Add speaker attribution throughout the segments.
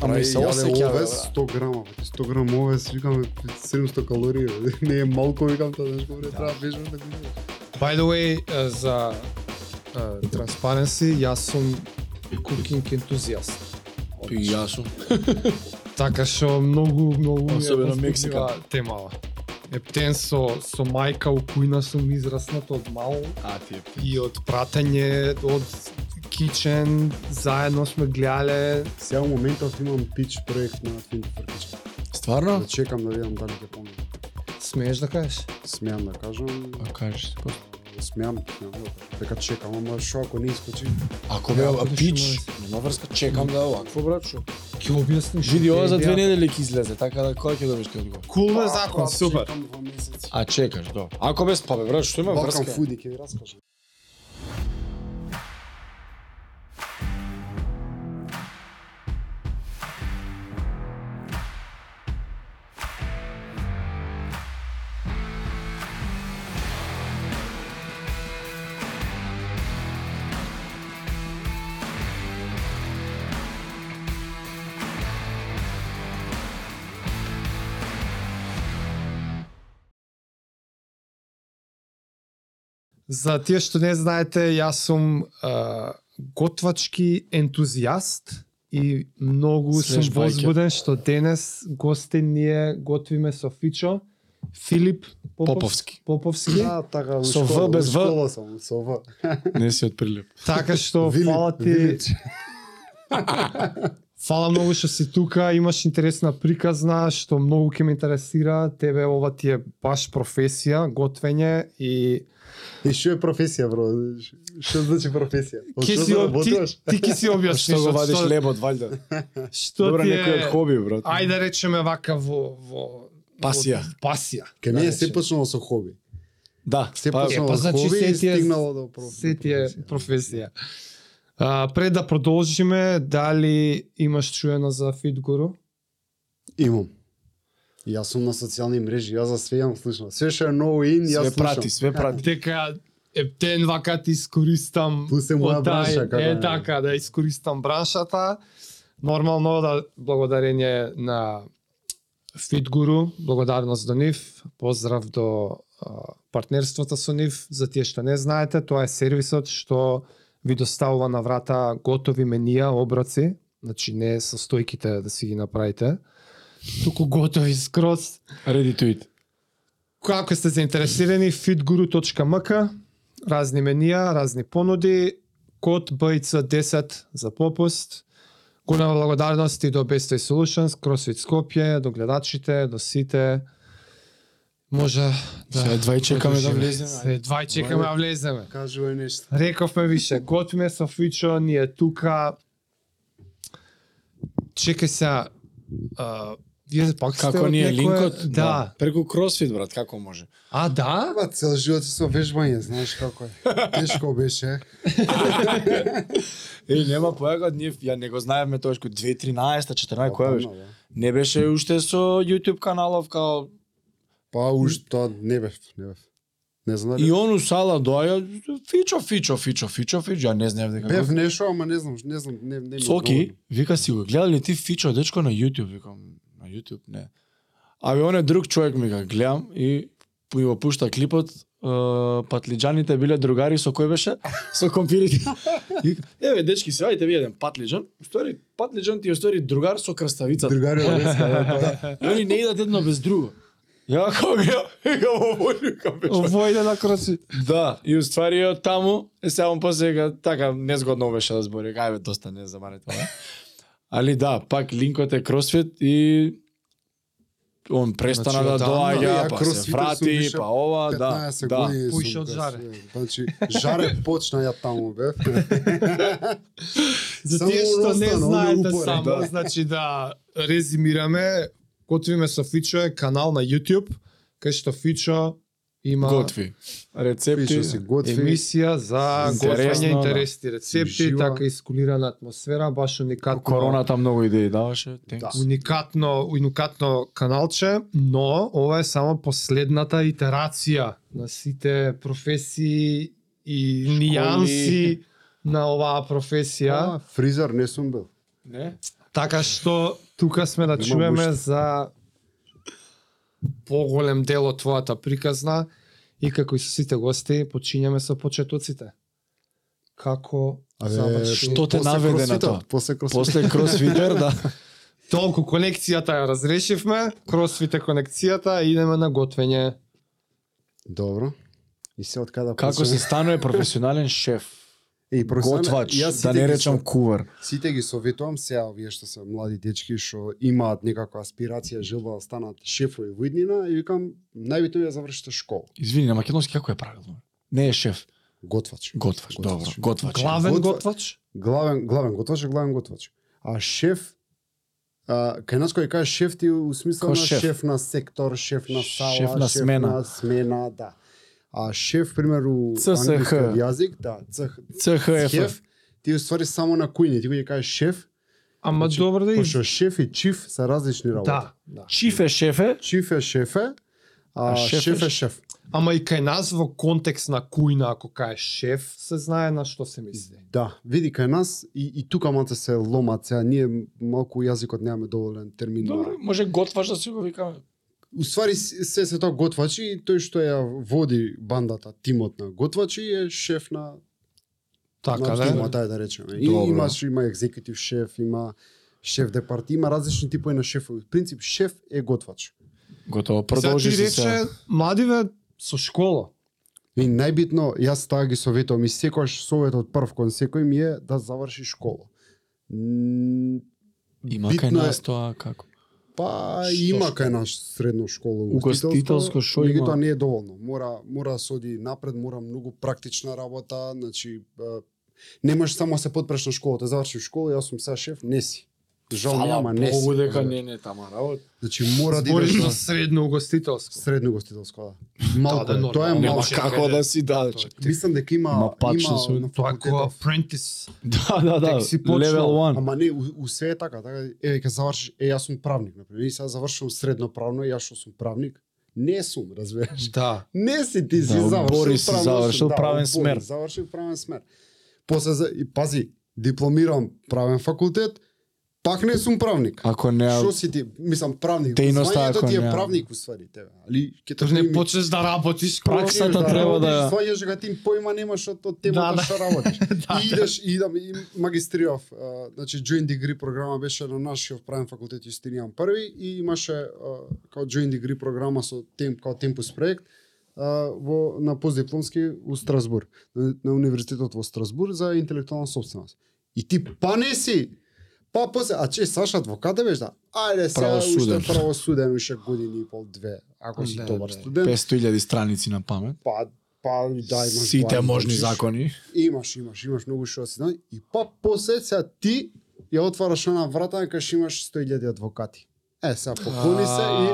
Speaker 1: Ама и се да. осеќа, бе,
Speaker 2: овес,
Speaker 1: брат.
Speaker 2: 100 грама, бе, 100 грама овес, викам 700 калории, бе. не е малку, викам тоа, знаеш, говори, треба бежам да го видиш.
Speaker 3: By the way, uh, за uh, transparency, јас сум кукинг ентузијаст.
Speaker 1: И јас сум.
Speaker 3: Така што многу, многу ми е
Speaker 1: Особено
Speaker 3: возбудлива
Speaker 1: Мексикан.
Speaker 3: темава. Ептен со, со мајка у кујна сум израснат од мал
Speaker 1: А, ти е.
Speaker 3: и од пратење од кичен, заедно сме гледале
Speaker 2: Сега во моментот имам пич проект на Think for Kitchen.
Speaker 1: Стварно?
Speaker 2: Да чекам да видам дали ќе помогне.
Speaker 3: Смееш да кажеш?
Speaker 2: Смеам да кажам,
Speaker 1: А кажеш, ко-
Speaker 2: смеам, смеам да кажам. Дека чекам, ама шо ако не искочи?
Speaker 1: ако бе
Speaker 3: Да,
Speaker 1: а,
Speaker 3: пиши
Speaker 1: пич,
Speaker 3: ме.
Speaker 1: нема врска, чекам да овакво брат шо.
Speaker 3: Ќе објасниш.
Speaker 1: Види ова за две па,
Speaker 3: недели.
Speaker 1: недели ќе излезе, така да кој ќе добиеш ти одговор.
Speaker 3: Кул е
Speaker 2: Ако
Speaker 3: закон, супер.
Speaker 2: Чекам два месеци.
Speaker 1: А чекаш, да. Ако без па бе брат, што има
Speaker 2: Балкан
Speaker 1: врска?
Speaker 2: фуди ќе ви раскажам.
Speaker 3: За тие што не знаете, јас сум а, готвачки ентузијаст и многу
Speaker 1: Слеш,
Speaker 3: сум
Speaker 1: бајке.
Speaker 3: возбуден што денес гости ние готвиме со Фичо, Филип Попов,
Speaker 1: Поповски.
Speaker 3: Поповски.
Speaker 2: А, така, у
Speaker 1: Со В
Speaker 2: школа-
Speaker 1: без
Speaker 2: у
Speaker 1: В.
Speaker 2: школа сам, со В.
Speaker 1: Не си од прилеп.
Speaker 3: Така што
Speaker 2: Вили-
Speaker 3: фала ти,
Speaker 2: Вилич.
Speaker 3: фала многу што си тука, имаш интересна приказна што многу ќе ме интересира, тебе ова ти е баш професија, готвење и
Speaker 2: И што е професија, бро? Ш- Што значи професија? Од
Speaker 3: Ки
Speaker 2: што
Speaker 3: си об- ти,
Speaker 2: заработуваш?
Speaker 3: ти ки си
Speaker 1: да Па Што
Speaker 3: објасниш
Speaker 1: го
Speaker 3: од
Speaker 1: вадиш
Speaker 3: што-
Speaker 1: лебот, валјда?
Speaker 3: што
Speaker 1: Добра
Speaker 3: ти е
Speaker 1: некој од хоби, брат.
Speaker 3: ајде да речеме вака во во
Speaker 1: Пасија.
Speaker 3: во- пасија.
Speaker 2: Кај мене
Speaker 1: Да,
Speaker 2: се
Speaker 1: рече.
Speaker 2: почнало со хоби.
Speaker 1: Да,
Speaker 2: Се
Speaker 1: па,
Speaker 3: е,
Speaker 2: почнало
Speaker 3: па
Speaker 2: од
Speaker 3: значи
Speaker 2: хоби и
Speaker 3: се ти е-
Speaker 2: стигнало до проф-
Speaker 3: Се ти е
Speaker 2: професија.
Speaker 3: професија. А, пред да продолжиме, дали имаш чуено за Фитгуру?
Speaker 2: Имам. Јас сум на социјални мрежи, јас за све јам слушам. Све што е ново ин, јас
Speaker 1: све
Speaker 2: слушам.
Speaker 1: прати, све прати.
Speaker 3: Дека ептен вака ти искористам
Speaker 2: Ту се моја
Speaker 3: од
Speaker 2: бранша, како
Speaker 3: е,
Speaker 2: е.
Speaker 3: така, да искористам браншата. Нормално да благодарење на Фитгуру, благодарност до нив, поздрав до а, партнерството со нив. За тие што не знаете, тоа е сервисот што ви доставува на врата готови менија, оброци, значи не со стојките да си ги направите, туку готови скроз
Speaker 1: Ready to eat.
Speaker 3: Ако сте заинтересирани, fitguru.mk, разни менија, разни понуди, код BC10 за попуст. Голема благодарност и до Best Way Solutions, CrossFit Скопје, до гледачите, до сите. Може да...
Speaker 1: Се едва и чекаме да
Speaker 3: продолжиме.
Speaker 1: влеземе,
Speaker 3: Се едва и чекаме да влеземе.
Speaker 2: Кажува нешто.
Speaker 3: Рековме више, готвиме со Фичо, ние тука. Чекај се, а, вие пак сте
Speaker 1: Како
Speaker 3: од
Speaker 1: ни е
Speaker 3: некое-
Speaker 1: линкот?
Speaker 3: Да.
Speaker 1: Преку кросфит, брат, како може?
Speaker 3: А, да?
Speaker 2: Ама Па, цел живот си со вежбање, знаеш како е. Тешко беше.
Speaker 1: Е, нема појага, ние, ја не го знаевме тоа што 2013 14 која беше?
Speaker 2: Па, да.
Speaker 1: Не беше уште со YouTube каналов као
Speaker 2: Па уж тоа не бев, не бев. Не знам
Speaker 1: и
Speaker 2: дали.
Speaker 1: он у сала доаѓа фичо фичо фичо фичо фичо, ја не знаев дека
Speaker 2: Бев да.
Speaker 1: го-
Speaker 2: нешто, ама не знам, не знам, не не ми.
Speaker 1: Соки, вика си го гледал ли ти фичо дечко на YouTube, викам на YouTube не. Абе он е друг човек ми га гледам и пу- и го пушта клипот е, патлиџаните биле другари со кој беше? Со компирите. И вика, Еве дечки, се ајте ви еден патлиџан. У Стори патлиџан ти е у стори другар со крставица.
Speaker 2: Другари од Леска, да, тоа.
Speaker 1: И Они не идат едно без друго. па Ја како гледам, викам овој викам беше.
Speaker 3: Војде на кроси.
Speaker 1: Да, и уствари ја од таму, е сега он после вика, така незгодно беше да збори, ајде доста не забаре тоа. Али да, пак линкот е кросфит и он престана
Speaker 3: Значи,
Speaker 1: да
Speaker 3: одамна,
Speaker 1: доаѓа,
Speaker 2: ја
Speaker 1: па
Speaker 2: кросфитот
Speaker 1: се
Speaker 2: сум
Speaker 1: врати,
Speaker 2: више
Speaker 1: па ова, да,
Speaker 2: 15
Speaker 1: да.
Speaker 2: години сум
Speaker 3: Пуше од
Speaker 2: кај
Speaker 3: жаре.
Speaker 2: све. Значи, жаре почна ја таму бев.
Speaker 3: За
Speaker 2: Само
Speaker 3: тие што не
Speaker 2: остана, оне
Speaker 3: знаете
Speaker 2: упорен,
Speaker 3: само,
Speaker 2: да.
Speaker 3: значи да резимираме, готвиме со Фичо е канал на YouTube, кај што Фичо има
Speaker 1: Готви. Рецепти.
Speaker 2: Пише си готви.
Speaker 3: емисија за
Speaker 1: Интересно,
Speaker 3: готвење
Speaker 1: да.
Speaker 3: интересни рецепти,
Speaker 2: Жива.
Speaker 3: така искулирана атмосфера, баш уникатно.
Speaker 1: Короната многу идеи даваше.
Speaker 2: Да.
Speaker 1: thanks.
Speaker 3: Уникатно, уникатно каналче, но ова е само последната итерација на сите професии и нијанси на оваа професија.
Speaker 2: Фризер не сум бил.
Speaker 1: Не?
Speaker 3: Така што тука сме да
Speaker 2: Нема
Speaker 3: чуеме
Speaker 2: мушта.
Speaker 3: за поголем дел од твојата приказна и како и со сите гости почињаме со почетоците. Како
Speaker 2: Абе,
Speaker 3: заврши-
Speaker 1: што те
Speaker 2: после
Speaker 1: наведе на
Speaker 2: кросфитот,
Speaker 1: тоа?
Speaker 2: После кросфитот.
Speaker 1: После кросфитер, да.
Speaker 2: Значи,
Speaker 3: Толку конекцијата ја разрешивме, кросфите конекцијата, идеме на готвење.
Speaker 2: Добро. И се од када
Speaker 1: Како се станува професионален шеф?
Speaker 2: Е, професионален-
Speaker 1: Готвач,
Speaker 2: јас
Speaker 1: да
Speaker 2: сите
Speaker 1: не
Speaker 2: ги
Speaker 1: речам
Speaker 2: со-
Speaker 1: кувар.
Speaker 2: Сите ги советувам сега овие што се млади дечки што имаат некаква аспирација, желба да станат шефови во иднина и викам најбитно е да завршите школа.
Speaker 1: Извини, на македонски како е правилно? Не е шеф,
Speaker 2: Готвач.
Speaker 1: готвач.
Speaker 2: Готвач.
Speaker 1: Добро, готвач.
Speaker 3: Главен
Speaker 2: готва-
Speaker 3: готвач?
Speaker 2: Главен главен готвач, е главен готвач. А шеф а, кај нас кој каже шеф ти у смисла
Speaker 1: Као
Speaker 2: на
Speaker 1: шеф.
Speaker 2: шеф. на сектор, шеф на сала,
Speaker 1: Шеф на смена.
Speaker 2: на смена, да. А шеф примеру
Speaker 1: CSH.
Speaker 2: англискиот јазик, да, цх,
Speaker 1: ЦХФ.
Speaker 2: Шеф, ти уствари само на кујни, ти го ќе кажеш шеф,
Speaker 3: Ама
Speaker 2: Значи,
Speaker 3: добро да и...
Speaker 2: пошто шеф и чиф се различни работи.
Speaker 3: Да, да.
Speaker 1: Чиф е шефе,
Speaker 2: Чиф е шефе, а,
Speaker 1: А шеф е
Speaker 2: шеф, е шеф.
Speaker 3: Ама и кај нас во контекст на кујна, ако кај шеф, се знае на што се мисли.
Speaker 2: Да, види кај нас и, и тука малце се ломат, сега ние малку јазикот немаме доволен термин. на-
Speaker 1: Добро, може готваш да си го викаме.
Speaker 2: Уствари с- се се тоа готвачи и тој што ја води бандата, тимот на готвачи е шеф на,
Speaker 3: Така,
Speaker 2: на
Speaker 3: да?
Speaker 2: тимот, ајде да речеме. И
Speaker 1: Добро.
Speaker 2: имаш има екзекутив шеф, има шеф департи, има различни типови на шефови. Во принцип шеф е готвач.
Speaker 1: Готово,
Speaker 3: Сега
Speaker 1: продолжи
Speaker 3: ти
Speaker 1: се
Speaker 3: Значи, рече,
Speaker 1: сега.
Speaker 3: младиве, со школа.
Speaker 2: И најбитно, јас таа ги советувам и секојаш советот прв кон секој ми е да заврши школа. М,
Speaker 1: Има кај
Speaker 2: битно е-
Speaker 1: нас тоа како?
Speaker 2: Па
Speaker 1: Што
Speaker 2: има
Speaker 1: што?
Speaker 2: кај наш средно школа
Speaker 1: Угостителско, шо има?
Speaker 2: меѓутоа не е доволно. Мора мора да се оди напред, мора многу практична работа, значи е, не можеш само да се подпреш на школата, завршив школа, јас сум сега шеф, не си. Жал ми, ама не си.
Speaker 1: не тама работа.
Speaker 2: Значи мора да идеш
Speaker 3: Збориш
Speaker 2: на
Speaker 3: на средно угостителско.
Speaker 2: средно угостителско, да. Малко,
Speaker 3: Да, да,
Speaker 2: е, тоа е
Speaker 3: нормално.
Speaker 1: Нема
Speaker 2: малко.
Speaker 3: Малче,
Speaker 1: како
Speaker 3: бе,
Speaker 1: да си дадеш.
Speaker 2: Мислам дека има
Speaker 1: Ма пачно
Speaker 2: има
Speaker 1: се оди.
Speaker 2: на
Speaker 3: Тоа кој
Speaker 2: факултетов
Speaker 3: апрентис.
Speaker 1: Да, да, да.
Speaker 3: Тек си почнал.
Speaker 1: Level 1.
Speaker 2: Ама не, у, у све е така, така, еве ќе завршиш, е јас сум правник, на пример, и сега завршувам средно правно, јас што сум правник, не сум, разбираш.
Speaker 3: Да.
Speaker 2: Не си ти си
Speaker 1: Да,
Speaker 2: завршил
Speaker 1: обори си,
Speaker 2: правно,
Speaker 1: завршил
Speaker 2: да,
Speaker 1: правен
Speaker 2: обори,
Speaker 1: смер.
Speaker 2: Завршил правен смер. После за- и пази, дипломирам правен факултет, пак не сум правник.
Speaker 1: Ако не
Speaker 2: Што си ти, мислам правник,
Speaker 1: Дејноста
Speaker 2: звањето
Speaker 1: ако
Speaker 2: ти е
Speaker 1: не-
Speaker 2: правник уствари тебе, али ќе
Speaker 3: Тоа не почнеш да работиш
Speaker 1: Пракс- Таксата
Speaker 2: Идеш
Speaker 1: треба да ја-
Speaker 2: работиш, Сваѓаш дека ти појма немаш од од
Speaker 3: Да, да.
Speaker 2: темата што работиш. И идеш и идам и магистрирав, а, значи joint degree програма беше на нашиот правен факултет Јустинијан први и имаше а, као joint degree програма со тем као темпус проект а, во на постдипломски у Страсбур, на, на универзитетот во Страсбур за интелектуална собственост. И ти па не си Па после, а че Саша адвокат е беш да? Ајде сега уште
Speaker 1: Правосуден.
Speaker 2: правосуден, уште години и пол, две, ако си
Speaker 3: Да,
Speaker 2: добар
Speaker 3: да.
Speaker 2: студент.
Speaker 1: 500.000 страници на памет.
Speaker 2: Па, па, да, имаш
Speaker 1: Сите
Speaker 2: барем,
Speaker 1: можни
Speaker 2: значи,
Speaker 1: закони.
Speaker 2: Имаш, имаш, имаш многу што да си знае. И па после сега ти ја отвараш она врата и кажеш имаш 100.000 адвокати. Е, сега поклони се и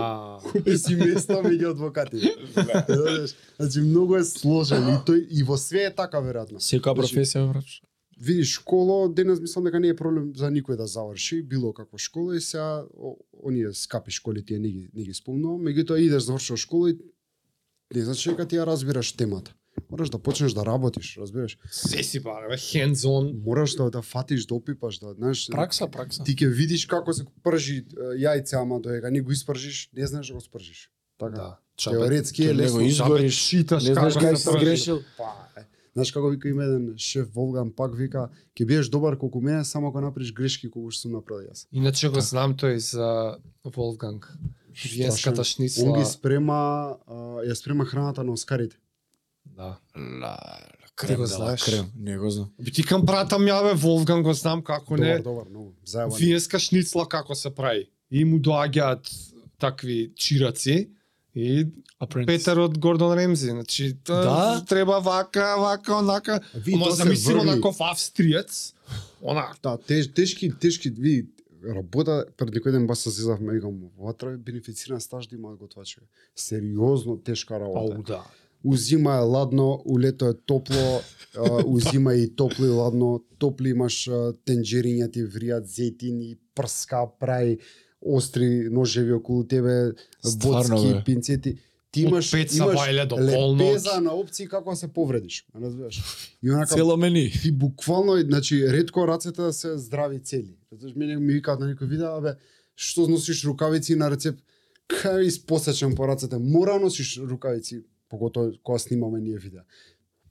Speaker 2: купи си места меѓу адвокати. Знаеш, Значи многу е сложен и тој и во све е така веројатно.
Speaker 1: Секоја
Speaker 2: Значи,
Speaker 1: професија врач.
Speaker 2: Види школа денес мислам дека не е проблем за никој да заврши било каква школа и сега о- оние скапи школи тие не ги не ги спомнувам, меѓутоа идеш завршил школа и не значи дека ти ја разбираш темата. Мораш да почнеш да работиш, разбираш?
Speaker 3: Се си бараме, hands on.
Speaker 2: Мораш да да фатиш, да опипаш, да знаеш.
Speaker 1: Пракса, пракса.
Speaker 2: Ти ќе видиш како се пржи е, јајце, ама доека не го испржиш, не знаеш да го спржиш. Така.
Speaker 3: Да.
Speaker 2: Теоретски
Speaker 1: Ти
Speaker 2: е
Speaker 1: не
Speaker 2: лесно.
Speaker 1: го
Speaker 3: Жабе,
Speaker 1: изгориш.
Speaker 3: читаш
Speaker 1: не знаеш
Speaker 3: како
Speaker 1: кај
Speaker 3: се
Speaker 1: си
Speaker 3: пржи.
Speaker 1: грешил.
Speaker 2: Па, е. Знаеш како вика има еден шеф Волган пак вика ќе бидеш добар колку мене само ако направиш грешки колку што сум направил јас.
Speaker 3: Иначе го знам тој за Волганг. Виенската
Speaker 2: Он ги
Speaker 3: шницла.
Speaker 2: спрема, а, ја спрема храната на Оскарите.
Speaker 3: Да.
Speaker 1: Ла,
Speaker 3: Ти
Speaker 1: крем,
Speaker 3: го
Speaker 1: да,
Speaker 3: знаеш?
Speaker 1: крем. Не го знам.
Speaker 3: Би ти кам пратам ја бе, Волфганг го знам како
Speaker 2: Добар,
Speaker 3: не.
Speaker 2: добар, многу. Зајаван.
Speaker 3: Виенска шницла како се прави. И му доаѓаат такви чираци и Петар од Гордон Ремзи, значи тоа
Speaker 1: Да?
Speaker 3: треба вака, вака, онака.
Speaker 2: Ви,
Speaker 3: Ама
Speaker 2: тоа се
Speaker 3: замисли
Speaker 2: врви.
Speaker 3: онаков австриец. Она
Speaker 2: Да, теж, тешки, тешки, ви, работа, пред некој ден бас се зизавме, викам, ватра бенефициран стаж да имаат готвачи. Сериозно тешка работа.
Speaker 3: Ау да.
Speaker 2: узима е ладно, у лето е топло, а, узима и топло и ладно, топли имаш а, тенџериња ти вријат зетин и прска прај остри ножеви околу тебе,
Speaker 1: Стварно,
Speaker 2: боцки,
Speaker 1: бе.
Speaker 2: пинцети. Ти имаш,
Speaker 3: Опет са
Speaker 2: имаш
Speaker 3: бајле до полнок.
Speaker 2: лепеза на опции како да се повредиш. Ме разбираш? И онака,
Speaker 1: Цело мени.
Speaker 2: ти буквално, значи, ретко рацете се здрави и цели. Затоа што мене ми викаат на некој видео, абе, што носиш рукавици на рецепт? Кај испосечен по рацете? Мора носиш рукавици, поготово кога снимаме ние видеа.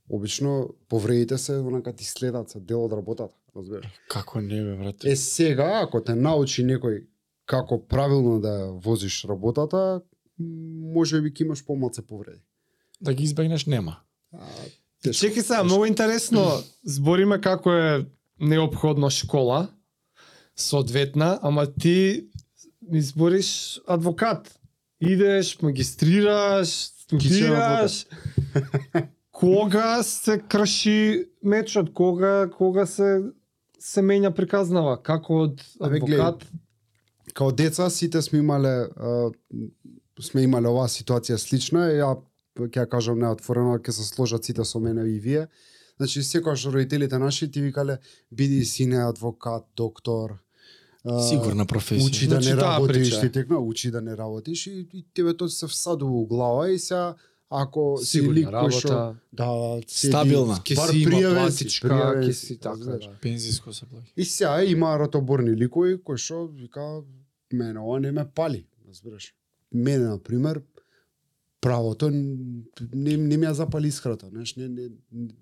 Speaker 2: Обично повредите се, онака ти следат се дел од работата, разбираш?
Speaker 1: Како не бе, брате.
Speaker 2: Е сега, ако те научи некој како правилно да ја возиш работата, м, може би ќе имаш помалце повреди.
Speaker 1: Да ги избегнеш нема.
Speaker 2: А, тешко.
Speaker 3: Чеки сега, многу интересно, збориме како е необходна школа, соодветна, ама ти избориш адвокат. Идеш, магистрираш, студираш. Кога се крши мечот, кога кога се се менја приказнава, како од
Speaker 2: Абе, гледај,
Speaker 3: адвокат
Speaker 2: Као деца сите сме имале а, сме имале оваа ситуација слична, ја ќе ја кажам неотворено, ќе се сложат сите со мене и вие. Значи секогаш родителите наши ти викале биди сине адвокат, доктор. а,
Speaker 1: Сигурна професија.
Speaker 2: Учи да
Speaker 3: Значи,
Speaker 2: не
Speaker 3: таа
Speaker 2: работиш,
Speaker 3: прича.
Speaker 2: ти текна, учи да не работиш и, и тебе тоа се всадува у глава и сега ако си лик
Speaker 3: сигурна
Speaker 2: кој што
Speaker 3: работа,
Speaker 2: да седи-
Speaker 1: Стабилна.
Speaker 3: ќе
Speaker 2: бар
Speaker 3: си има
Speaker 2: пријавен си,
Speaker 3: платичка,
Speaker 2: пријавен си,
Speaker 3: ќе
Speaker 2: Значи,
Speaker 3: си така.
Speaker 2: разбираш.
Speaker 3: да.
Speaker 1: Пензиско се плаќа.
Speaker 2: И сега има ратоборни ликови кои што вика мене ова не ме пали, разбираш. Мене на пример правото н- не, не ми ја запали искрата, знаеш, не, не,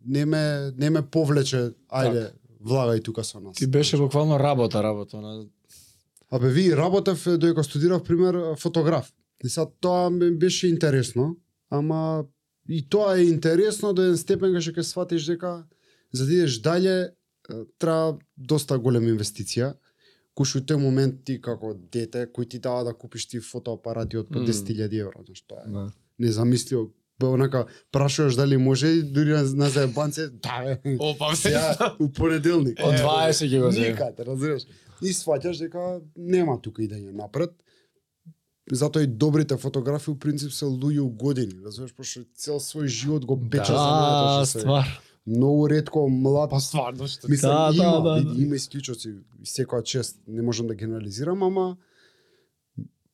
Speaker 2: не, ме, не ме повлече, ајде, влагај тука со нас.
Speaker 1: Ти беше буквално работа, работа. На...
Speaker 2: Абе, ви работев е, додека студирав, пример, фотограф. И сега тоа ми беше интересно, ама и тоа е интересно до еден степен кога ќе сватиш дека за да идеш дале е, треба доста голема инвестиција. Куш у тој момент ти како дете кој ти дава да купиш ти фотоапарати од по
Speaker 3: Мм.
Speaker 2: 10.000 евра, знаеш тоа е. Незамисливо. Бе онака прашуваш дали може и дури на, на заебанце, да, е,
Speaker 3: Опа,
Speaker 2: сега у понеделник.
Speaker 1: Од
Speaker 2: Е,
Speaker 1: 20 ќе го земе.
Speaker 2: Никаде, разбираш. И сваќаш дека нема тука идење напред. Затоа и добрите фотографи у принцип се луѓе у години, разбираш, пошто цел свој живот го пече за
Speaker 1: Да,
Speaker 2: тоа што се.
Speaker 1: ствар.
Speaker 2: Многу ретко млад
Speaker 3: Па стварно што.
Speaker 2: Мислам,
Speaker 1: Да, да,
Speaker 2: има,
Speaker 1: да,
Speaker 2: види,
Speaker 1: да.
Speaker 2: има исклучоци, секоја чест, не можам да генерализирам, ама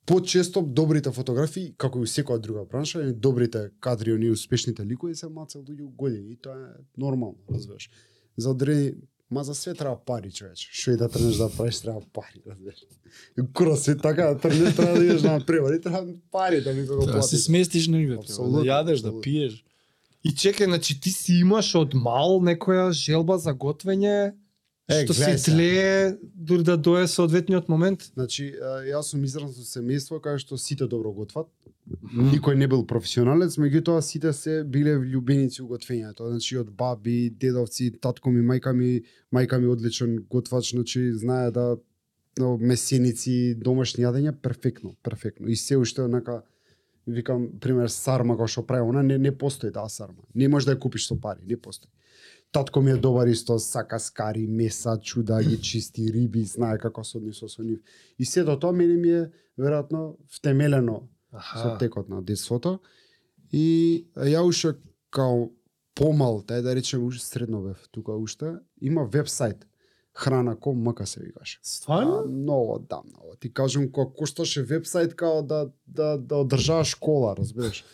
Speaker 2: почесто добрите фотографи, како и у секоја друга бранша, и добрите кадри, они успешните ликови се маца луѓе у години, и тоа е нормално, разбираш. За одредени Ма за све треба пари, човече. Што и да тренеш да правиш, треба пари, разбираш. Кура се така, да тренеш, треба да идеш на превари, треба пари да некој го
Speaker 1: Да се
Speaker 2: плати.
Speaker 1: сместиш негде, треба,
Speaker 2: Апсолутно,
Speaker 1: да јадеш, да
Speaker 2: апсолутно.
Speaker 1: пиеш.
Speaker 3: И чекај, значи ти си имаш од мал некоја желба за готвење,
Speaker 2: Е,
Speaker 3: што
Speaker 2: гледај
Speaker 3: се
Speaker 2: сега.
Speaker 3: тлее дури да дое соодветниот момент.
Speaker 2: Значи, а, јас сум изран со семејство кај што сите добро готват. Никој не бил професионалец, меѓутоа сите се биле влюбеници у готвењето. Значи од баби, дедовци, татко ми, мајка ми, мајка ми одличен готвач, значи знае да но, месеници, домашни јадења перфектно, перфектно. И се уште онака викам пример сарма кој што прави она не не постои таа сарма. Не можеш да ја купиш со пари, не постои. Татко ми е добар исто, сака скари, меса, чуда, ги чисти риби, знае како се однесо со нив. И сето тоа мене ми е веројатно втемелено со текот на детството. И ја уште као помал, тај да речем уште средно бев тука уште, има вебсайт храна.ком мака се викаше. А,
Speaker 3: Стварно?
Speaker 2: Много дамно. Ова Ти кажам кога кошташе вебсайт као да да да одржаваш школа, разбираш.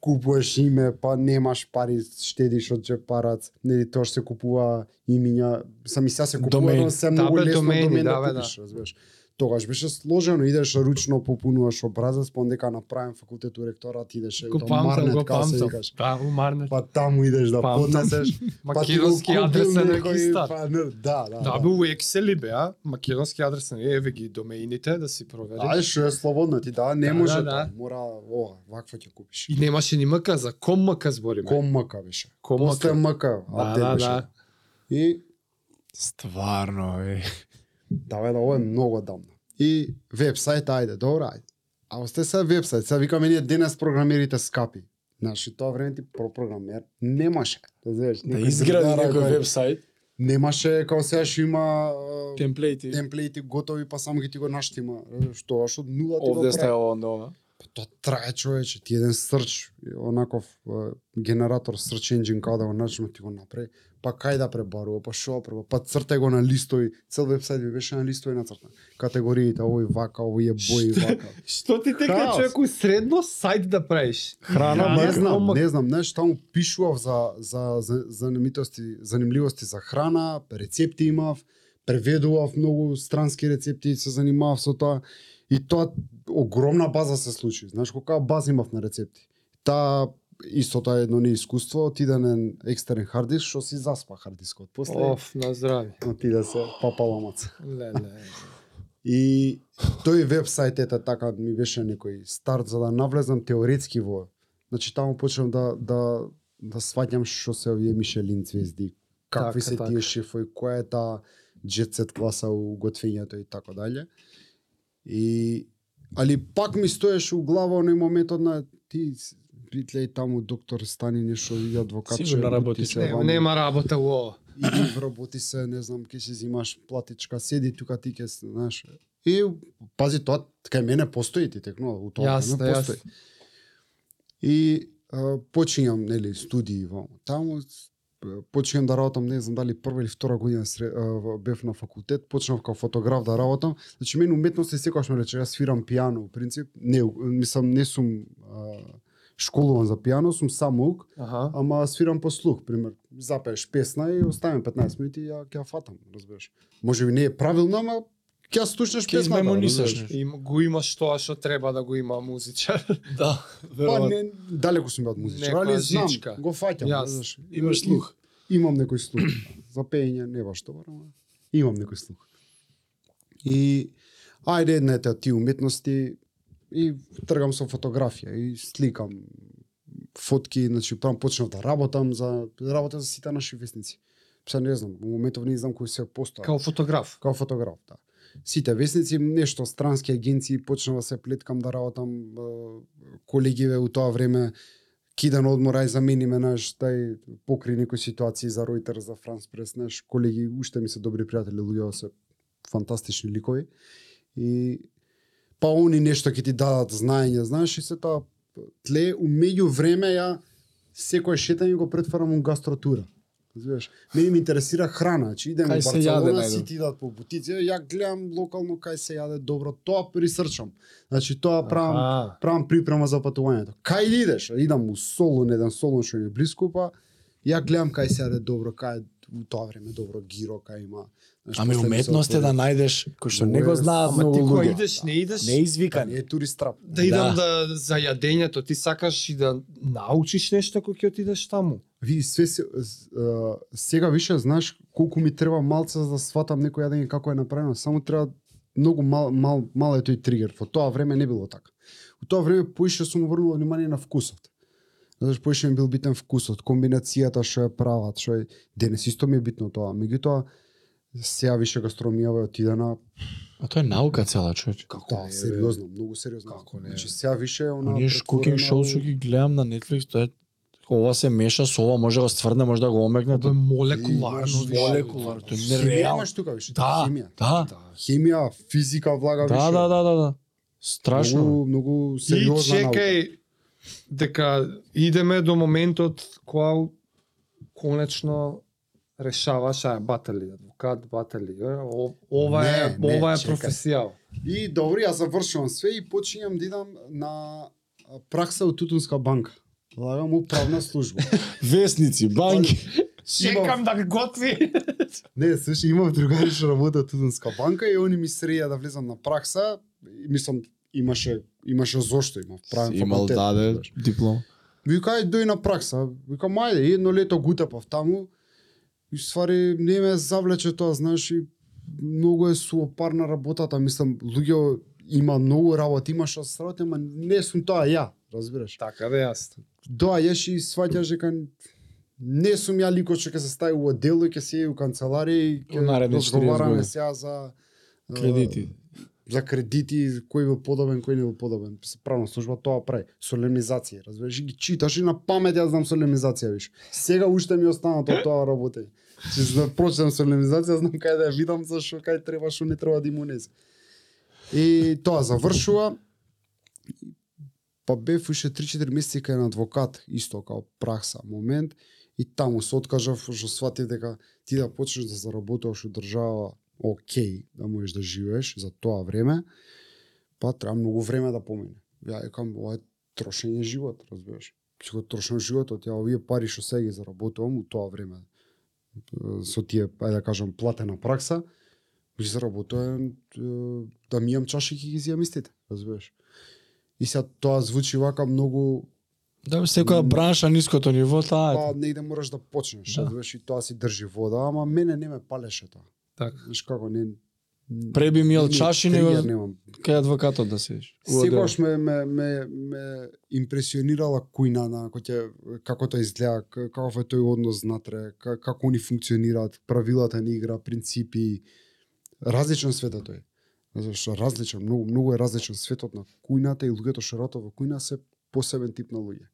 Speaker 2: Купуваш име, па немаш пари, штедиш од џепарац, нели тоа што се купува имиња, сами сега се купува,
Speaker 1: Домен.
Speaker 2: но се многу
Speaker 3: Да, бе,
Speaker 2: лесно
Speaker 3: домени,
Speaker 2: домен да,
Speaker 3: да, бе, да.
Speaker 2: купиш, разбираш. Тогаш беше сложено, идеш ручно попунуваш образец, па дека направен факултет у ректорат идеш е,
Speaker 3: Го
Speaker 2: тоа
Speaker 3: памтам,
Speaker 2: Марнет,
Speaker 3: го
Speaker 2: као се
Speaker 3: памтам.
Speaker 2: викаш.
Speaker 3: Да, умарнет.
Speaker 2: Па таму идеш да
Speaker 3: Памтам.
Speaker 2: поднесеш, па ти го
Speaker 3: Македонски
Speaker 2: купил
Speaker 3: адресен
Speaker 2: некој,
Speaker 3: регистар.
Speaker 2: па, не, Да, да.
Speaker 3: Да, бе, у Excel и беа, македонски адресен, еве ги домеините да си
Speaker 2: Ај
Speaker 3: провериш.
Speaker 2: што е слободно ти, да, не
Speaker 3: Да,
Speaker 2: може
Speaker 3: да,
Speaker 2: да,
Speaker 3: да.
Speaker 2: мора ова, вакво ќе купиш.
Speaker 3: И немаше ни МК, за ком МК збориме?
Speaker 2: Ком мака беше.
Speaker 3: Ком
Speaker 2: После
Speaker 3: МК.
Speaker 2: мака,
Speaker 3: Да, да, да.
Speaker 2: И
Speaker 1: Стварно, е.
Speaker 2: давај да ова е многу дамно. И вебсајт, ајде, добро, ајде. А осте се вебсајт, сега викаме ние денес програмерите скапи. Значи, тоа време ти про програмер немаше. Да, знаеш,
Speaker 1: Да
Speaker 2: некој
Speaker 1: изгради
Speaker 2: другарар
Speaker 1: некој
Speaker 2: го е.
Speaker 1: вебсайт,
Speaker 2: Немаше, као сега што има а,
Speaker 1: темплети.
Speaker 2: темплети готови, па само ги ти го наштима. Што, што од нула да ти го
Speaker 1: Овде
Speaker 2: прави.
Speaker 1: сте ова онда ова.
Speaker 2: Па Тоа трае човече, ти еден срч, онаков е, генератор, срч енджин, као да го начнеш, ти го направи. па кај да пребарува, па што прво, па цртај го на листови, цел вебсайт ми беше на листови нацртан. Категориите, овој вака, овој е бој вака.
Speaker 3: Што ти
Speaker 2: Хаос.
Speaker 3: тека човеку средно сайт да правиш?
Speaker 1: Храна,
Speaker 3: Ја,
Speaker 2: не
Speaker 1: мрк,
Speaker 2: знам,
Speaker 3: мрк.
Speaker 2: не знам, знаеш, таму пишував за за за занимитости, занимливости за храна, рецепти имав, преведував многу странски рецепти и се занимавав со тоа и тоа огромна база се случи. Знаеш колка база имав на рецепти. Та истото е едно не искуство, ти да не екстерен хардиск, што си заспа хардискот. После
Speaker 3: Оф, на здравје.
Speaker 2: ти да се папа ламаца.
Speaker 3: Леле.
Speaker 2: И тој вебсайт ета така ми беше некој старт за да навлезам теоретски во. Значи таму почнам да да да сваќам што се овие Мишелин звезди, какви
Speaker 3: Така,
Speaker 2: се
Speaker 3: така.
Speaker 2: тие шефови, која е таа джетсет класа у готвењето и така дале. И али пак ми стоеше у глава оној моментот на ти битле и таму доктор стани нешто и адвокат
Speaker 1: Сигурно
Speaker 2: ќе бути
Speaker 1: работи
Speaker 2: се
Speaker 1: се.
Speaker 3: Не,
Speaker 2: ваму
Speaker 3: нема работа во ово.
Speaker 2: иди работи се, не знам, ке си зимаш платичка, седи тука ти ке, се, знаеш. И пази тоа кај мене постои ти текно, у тоа
Speaker 3: Јасно,
Speaker 2: време постои. И а, почињам нели студии во таму с- п- почињам да работам, не знам дали прва или втора година сре, а, во- бев на факултет, почнав као фотограф да работам. Значи мене уметност е секогаш ме рече, јас свирам пијано, у принцип, не мислам не сум а, школуван за пијано, сум самоук,
Speaker 3: Аха.
Speaker 2: ама свирам по слух, пример, запееш песна и оставам 15 минути и ја ќе ја фатам, разбираш. Може би не е правилно, ама ќе ја слушнеш
Speaker 1: Ќе
Speaker 2: песната,
Speaker 1: измемонисаш
Speaker 2: Да, разбираш.
Speaker 1: нешто.
Speaker 3: И го имаш тоа што треба да го има музичар.
Speaker 1: Да,
Speaker 2: Па
Speaker 1: веројатно.
Speaker 2: не, далеко сум од музичар,
Speaker 3: Некоја
Speaker 2: али знам,
Speaker 3: жичка.
Speaker 2: го фаќам,
Speaker 3: Јас.
Speaker 2: разбираш.
Speaker 1: Имаш слух.
Speaker 2: Имам некој слух. За пеење не баш добар, ама имам некој слух. И ајде една ете ти уметности и тргам со фотографија и сликам фотки, значи прам почнав да работам за работам за сите наши вестници. Се не знам, во моментов не знам кои се постојат.
Speaker 3: Као фотограф.
Speaker 2: Као фотограф, да. Сите вестници, нешто странски агенции, почнав да се плеткам да работам е, колегиве у тоа време кидан одмора и замениме наш тај покри некои ситуации за Ројтер, за Франс Прес, наш колеги, уште ми се добри пријатели, луѓе се фантастични ликови. И па они нешто ќе ти дадат знаење, знаеш, и се тоа тле, у меѓу време ја секој шетање го претварам у гастротура. Знаеш, мене ми интересира храна, значи идем
Speaker 1: Кај
Speaker 2: во
Speaker 1: се
Speaker 2: Барселона,
Speaker 1: јаде,
Speaker 2: си
Speaker 1: најдам.
Speaker 2: ти идат по бутици, ја гледам локално кај се јаде добро, тоа присрчам. Значи тоа правам
Speaker 3: Аха.
Speaker 2: правам припрема за патувањето. Кај да идеш? Идам у Солун, еден Солун што ми е блиску, па ја гледам кај се јаде добро, кај е у тоа време добро гиро, кај има. знаеш,
Speaker 1: Ами
Speaker 2: после ми се
Speaker 1: уметност е да
Speaker 2: отвори.
Speaker 1: најдеш кој што не
Speaker 2: Е,
Speaker 1: го знаат
Speaker 2: ама
Speaker 3: Ама
Speaker 1: многу
Speaker 3: ти кога
Speaker 1: луѓе.
Speaker 3: идеш, не идеш,
Speaker 1: Не
Speaker 2: Кај
Speaker 1: извикани.
Speaker 2: не е турист трап.
Speaker 3: да идам да за јадењето, ти сакаш и да научиш нешто кога ќе отидеш таму.
Speaker 2: Ви све се, с- а, сега више знаеш колку ми треба малце за да сватам некој јадење како е направено, само треба многу мал, мал, мал е тој тригер. Во тоа време не било така. У тоа време поише сум обрнувал внимание на вкусот. Знаеш, поише ми бил битен вкусот, комбинацијата што ја прават, што е денес исто ми е битно тоа. Меѓутоа сега више гастрономијава е отидена
Speaker 1: А тоа е наука цела, човече.
Speaker 2: како да, сериозно, многу сериозно.
Speaker 3: Како не е?
Speaker 2: Значи сега више е она
Speaker 1: Оние шкукинг шоу што ги гледам на Netflix, тоа е ова се меша со ова, може да го стврне, може да го омекне,
Speaker 3: Тоа
Speaker 1: тоа
Speaker 3: е молекуларно.
Speaker 2: Имаш
Speaker 1: е молекулар, тоа е
Speaker 2: Химија
Speaker 1: нереално.
Speaker 2: имаш тука више,
Speaker 1: Да,
Speaker 2: химија.
Speaker 1: да,
Speaker 2: Химија, физика влага
Speaker 1: да,
Speaker 2: више.
Speaker 1: да, да, да, да. Страшно.
Speaker 2: Многу, многу
Speaker 3: И
Speaker 2: сериозна наука.
Speaker 3: чекај дека идеме до моментот кога конечно решаваш, ај, батали, адвокат, батали, е, о- ова е,
Speaker 2: Не, не,
Speaker 3: ова е
Speaker 2: чекај.
Speaker 3: професија.
Speaker 2: И добро, јас завршувам све и почињам да идам на а, пракса од Тутунска банка. Влагам у правна служба.
Speaker 1: Весници, банки.
Speaker 2: Чекам
Speaker 3: да готви.
Speaker 2: не, слушай, имав другари што работат од Тутунска банка и они ми среја да влезам на пракса. И, Мислам, имаше имаше зошто имав правен
Speaker 1: Имал да,
Speaker 2: факултет.
Speaker 1: даде
Speaker 2: знаеш.
Speaker 1: диплом.
Speaker 2: Вика, ајде дој на пракса. Вика, мајде, едно лето гутапав таму. И ствари не ме завлече тоа, знаеш, и многу е суопарна работата. Мислам, луѓе има многу работа, има што се работи, ама не сум тоа ја, разбираш.
Speaker 3: Така бе јас.
Speaker 2: Доаѓаш и сваќаш дека не сум ја ликот што ќе се стави во отдел и ќе се у канцеларија и
Speaker 1: У
Speaker 2: ќе
Speaker 1: наредни 40
Speaker 2: разговараме
Speaker 1: години.
Speaker 2: сега за а,
Speaker 1: Кредити.
Speaker 2: за кредити, кој бил подобен, кој не бил подобен. Се правна служба тоа прави. Солемнизација, разбираш, и ги читаш и на памет ја знам солемнизација виш. Сега уште ми останато од тоа работење. Че за прочитам солемнизација, знам кај да ја видам за што кај треба, што не треба да им унесе. И тоа завршува. Па бев уште 3-4 месеци кај на адвокат, исто као пракса момент. и таму се откажав, што сватив дека ти да почнеш да заработуваш у држава, окей, да можеш да живееш за тоа време, па треба многу време да помине. Ја екам, ова е трошење живот, разбираш. Ќе го трошам животот, ја овие пари што сега ги заработувам у тоа време, е, со тие, ајде да кажам, платена пракса, ги заработувам е, да мијам чаши и ги изијам истите, разбираш. И сега тоа звучи вака многу
Speaker 1: Да, секоја бранша ниското ниво таа.
Speaker 2: па
Speaker 1: е.
Speaker 2: негде мораш да почнеш,
Speaker 1: Да.
Speaker 2: да. и тоа си држи вода, ама мене не ме палеше тоа.
Speaker 3: Така.
Speaker 2: Знаеш како, не...
Speaker 1: Преби мил
Speaker 2: не ми
Speaker 1: чаши
Speaker 2: тригер
Speaker 1: него
Speaker 2: немам.
Speaker 1: кај адвокатот да седиш.
Speaker 2: Секогаш ме, ме, ме, ме импресионирала кујна на кој ќе, како тоа изгледа, к- каков е тој однос внатре, ка- како они функционираат, правилата на игра, принципи. Различен свет е тој. Зашто различен, многу, многу е различен светот на кујната и луѓето што работат во кујна се посебен тип на луѓе.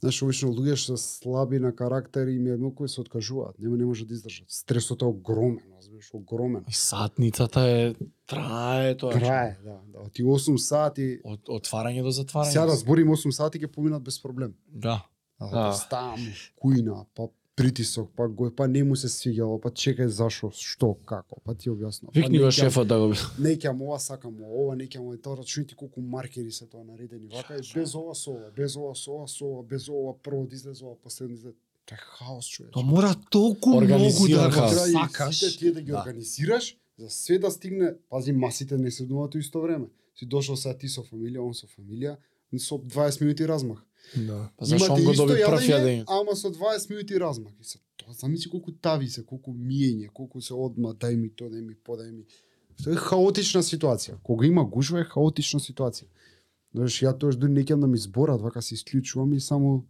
Speaker 2: Знаеш, обично луѓе што се слаби на карактер и им е едно кои се откажуваат, нема не може да издржат. Стресот е огромен, разбираш, огромен.
Speaker 1: И сатницата е трае тоа. значи,
Speaker 2: Трае, да, да. Ти 8 сати
Speaker 1: Од отварање до затварање.
Speaker 2: Сега да зборим 8 сати ќе поминат без проблем.
Speaker 1: Да.
Speaker 3: А.
Speaker 2: А, стам, кујна, па притисок, па го, па не му се свиѓало, па чекај зашо, што, како, па ти објаснам.
Speaker 1: Викни го
Speaker 2: па, неќам-
Speaker 1: шефот да го
Speaker 2: Неќам ова, сакам ова, ова неќам ова, и тоа рачуни ти колку маркери се тоа наредени. Вака е без ова со ова, без ова со ова, со ова, без ова прво да излезе ова, последно да излезе. Тоа е хаос, човече.
Speaker 3: Тоа мора толку многу
Speaker 1: Организиран
Speaker 3: да го
Speaker 1: хаос.
Speaker 2: Треба и
Speaker 3: сакаш.
Speaker 2: сите тие да ги
Speaker 3: Да.
Speaker 2: организираш, за све да стигне, пази, масите не седнуваат у исто време. Си дошол сега ти со фамилија, он со фамилија, со 20 минути размах.
Speaker 1: Да. Па зашо
Speaker 2: Имате
Speaker 1: он го
Speaker 2: исто
Speaker 1: доби да прв
Speaker 2: јадење,
Speaker 1: јадење?
Speaker 2: Ама со 20 минути размак. И се, тоа замисли колку тави се, колку миење, колку се одма, дај ми то, дај ми по, дај ми. Тоа е хаотична ситуација. Кога има гужва е хаотична ситуација. Знаеш, ја тоа дури неќам да ми зборат, вака се исклучувам и само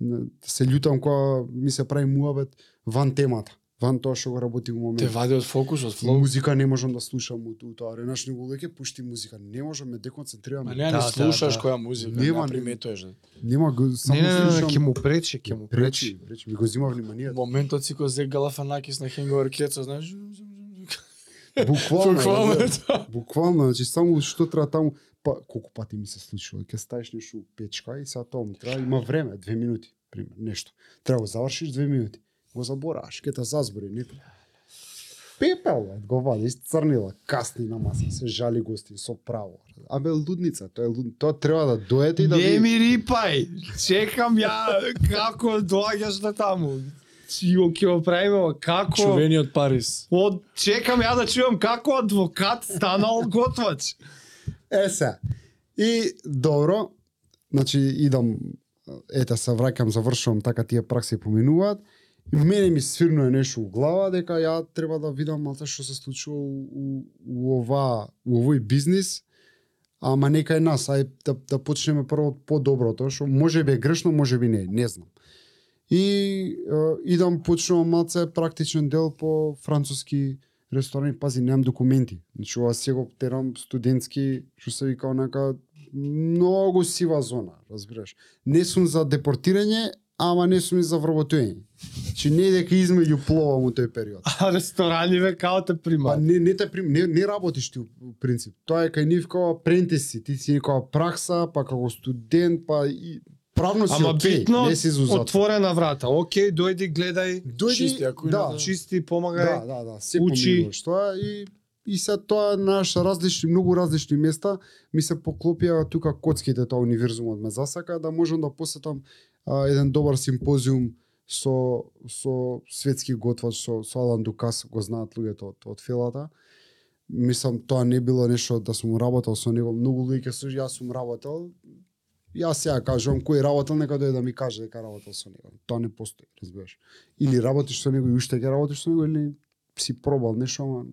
Speaker 2: н- се љутам кога ми се прави муабет ван темата, ван тоа што го работи во
Speaker 1: Те
Speaker 2: моментот.
Speaker 1: вади од фокус, од флоу.
Speaker 2: Музика не можам да слушам у у тоа време. Знаеш, него леќе пушти музика. Не можам, ме деконцентрирам.
Speaker 1: Ма не,
Speaker 3: Да,
Speaker 1: не
Speaker 3: да,
Speaker 1: слушаш
Speaker 3: да.
Speaker 1: која музика, не
Speaker 2: Нема, не.
Speaker 1: приметуваш.
Speaker 2: Нема, го- само
Speaker 3: Не, не, не, не,
Speaker 2: слушам.
Speaker 3: ќе му пречи, ќе му пречи.
Speaker 2: Пречи, пречи, ми го зима вниманието.
Speaker 1: Моментот си кој зек Галафанакис на Hangover Кетсо, знаеш?
Speaker 2: Буквално.
Speaker 1: Буквално е
Speaker 2: да,
Speaker 1: тоа.
Speaker 2: Буквално, значи само што треба таму, па колку пати ми се случило, ќе ставиш нешто у печка и сега тоа му треба има време, две минути, пример, нешто. Треба го завршиш две минути. Го забораш, ќе те зазбори некој. Пепел, бе, го вади, црнила, касни на маса, се жали гости со право. Абе лудница, тоа е луд... тоа треба да доете и да
Speaker 3: Не
Speaker 2: ви...
Speaker 3: ми рипај, чекам ја како доаѓаш на таму. Сиво ќе го правиме, ама како...
Speaker 1: Чувени од Париз.
Speaker 3: Од, чекам ја да чувам како адвокат станал готвач.
Speaker 2: Е се. И добро, значи идам ете се враќам, завршувам така тие пракси поминуваат. И мене ми свирнува нешто у глава дека ја треба да видам малце што се случува у, у, у ова у овој бизнис. Ама нека е нас, ај да, да почнеме прво од по-доброто, што може би е грешно, може би не, е, не знам. И е, идам почнувам малце практичен дел по француски ресторани, пази, немам документи. Значи, ова се го терам студентски, што се вика онака, многу сива зона, разбираш. Не сум за депортирање, ама не сум и за вработување. Значи, не е дека измеѓу пловам у тој период.
Speaker 3: А Па, ресторани ве као те
Speaker 2: Па
Speaker 3: примат.
Speaker 2: не, не, те, прим- не, не работиш ти у у принцип. Тоа е кај нив као апрентис си, ти си некоја пракса, па како студент, па и правно си
Speaker 3: Ама
Speaker 2: окей,
Speaker 3: битно,
Speaker 2: не си изузат.
Speaker 3: Отворена врата. Океј, дојди, гледај,
Speaker 2: Дојди,
Speaker 1: Чисти, ако има,
Speaker 2: да,
Speaker 1: да.
Speaker 3: чисти,
Speaker 2: Да,
Speaker 3: помагај.
Speaker 2: да, да, се
Speaker 3: учи.
Speaker 2: учи. Тоа и и се тоа наш различни, многу различни места ми се поклопија тука коцките тоа универзумот ме засака да можам да посетам а, еден добар симпозиум со со светски готвач со со Алан Дукас го знаат луѓето од од филата. Мислам тоа не било нешто да сум работел со него, многу луѓе се јас сум работел. Јас сега кажувам кој работел нека дојде да ми каже дека работел со него. Тоа не постои, разбираш. Или работиш со него и уште ќе работиш со него или си пробал нешто, ама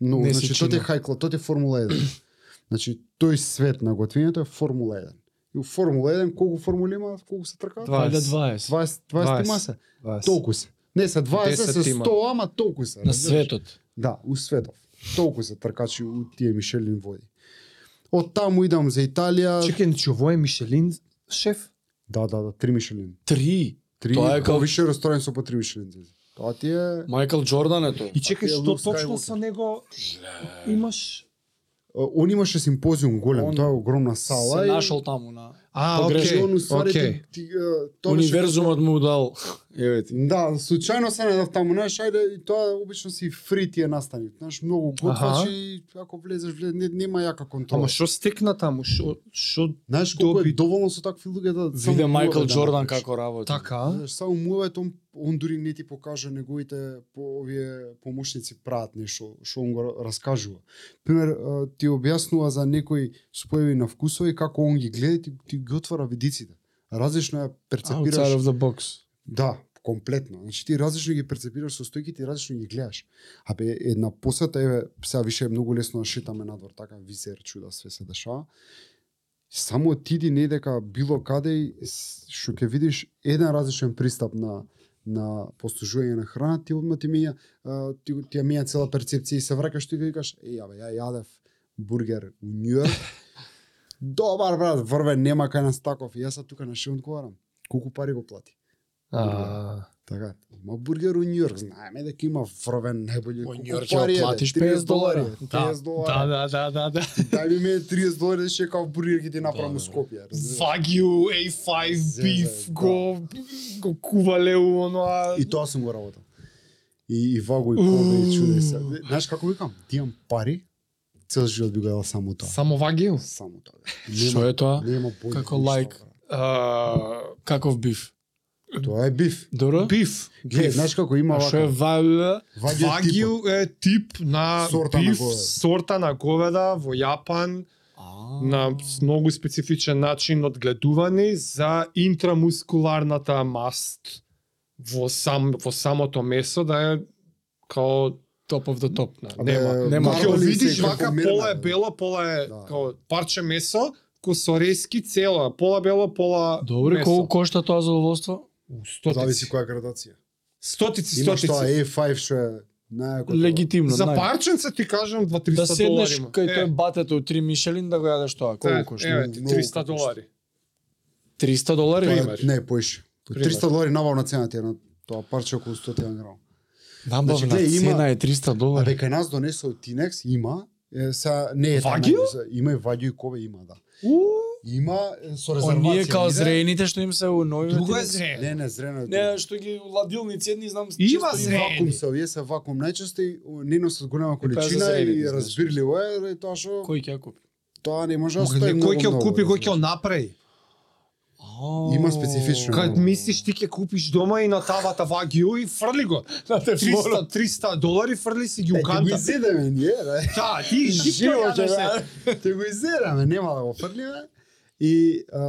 Speaker 2: но
Speaker 1: Не си
Speaker 2: значи тоа е
Speaker 1: чина.
Speaker 2: хајкла, тоа е Формула 1. значи тој свет на готвењето е Формула 1. И у Формула 1 колку формули има, колку се тркаат? 20
Speaker 1: Вајде
Speaker 3: 20.
Speaker 1: 20.
Speaker 2: 20 има се. Толку се. Не се 20 се
Speaker 3: 10 има.
Speaker 2: 100, ама толку се.
Speaker 1: На
Speaker 2: разбираш?
Speaker 1: светот.
Speaker 2: Да, у светов. Толку се тркачи у тие Мишелин води. Од таму идам за Италија.
Speaker 3: Чекај, значи овој е Мишелин шеф?
Speaker 2: Да, да, да, три Мишелин.
Speaker 1: Три.
Speaker 2: Три,
Speaker 1: Тоа е
Speaker 2: Тоа
Speaker 1: као-
Speaker 2: више ресторани со по три Мишелин. звезди. Тоа ти е
Speaker 1: Майкл Джордан е тој.
Speaker 3: И чекај,
Speaker 2: А ти е
Speaker 3: што
Speaker 2: Лук
Speaker 3: точно
Speaker 2: Скајуокер.
Speaker 3: со него имаш?
Speaker 2: он имаше симпозиум голем,
Speaker 1: Он
Speaker 2: тоа е огромна
Speaker 1: Се
Speaker 2: сала и
Speaker 1: нашол таму на
Speaker 3: А, окей,
Speaker 2: Погреши, он
Speaker 3: okay,
Speaker 2: уствари
Speaker 3: окей.
Speaker 2: ти, ти, а, тоа беше-
Speaker 1: Универзумот му дал. Еве ти.
Speaker 2: Да, случајно се најдов таму, знаеш, ајде, и тоа обично си фри тие настани. Знаеш, многу готваш
Speaker 3: Аха.
Speaker 2: и ако влезеш, влез, не, нема јака контрола.
Speaker 3: Ама што стекна таму? Што што
Speaker 2: Знаеш колку е
Speaker 3: доби-
Speaker 2: доволно со такви луѓе да само
Speaker 1: Виде
Speaker 2: муаве
Speaker 1: Майкл
Speaker 2: да
Speaker 1: Джордан
Speaker 2: направиш.
Speaker 1: како работи.
Speaker 3: така?
Speaker 2: Знаеш, само муавет он, он дури не ти покажа неговите по овие помошници прават нешто што он го раскажува. Пример а, ти објаснува за некои спојови на вкусови како он ги гледа и ти, ти ги отвара видиците. Различно ја перцепираш.
Speaker 1: Outside of the box.
Speaker 2: Да, комплетно. Значи ти различно ги перцепираш состојките и различно ги гледаш. Абе една посета еве сега више е многу лесно да шетаме надвор, така визер чуда све се дешава. Само отиди не дека било каде и с- што ќе видиш еден различен пристап на на послужување на храна, ти одма ти миња а, ти, го- ти ја миња цела перцепција и се враќаш ти и викаш, еј абе ја јадев бургер у Њујорк. Добар брат, врве нема кај нас таков. И јас сад тука на ши одговарам. Колку пари го плати?
Speaker 3: А,
Speaker 2: Така, има бургер у Њујорк, знаеме дека има врвен најболје
Speaker 1: Во
Speaker 2: колку
Speaker 1: Њујорк ќе
Speaker 2: пари е,
Speaker 1: платиш
Speaker 2: бе,
Speaker 1: 50 долари,
Speaker 2: 30 долари.
Speaker 3: да, да, да, да.
Speaker 2: Ти Дај ми ме 30 долари да шекав бургер ќе ти направам
Speaker 1: Да,
Speaker 2: у
Speaker 1: да.
Speaker 2: Скопје. разбираш?
Speaker 3: Вагиу, A5,
Speaker 2: Зезе,
Speaker 3: биф,
Speaker 2: да.
Speaker 3: го, го кувале у оноа...
Speaker 2: И тоа сум го работел. И, и вагу и кобе и чуде се. Знаеш како викам? Ти имам пари, цел живот би го јадел само тоа.
Speaker 3: Само вагиу?
Speaker 2: Само тоа. бе.
Speaker 1: Што е тоа?
Speaker 2: Нема бој.
Speaker 1: Како лайк.
Speaker 3: А,
Speaker 1: Каков биф?
Speaker 2: Тоа е биф.
Speaker 1: Добро?
Speaker 3: биф.
Speaker 2: Гле, знаеш како има
Speaker 1: А што е
Speaker 2: вака.
Speaker 1: вај?
Speaker 2: Вагиу.
Speaker 3: Вагиу е тип на
Speaker 2: Сорта на
Speaker 3: биф,
Speaker 2: говеда.
Speaker 3: сорта на говеда во Јапан на многу специфичен начин одгледувани за интрамускуларната маст во сам во самото месо да е као
Speaker 1: топ of the топ.
Speaker 3: на, нема.
Speaker 1: нема.
Speaker 3: Кога ќе
Speaker 1: Марвелин
Speaker 3: видиш
Speaker 1: се
Speaker 3: вака пола е бело, пола е
Speaker 2: Да.
Speaker 3: као парче месо, косорески цело, е, пола бело, пола
Speaker 1: Добро,
Speaker 3: месо.
Speaker 1: колку кошта тоа задоволство?
Speaker 3: У,
Speaker 2: Зависи
Speaker 3: Стотици,
Speaker 2: која градација.
Speaker 3: стотици,
Speaker 2: Имаш
Speaker 3: стотици.
Speaker 2: тоа A5 што е најако.
Speaker 1: Легитимно,
Speaker 3: За
Speaker 1: нај.
Speaker 3: парченце ти кажам 2-300
Speaker 1: Да седнеш
Speaker 3: долари.
Speaker 1: кај тој батето од три Мишелин да го јадеш тоа, колку
Speaker 3: колку
Speaker 1: кошта?
Speaker 3: Еве, ти
Speaker 2: Многу
Speaker 3: 300
Speaker 2: кошта.
Speaker 3: долари.
Speaker 1: 300 долари?
Speaker 3: Пример.
Speaker 1: Па,
Speaker 2: Не, поише. По
Speaker 3: Пример.
Speaker 2: 300 долари набавна цена ти е на тоа парче околу 100 грама.
Speaker 1: Набавна
Speaker 2: Значи, гледай, има-
Speaker 1: цена е 300 долари.
Speaker 2: Абе, кај нас донесе од Тинекс, има, е, са, не е таа
Speaker 3: Вагио?
Speaker 2: најдобра. Има и вагио и кове има, да. Има е, со резервација.
Speaker 1: Оние као
Speaker 2: иде.
Speaker 1: зреените што им се у нови.
Speaker 3: Друго е
Speaker 1: ти-
Speaker 3: зре.
Speaker 2: Не, не, зрено е
Speaker 1: Не,
Speaker 2: тоа.
Speaker 1: што ги ладилници едни знам
Speaker 3: Има
Speaker 1: често
Speaker 3: зрени.
Speaker 2: Вакуум се, овие се вакуум најчесто и о, не носат голема
Speaker 1: па, за
Speaker 2: количина
Speaker 1: зрените,
Speaker 2: и
Speaker 1: знаеш.
Speaker 2: разбирливо е, ради тоа што
Speaker 1: Кој ќе ја купи?
Speaker 2: тоа не може да
Speaker 3: Мога, не,
Speaker 2: стои многу.
Speaker 3: Кој ќе го
Speaker 2: многу,
Speaker 3: купи, кој ќе го
Speaker 2: разбираш.
Speaker 3: направи?
Speaker 2: Има специфично.
Speaker 3: Кад мислиш ти ќе купиш дома и на тавата вагиу и фрли го. 300 300 долари фрли си ги
Speaker 2: Е, Ти го
Speaker 3: уканта.
Speaker 2: изедеме ние, да.
Speaker 3: Да, ти
Speaker 2: Живо
Speaker 3: живо Да,
Speaker 2: ќе
Speaker 3: ќе се.
Speaker 2: Те го изедеме, нема да го фрлиме. И а,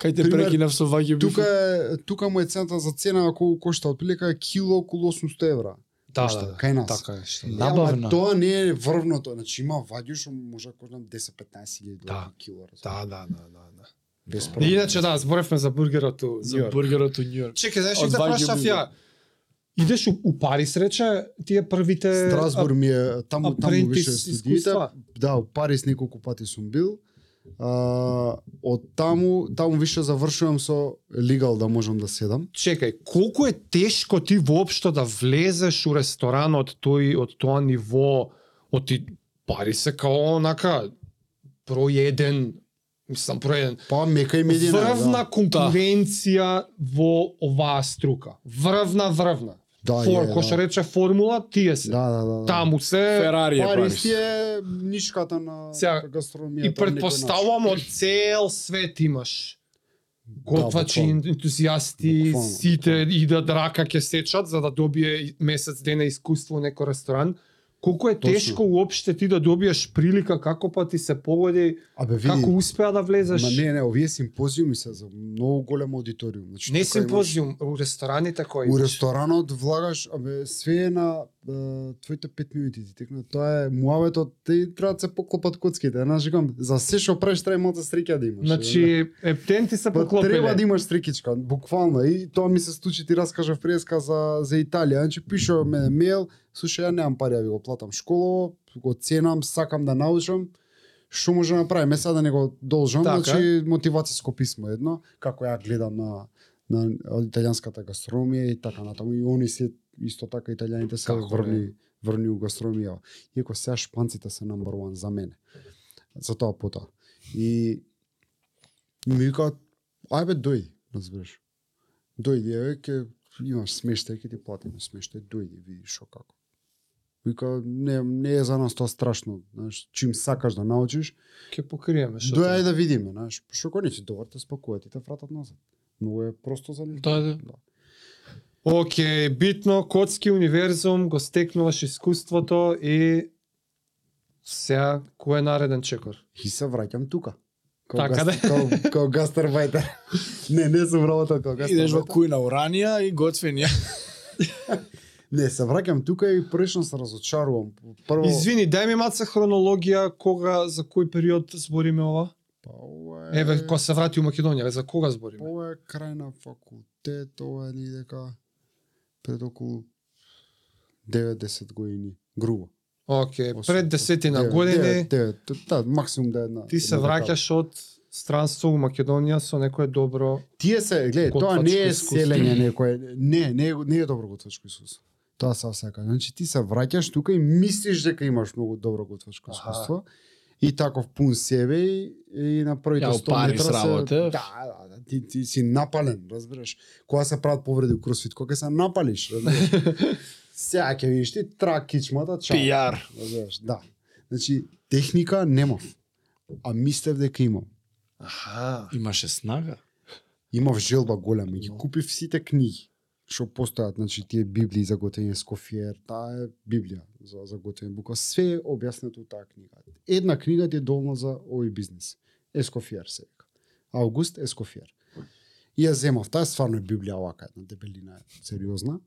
Speaker 1: Кај те
Speaker 2: Пример,
Speaker 1: прекинав со ваги
Speaker 2: тука е, тука му е цената за цена колку кошта отприлика е кило околу 800 евра.
Speaker 3: Да,
Speaker 2: Кошта,
Speaker 3: да, да,
Speaker 2: Па кај нас.
Speaker 3: Така е што.
Speaker 2: Е,
Speaker 3: да.
Speaker 1: Набавна.
Speaker 2: Ама тоа не е врвното, значи има ваѓу што може да коштам 10-15 хиляди
Speaker 3: Да.
Speaker 2: кило. разбираш.
Speaker 3: Да, да, да, да, да.
Speaker 2: Без
Speaker 3: И
Speaker 2: проблем.
Speaker 3: Иначе да, зборевме за бургерот у
Speaker 1: за
Speaker 3: Њујорк.
Speaker 1: бургерот у Њујорк.
Speaker 3: Чекај, знаеш
Speaker 1: Од
Speaker 3: што те
Speaker 1: вагиу
Speaker 3: прашав
Speaker 1: бургер.
Speaker 3: ја? Идеш у, у Парис рече тие првите
Speaker 2: Страсбур ми е
Speaker 3: а-
Speaker 2: таму таму
Speaker 3: апрентис
Speaker 2: беше студиите.
Speaker 3: искуства?
Speaker 2: Да, у Париз неколку пати сум бил. А, од таму, таму више завршувам со легал да можам да седам.
Speaker 3: Чекај, колку е тешко ти воопшто да влезеш у ресторан од тој од тоа ниво, од ти пари се као онака проеден, мислам проеден.
Speaker 2: Па мека и медина.
Speaker 3: Врвна
Speaker 2: да.
Speaker 3: конкуренција во оваа струка. Врвна, врвна.
Speaker 2: да, е,
Speaker 3: Фор,
Speaker 2: да.
Speaker 3: кој што рече формула, тие се.
Speaker 2: Да, да, да. да.
Speaker 3: Таму се
Speaker 1: Ферари е
Speaker 2: Париз
Speaker 1: Парис.
Speaker 2: ти е нишката на
Speaker 3: Сега,
Speaker 2: гастрономијата.
Speaker 3: И предпоставувам од цел свет имаш готвачи,
Speaker 2: буквално.
Speaker 3: ентузијасти,
Speaker 2: Буквално,
Speaker 3: сите идат рака ќе сечат за да добие месец дена искуство во некој ресторан. Колку е
Speaker 2: Точно.
Speaker 3: тешко уопште ти да добиеш прилика како па ти се погоди,
Speaker 2: Абе, види,
Speaker 3: како успеа да влезеш.
Speaker 2: Ма не, не, овие симпозиуми се за многу голема аудиториум. Значи,
Speaker 3: не
Speaker 2: тука имаш-
Speaker 3: симпозиум, па у така рестораните кои.
Speaker 2: У
Speaker 3: имаш.
Speaker 2: ресторанот влагаш, абе, све е на е, твоите 5 минути ти текна. Тоа е муаветот, те треба да се поклопат коцките. Знаеш, викам, за се што преш треба малце стрикја да имаш.
Speaker 3: Значи, ептен ти се
Speaker 2: Па треба да
Speaker 3: поклопиле.
Speaker 2: имаш стрикичка, буквално. И тоа ми се случи, ти раскажав преска за за Италија. Значи пишува мене мејл, слушај, ја немам пари, ја ви го платам школово, го ценам, сакам да научам. Што може да направим? Е сега да не го должам,
Speaker 3: Така.
Speaker 2: значи мотивацијско писмо едно, како ја гледам на на италијанската гастрономија и така натаму и они се исто така италијаните се
Speaker 3: Како
Speaker 2: врни врни у гастрономија. Иако сега шпанците се number one за мене. За тоа пота. И И ми викаат, ај бе, дојди, разбираш. Дојди, еве, ке имаш смештај, ке ти платиме смештај, дојди, види шо како. Вика, не, не е за нас тоа страшно, знаеш, чим сакаш да научиш,
Speaker 3: Ќе покриеме што.
Speaker 2: дојај да видиме, знаеш, шо кој не си добар, те спакуваат и те вратат назад. Многу е просто за нив.
Speaker 1: Да, да.
Speaker 3: Океј, битно, Котски универзум го стекнуваш искуството и сега кој е нареден чекор?
Speaker 2: И се враќам тука.
Speaker 3: Така да.
Speaker 2: Као, као гастарбајтер. не, не сум работел као
Speaker 1: Идеш во
Speaker 2: гастарбајтер.
Speaker 1: кујна уранија и готвенија.
Speaker 2: Не, се враќам тука и прилично се разочарувам. Прво,
Speaker 3: Извини, дај ми маца хронологија кога за кој период збориме ова?
Speaker 2: Па, ова е...
Speaker 3: Еве, кога се врати у Македонија, бе, за кога збориме?
Speaker 2: Ова е крај на факултет, ова е дека пред околу 9-10 години. Грубо.
Speaker 3: Океј,
Speaker 2: Осум,
Speaker 3: пред десетина
Speaker 2: Девет- девет-
Speaker 3: години
Speaker 2: девет, да, максимум да е една.
Speaker 3: ти се
Speaker 2: една декада.
Speaker 3: враќаш од странство у Македонија со некое добро
Speaker 2: Тие се, гледај, тоа не е
Speaker 3: Готвачко искуство.
Speaker 2: селење некое, не, не, е- не е добро готвачко искуство. Тоа сам сака. Значи ти се враќаш тука и мислиш дека имаш многу добро готвачко
Speaker 3: Аха.
Speaker 2: искуство. И таков пун себе и, и на првите
Speaker 1: Ја
Speaker 2: 100
Speaker 1: опари
Speaker 2: метра се...
Speaker 1: сработев.
Speaker 2: Да, да, да, ти, ти си напален, разбираш. Кога се прават повреди у кросфит, кога се напалиш, разбираш. Сега ќе видиш ти тра кичмата, чао.
Speaker 1: Пијар.
Speaker 2: Разбираш, да. Значи, техника немав. А мислев дека имам.
Speaker 3: Аха.
Speaker 1: Имаше снага.
Speaker 2: имав желба голема и ги купив сите книги што постојат, значи тие библии за готење скофиер, таа е библија за за готење бука, све е објаснето у таа книга. Една книга ти е доволна за овој бизнес. Ескофиер се вика. Аугуст Ескофиер. И ја земав, таа стварно е библија овака, една дебелина, е, сериозна.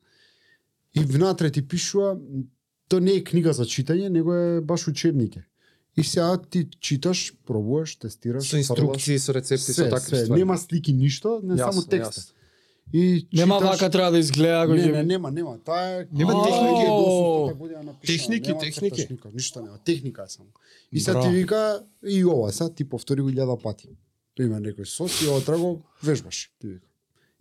Speaker 2: И внатре ти пишува, м, то не е книга за читање, него е баш учебнике. И сега ти читаш, пробуваш, тестираш,
Speaker 3: Со
Speaker 2: фрлаш,
Speaker 3: инструкции, со рецепти, со
Speaker 2: Све,
Speaker 3: такви
Speaker 2: све,
Speaker 3: ствари.
Speaker 2: нема слики ништо, не
Speaker 3: Јасно,
Speaker 2: само текст.
Speaker 3: јасно.
Speaker 2: И
Speaker 1: Нема
Speaker 2: читаш-
Speaker 1: вака треба да изгледа ако
Speaker 2: Не,
Speaker 1: ќе
Speaker 2: не, нема, нема. Таа е
Speaker 3: Нема
Speaker 2: Таа е
Speaker 1: техники.
Speaker 2: досута година напишана,
Speaker 3: Техники,
Speaker 2: нема
Speaker 3: техники.
Speaker 2: црташ никак, Ништо нема, техника е само. И сега
Speaker 1: Браво.
Speaker 2: ти вика и ова, сега ти повтори го илјада пати. Тоа има некој сос и отра го вежбаш, ти вика.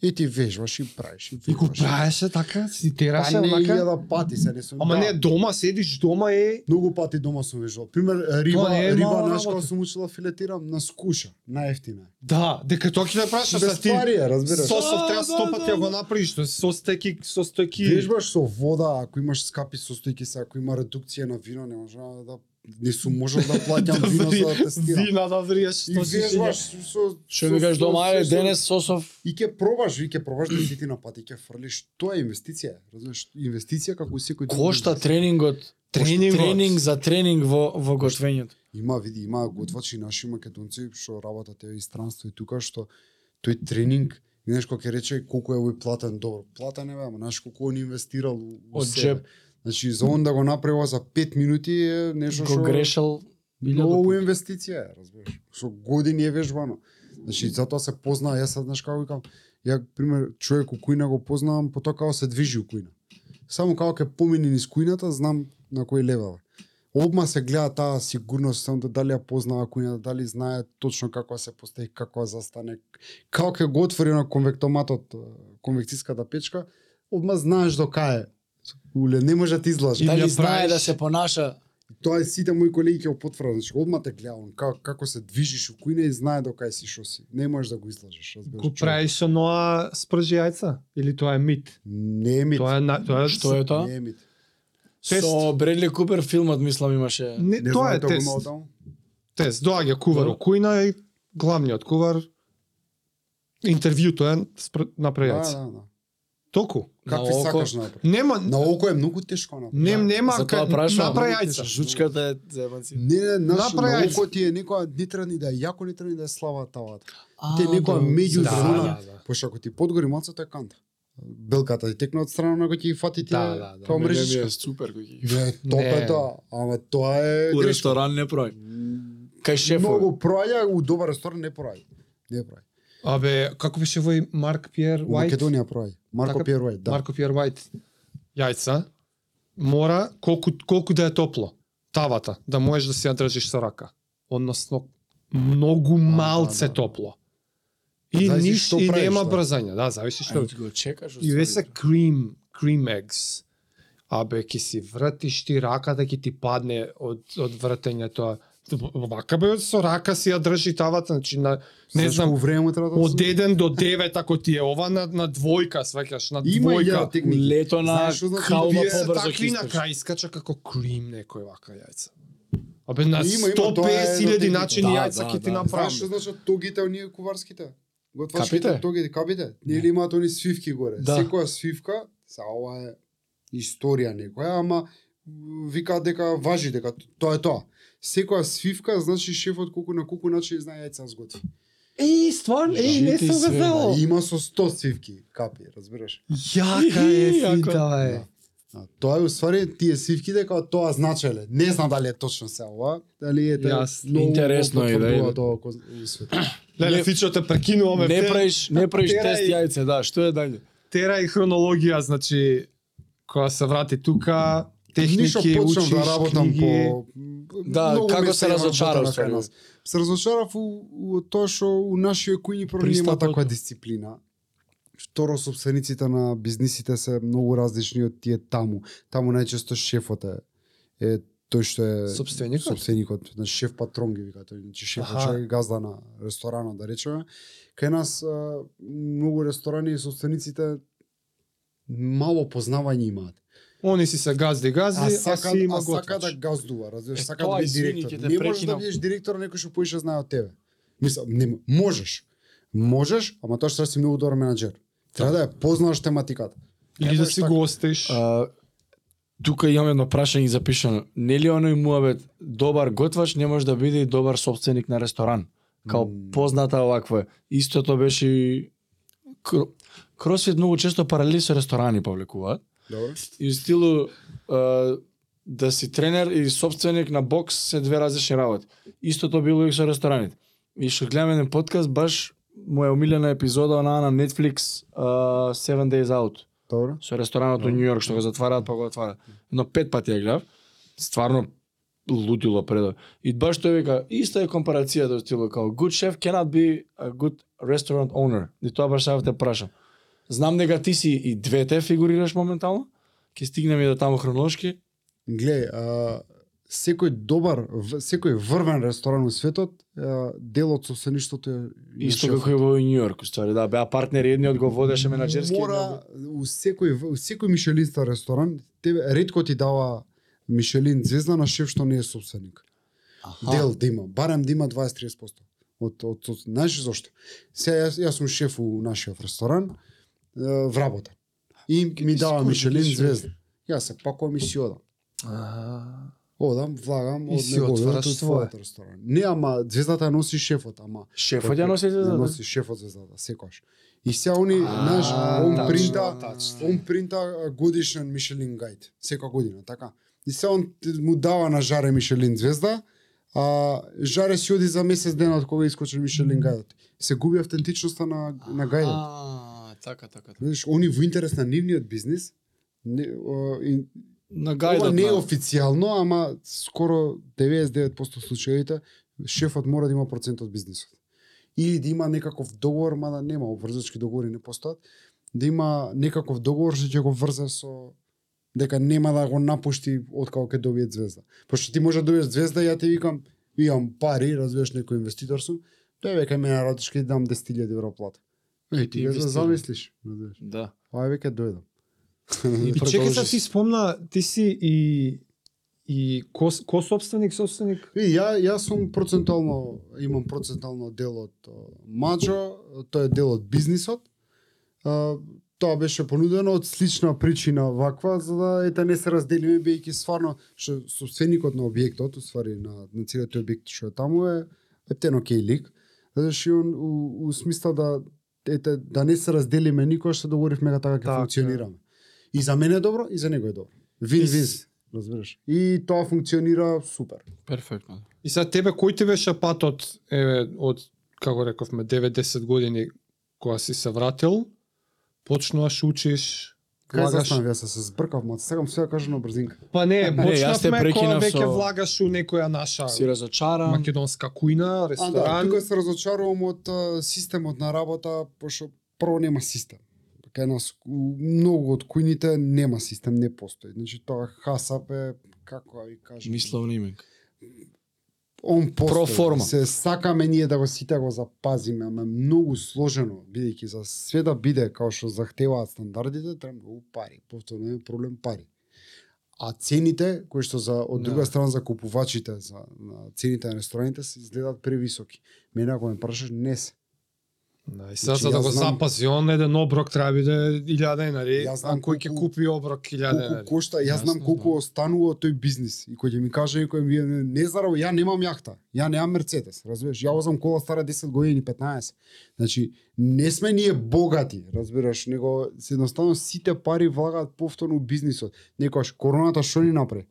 Speaker 2: И ти вежбаш и правиш, и
Speaker 3: И го
Speaker 2: вежбаш.
Speaker 3: правеше така, цитираше
Speaker 2: Па не
Speaker 3: онака.
Speaker 2: илјада пати се не сум.
Speaker 3: Ама
Speaker 2: да.
Speaker 3: не, дома седиш, дома е
Speaker 2: Многу пати дома сум вежбал. Пример, риба,
Speaker 3: Тоа не е
Speaker 2: риба
Speaker 3: мала
Speaker 2: знаеш кога
Speaker 3: работа.
Speaker 2: сум учила филетирам на скуша, најефтина. е.
Speaker 3: Да, дека тоа ќе ме прашаш
Speaker 2: Без
Speaker 3: за ти.
Speaker 2: пари е, разбираш.
Speaker 3: Сосов
Speaker 1: Да,
Speaker 3: треба
Speaker 1: да,
Speaker 3: сто пати
Speaker 1: да,
Speaker 3: да го
Speaker 1: да.
Speaker 3: направиш, тоа е со стеки, со стеки.
Speaker 2: Вежбаш со вода, ако имаш скапи состојки се, ако има редукција на вино, не можам да не сум можел да платам
Speaker 3: Да
Speaker 2: вино
Speaker 3: ври-
Speaker 2: за да тестирам.
Speaker 3: Вина да вриеш,
Speaker 2: И
Speaker 3: што си
Speaker 2: вежбаш со со-
Speaker 1: Што
Speaker 2: со-
Speaker 1: ми кажеш
Speaker 2: со-
Speaker 1: дома, ајде
Speaker 2: со-
Speaker 1: денес сосов.
Speaker 2: и ќе пробаш, и ќе пробаш да десетина пати, ќе фрлиш. Тоа е инвестиција, разбираш? Инвестиција како и секој друг
Speaker 1: Кошта
Speaker 2: бизнес.
Speaker 1: тренингот.
Speaker 3: Тренингот.
Speaker 1: Тренинг за тренинг во во готвењето.
Speaker 2: Има види, има готвачи наши македонци што работат еве и странство и тука што тој тренинг И знаеш кој ќе рече колку е овој платен добро. Платен е, бе, ама знаеш колку он инвестирал у, у
Speaker 1: Од
Speaker 2: себе.
Speaker 1: джеб.
Speaker 2: Значи за он да го направи ова за 5 минути е нешто
Speaker 1: Го
Speaker 2: што
Speaker 1: грешел.
Speaker 2: Многу инвестиција е, разбираш. Со години е вежбано. Значи, затоа се познава, јас сад, знаеш како викам, ја, пример, човек у кујна го познавам по тоа како се движи у кујна. Само како ќе помине низ кујната, знам на кој левел е. Обма се гледа таа сигурност, само да дали ја познава кујната, дали знае точно како да се постави, како да застане, како ќе го отвори на конвектоматот, е, конвекцијската печка, одма знаеш до кај е. Уле, не може да ти излажеш.
Speaker 3: И
Speaker 1: Дали
Speaker 3: ја
Speaker 1: знае
Speaker 3: правиш-
Speaker 1: да се понаша?
Speaker 2: Тоа е сите мои колеги ќе го потврдат, значи одма те гледа он како како се движиш у кујна и знае до кај си што си. Не можеш да го излажеш, разбираш.
Speaker 3: Го
Speaker 2: човек.
Speaker 3: правиш оноа спржи јајца или тоа е мит?
Speaker 2: Не е мит.
Speaker 3: Тоа е на- тоа е
Speaker 1: Што е тоа?
Speaker 2: Не е мит.
Speaker 3: Тест.
Speaker 1: Со Бредли Купер филмот мислам имаше.
Speaker 3: Не,
Speaker 2: Не
Speaker 3: тоа е
Speaker 2: знам дали го
Speaker 3: тест.
Speaker 2: имал таму.
Speaker 3: Тест, доаѓа кувар у кујна и главниот кувар интервјуто е спр-
Speaker 2: Да,
Speaker 3: направи јајца.
Speaker 2: да, да.
Speaker 3: Толку.
Speaker 1: На
Speaker 2: Какви
Speaker 1: око-
Speaker 2: сакаш направи?
Speaker 3: Нема
Speaker 2: На око е многу тешко да направи.
Speaker 3: нем нема
Speaker 1: Затоа
Speaker 3: ка-
Speaker 1: прашувам.
Speaker 3: направи јајца.
Speaker 1: Жучката е зебанци.
Speaker 2: Не, не, наш, на
Speaker 3: Направи.
Speaker 2: око ти е некоја не треба ни да е јако, не треба ни да е слава тавата.
Speaker 1: А,
Speaker 2: Те некоја
Speaker 1: бро,
Speaker 2: меѓу
Speaker 1: да,
Speaker 2: зона.
Speaker 1: да, да.
Speaker 2: Пошто ако ти подгори малцата е канта. Белката ти текна од страна, него ќе ги фати ти
Speaker 3: Да, да, да.
Speaker 2: Тоа
Speaker 1: Мене ми
Speaker 2: мрежичка.
Speaker 1: е супер кој ги.
Speaker 2: Не, тоа е тоа. Ама тоа е
Speaker 1: У
Speaker 2: грешка.
Speaker 1: ресторан не прави. Кај шефот.
Speaker 2: Многу проаѓа у добар ресторан не проаѓа. Не проаѓа.
Speaker 3: Абе, како беше овој Марк Пиер
Speaker 2: У
Speaker 3: Уайт?
Speaker 2: Македонија проаѓа. Марко
Speaker 3: Така?
Speaker 2: Пиер Уайт, да.
Speaker 3: Марко Пиер Уайт. Јајца мора колку колку да е топло тавата да можеш да си ја држиш со рака. Односно многу малце
Speaker 2: да.
Speaker 3: топло. И
Speaker 2: Зависи
Speaker 3: ниш
Speaker 2: што
Speaker 3: и
Speaker 2: правиш,
Speaker 3: нема
Speaker 2: да.
Speaker 3: брзање, да, зависи што.
Speaker 1: Ај, ти го чекаш.
Speaker 3: И ве се cream, cream eggs. да Абе, ќе си вратиш ти раката, ќе ти падне од, од вртење тоа. вака бе со рака си ја држи тавата, значи на не
Speaker 2: Знаеш
Speaker 3: знам
Speaker 2: колку време му треба да
Speaker 3: од
Speaker 2: се-
Speaker 3: 1 до 9 ако ти е ова на на двојка, сваќаш на
Speaker 2: Има и ја
Speaker 3: двојка. Па
Speaker 2: техники.
Speaker 1: Лето на
Speaker 2: Знаеш што значи
Speaker 1: кауба
Speaker 3: Вие се
Speaker 1: побрзо
Speaker 3: такви на
Speaker 1: хисташ.
Speaker 3: крај искача како крим некој вака јајца. Абе на
Speaker 2: Има, има, тоа е едно
Speaker 3: 150 хиляди
Speaker 2: техника.
Speaker 3: начини
Speaker 1: Да,
Speaker 3: јајца
Speaker 1: да,
Speaker 3: ќе ти
Speaker 1: да.
Speaker 2: Знаеш па што
Speaker 3: направам.
Speaker 2: значат тогите оние куварските? Готваш
Speaker 1: Капите?
Speaker 2: ките, тогите, капите. Нели имаат они свивки горе.
Speaker 1: Да.
Speaker 2: Секоја свивка, са ова е историја некоја, ама м, викаат дека важи дека т- тоа е тоа. Секоја свивка, значи шефот колку на колку начин знае јајца да сготви.
Speaker 3: Еј, стварно, еј, не
Speaker 1: Жити
Speaker 3: сум
Speaker 1: све,
Speaker 3: го знал.
Speaker 2: И има со 100 свивки капи, разбираш?
Speaker 3: Јака е
Speaker 1: Јако е.
Speaker 3: фита, е.
Speaker 2: А, тоа е уствари тие свивки дека тоа значеле. Не знам дали е точно се ова, дали е тоа.
Speaker 3: Јас-
Speaker 2: многу го
Speaker 1: Интересно е да
Speaker 2: потврдува
Speaker 1: иде.
Speaker 2: тоа кој у свет.
Speaker 3: Леле,
Speaker 1: Не-
Speaker 3: фичо те прекинуваме.
Speaker 1: Не
Speaker 3: Те-
Speaker 1: праиш, не праиш
Speaker 3: Терај.
Speaker 1: тест јајце, да, што е дале?
Speaker 3: тера и хронологија, значи која се врати тука,
Speaker 2: Ништо
Speaker 3: техники,
Speaker 2: почнам
Speaker 3: учиш,
Speaker 2: да работам
Speaker 3: книги.
Speaker 2: по
Speaker 1: Да,
Speaker 2: многу
Speaker 1: како
Speaker 2: места
Speaker 1: се
Speaker 2: имам
Speaker 1: разочарав,
Speaker 2: работа на кај нас. Се разочарав у, у тоа што у нашиот кујни прво нема
Speaker 1: Пристапот.
Speaker 2: таква дисциплина. Второ, собствениците на бизнисите се многу различни од тие таму. Таму најчесто шефот е, е тој што е
Speaker 3: Собственикот?
Speaker 2: собственикот, значи шеф патрон ги вика тој, значи шефот
Speaker 3: Аха.
Speaker 2: што е газда на ресторанот да речеме. Кај нас а, многу ресторани и собствениците мало познавање имаат.
Speaker 3: Они си се газди, газди,
Speaker 2: А
Speaker 3: а,
Speaker 2: сака,
Speaker 3: си има
Speaker 2: а сака да
Speaker 3: готвач.
Speaker 2: газдува, разбираш,
Speaker 1: Е,
Speaker 2: сака
Speaker 1: тоа
Speaker 2: да
Speaker 1: е,
Speaker 2: биде
Speaker 1: извини,
Speaker 2: директор.
Speaker 1: ќе те
Speaker 2: Не можеш да
Speaker 1: прекинам.
Speaker 2: бидеш директор некој што поише знае од тебе. Мислам, не м- можеш. Можеш, ама тоа што треба да си многу добар менаџер. Треба да ја познаваш тематиката.
Speaker 3: Или
Speaker 2: Не
Speaker 3: да
Speaker 2: можеш
Speaker 3: си
Speaker 2: така.
Speaker 3: гостиш.
Speaker 1: А, тука имам едно прашање запишано. Нели оној муабет добар готвач не може да биде и добар собственик на ресторан? Као
Speaker 2: М.
Speaker 1: позната оваква. е. Истото беше и кро- кросфит многу често паралели со ресторани повлекуваат.
Speaker 2: Добро.
Speaker 1: И у стилу а, да си тренер и собственик на бокс се две различни работи. Истото било и со рестораните. И што гледам еден подкаст, баш моја омилена епизода онаа на Netflix а, Seven Days Out
Speaker 2: Добро.
Speaker 1: со ресторанот во
Speaker 3: Да.
Speaker 1: Њујорк што го затвараат па го отвараат. Но пет пати ја гледав. Стварно лудило предо. И баш тој вика, иста е компарацијата во стилот како good chef cannot be a good restaurant owner. И тоа баш сакав да те прашам. Знам дека ти си и двете фигурираш моментално. Ќе стигнеме и до таму хронолошки.
Speaker 2: Глеј, а, секој добар, в- секој врвен ресторан во светот, а, дел од собствеништвото е на
Speaker 1: Исто
Speaker 2: шефот.
Speaker 1: како и во Њујорк, ствари, да, беа партнери, едниот го водеше менаџерски.
Speaker 2: Мора у секој у секој мишелинста ресторан, тебе ретко ти дава мишелин звезда на шеф што не е собственик.
Speaker 1: Аха.
Speaker 2: дел да има, барем да има 20-30% од од, од знаеш зошто? Сега јас, јас сум шеф у нашиот ресторан е, в работа. И ми
Speaker 1: ти
Speaker 2: дава
Speaker 1: скоро
Speaker 2: Мишелин
Speaker 1: бидеш, бе.
Speaker 2: звезда. Јас се пакувам и си одам.
Speaker 3: А,
Speaker 2: Одам, влагам
Speaker 3: И
Speaker 2: од
Speaker 3: си
Speaker 2: неговиот
Speaker 3: отвараш
Speaker 2: од својот ресторан. Не, ама звездата ја носи шефот, ама
Speaker 1: Шефот ја носи
Speaker 2: ја
Speaker 1: за
Speaker 2: носи шефот звездата секогаш. И сега они,
Speaker 1: А, да,
Speaker 2: знаеш, он
Speaker 1: тачно,
Speaker 2: принта
Speaker 1: да.
Speaker 3: тачно.
Speaker 2: он принта годишен Мишелин гајд секоја година, така. И се он т- му дава на Жаре Мишелин звезда, а Жаре си оди за месец дена од кога искочи Мишелин гајдот. Се губи автентичноста на на гајдот.
Speaker 1: А, така, така. така.
Speaker 2: Видиш, они во интерес на нивниот бизнис не, о, и,
Speaker 1: На
Speaker 2: ова
Speaker 1: гајдот.
Speaker 3: да.
Speaker 2: не е
Speaker 1: на-
Speaker 2: официјално, ама скоро 99% случаите шефот мора да има процент од бизнисот. Или да има некаков договор, мада нема, обврзачки договори не постојат, да има некаков договор што ќе го врзе со дека нема да го напушти откако ќе добие звезда. Пошто ти може да добиеш звезда, ја ти викам, имам пари, разбираш некој инвеститор сум, тој веќе ме нарадиш ќе ти дам 10.000 евро плата. Е, ти
Speaker 1: Ти
Speaker 2: ја
Speaker 1: инвестирам.
Speaker 2: да замислиш, разбираш.
Speaker 1: Да.
Speaker 2: Ај веќе дојдам.
Speaker 1: И
Speaker 3: И чекај се
Speaker 1: продолжи.
Speaker 3: ти спомна, ти си и и ко, ко собственик, собственик?
Speaker 2: И ја ја сум процентално имам процентално дел од о, Маджо, тој е дел од бизнисот. А, тоа беше понудено од слична причина ваква за да ете не се разделиме бидејќи стварно што собственикот на објектот, уствари на на целиот тој објект што е таму е ептено кейлик. Знаеш и он у, у смисла да ете да не се разделиме никој што договоривме дека така ќе
Speaker 3: Така.
Speaker 2: функционираме. И за мене е добро, и за него е добро. Вин-вин, разбираш. И тоа функционира супер.
Speaker 1: Перфектно.
Speaker 3: И сега тебе кој ти беше патот еве од како рековме 9-10 години кога си се вратил? Почнуваш учиш,
Speaker 2: Кај
Speaker 3: влагаш-
Speaker 2: застанав, јас се збркав, ма сакам се ја кажа на брзинка.
Speaker 3: Па не,
Speaker 1: Не, јас те
Speaker 3: почнавме кога
Speaker 1: прекинав
Speaker 3: веќе
Speaker 1: со-
Speaker 3: влагаш у некоја наша
Speaker 1: Си разочаран.
Speaker 3: македонска кујна,
Speaker 2: А, да,
Speaker 3: ресторан.
Speaker 2: тука се разочарувам од а, системот на работа, пошто прво нема систем. Кај нас у многу од кујните нема систем, не постои. Значи тоа хасап е, како ја ви да кажам,
Speaker 1: Мисловни име.
Speaker 2: он постои.
Speaker 1: Проформа.
Speaker 2: Се сакаме ние да го сите го запазиме, ама е многу сложено, бидејќи за све да биде како што захтеваат стандардите, треба многу пари. Повторно е проблем пари. А цените кои што за од друга
Speaker 3: Да.
Speaker 2: страна за купувачите, за на цените на рестораните се изгледаат превисоки. Мене ако ме прашаш, не се.
Speaker 3: Да, и сега
Speaker 2: Значи,
Speaker 3: за да
Speaker 2: јас
Speaker 3: го
Speaker 2: знам-
Speaker 3: запази он еден оброк треба да биде 1000 денари,
Speaker 2: Јас
Speaker 3: а
Speaker 2: знам
Speaker 3: кој ќе
Speaker 2: колку-
Speaker 3: купи оброк
Speaker 1: Така
Speaker 3: 1000
Speaker 2: колку
Speaker 3: денари.
Speaker 2: кошта, јас знам
Speaker 1: да, Јасно,
Speaker 2: колку
Speaker 1: да.
Speaker 2: останува тој бизнис. И кој ќе ми каже некој ми е, не зарав, ја немам јахта, ја немам Мерцедес, разбираш? Ја возам кола стара 10 години, 15. Значи, не сме ние богати, разбираш, него се едноставно сите пари влагаат повторно у бизнисот. Некојаш короната што ни направи?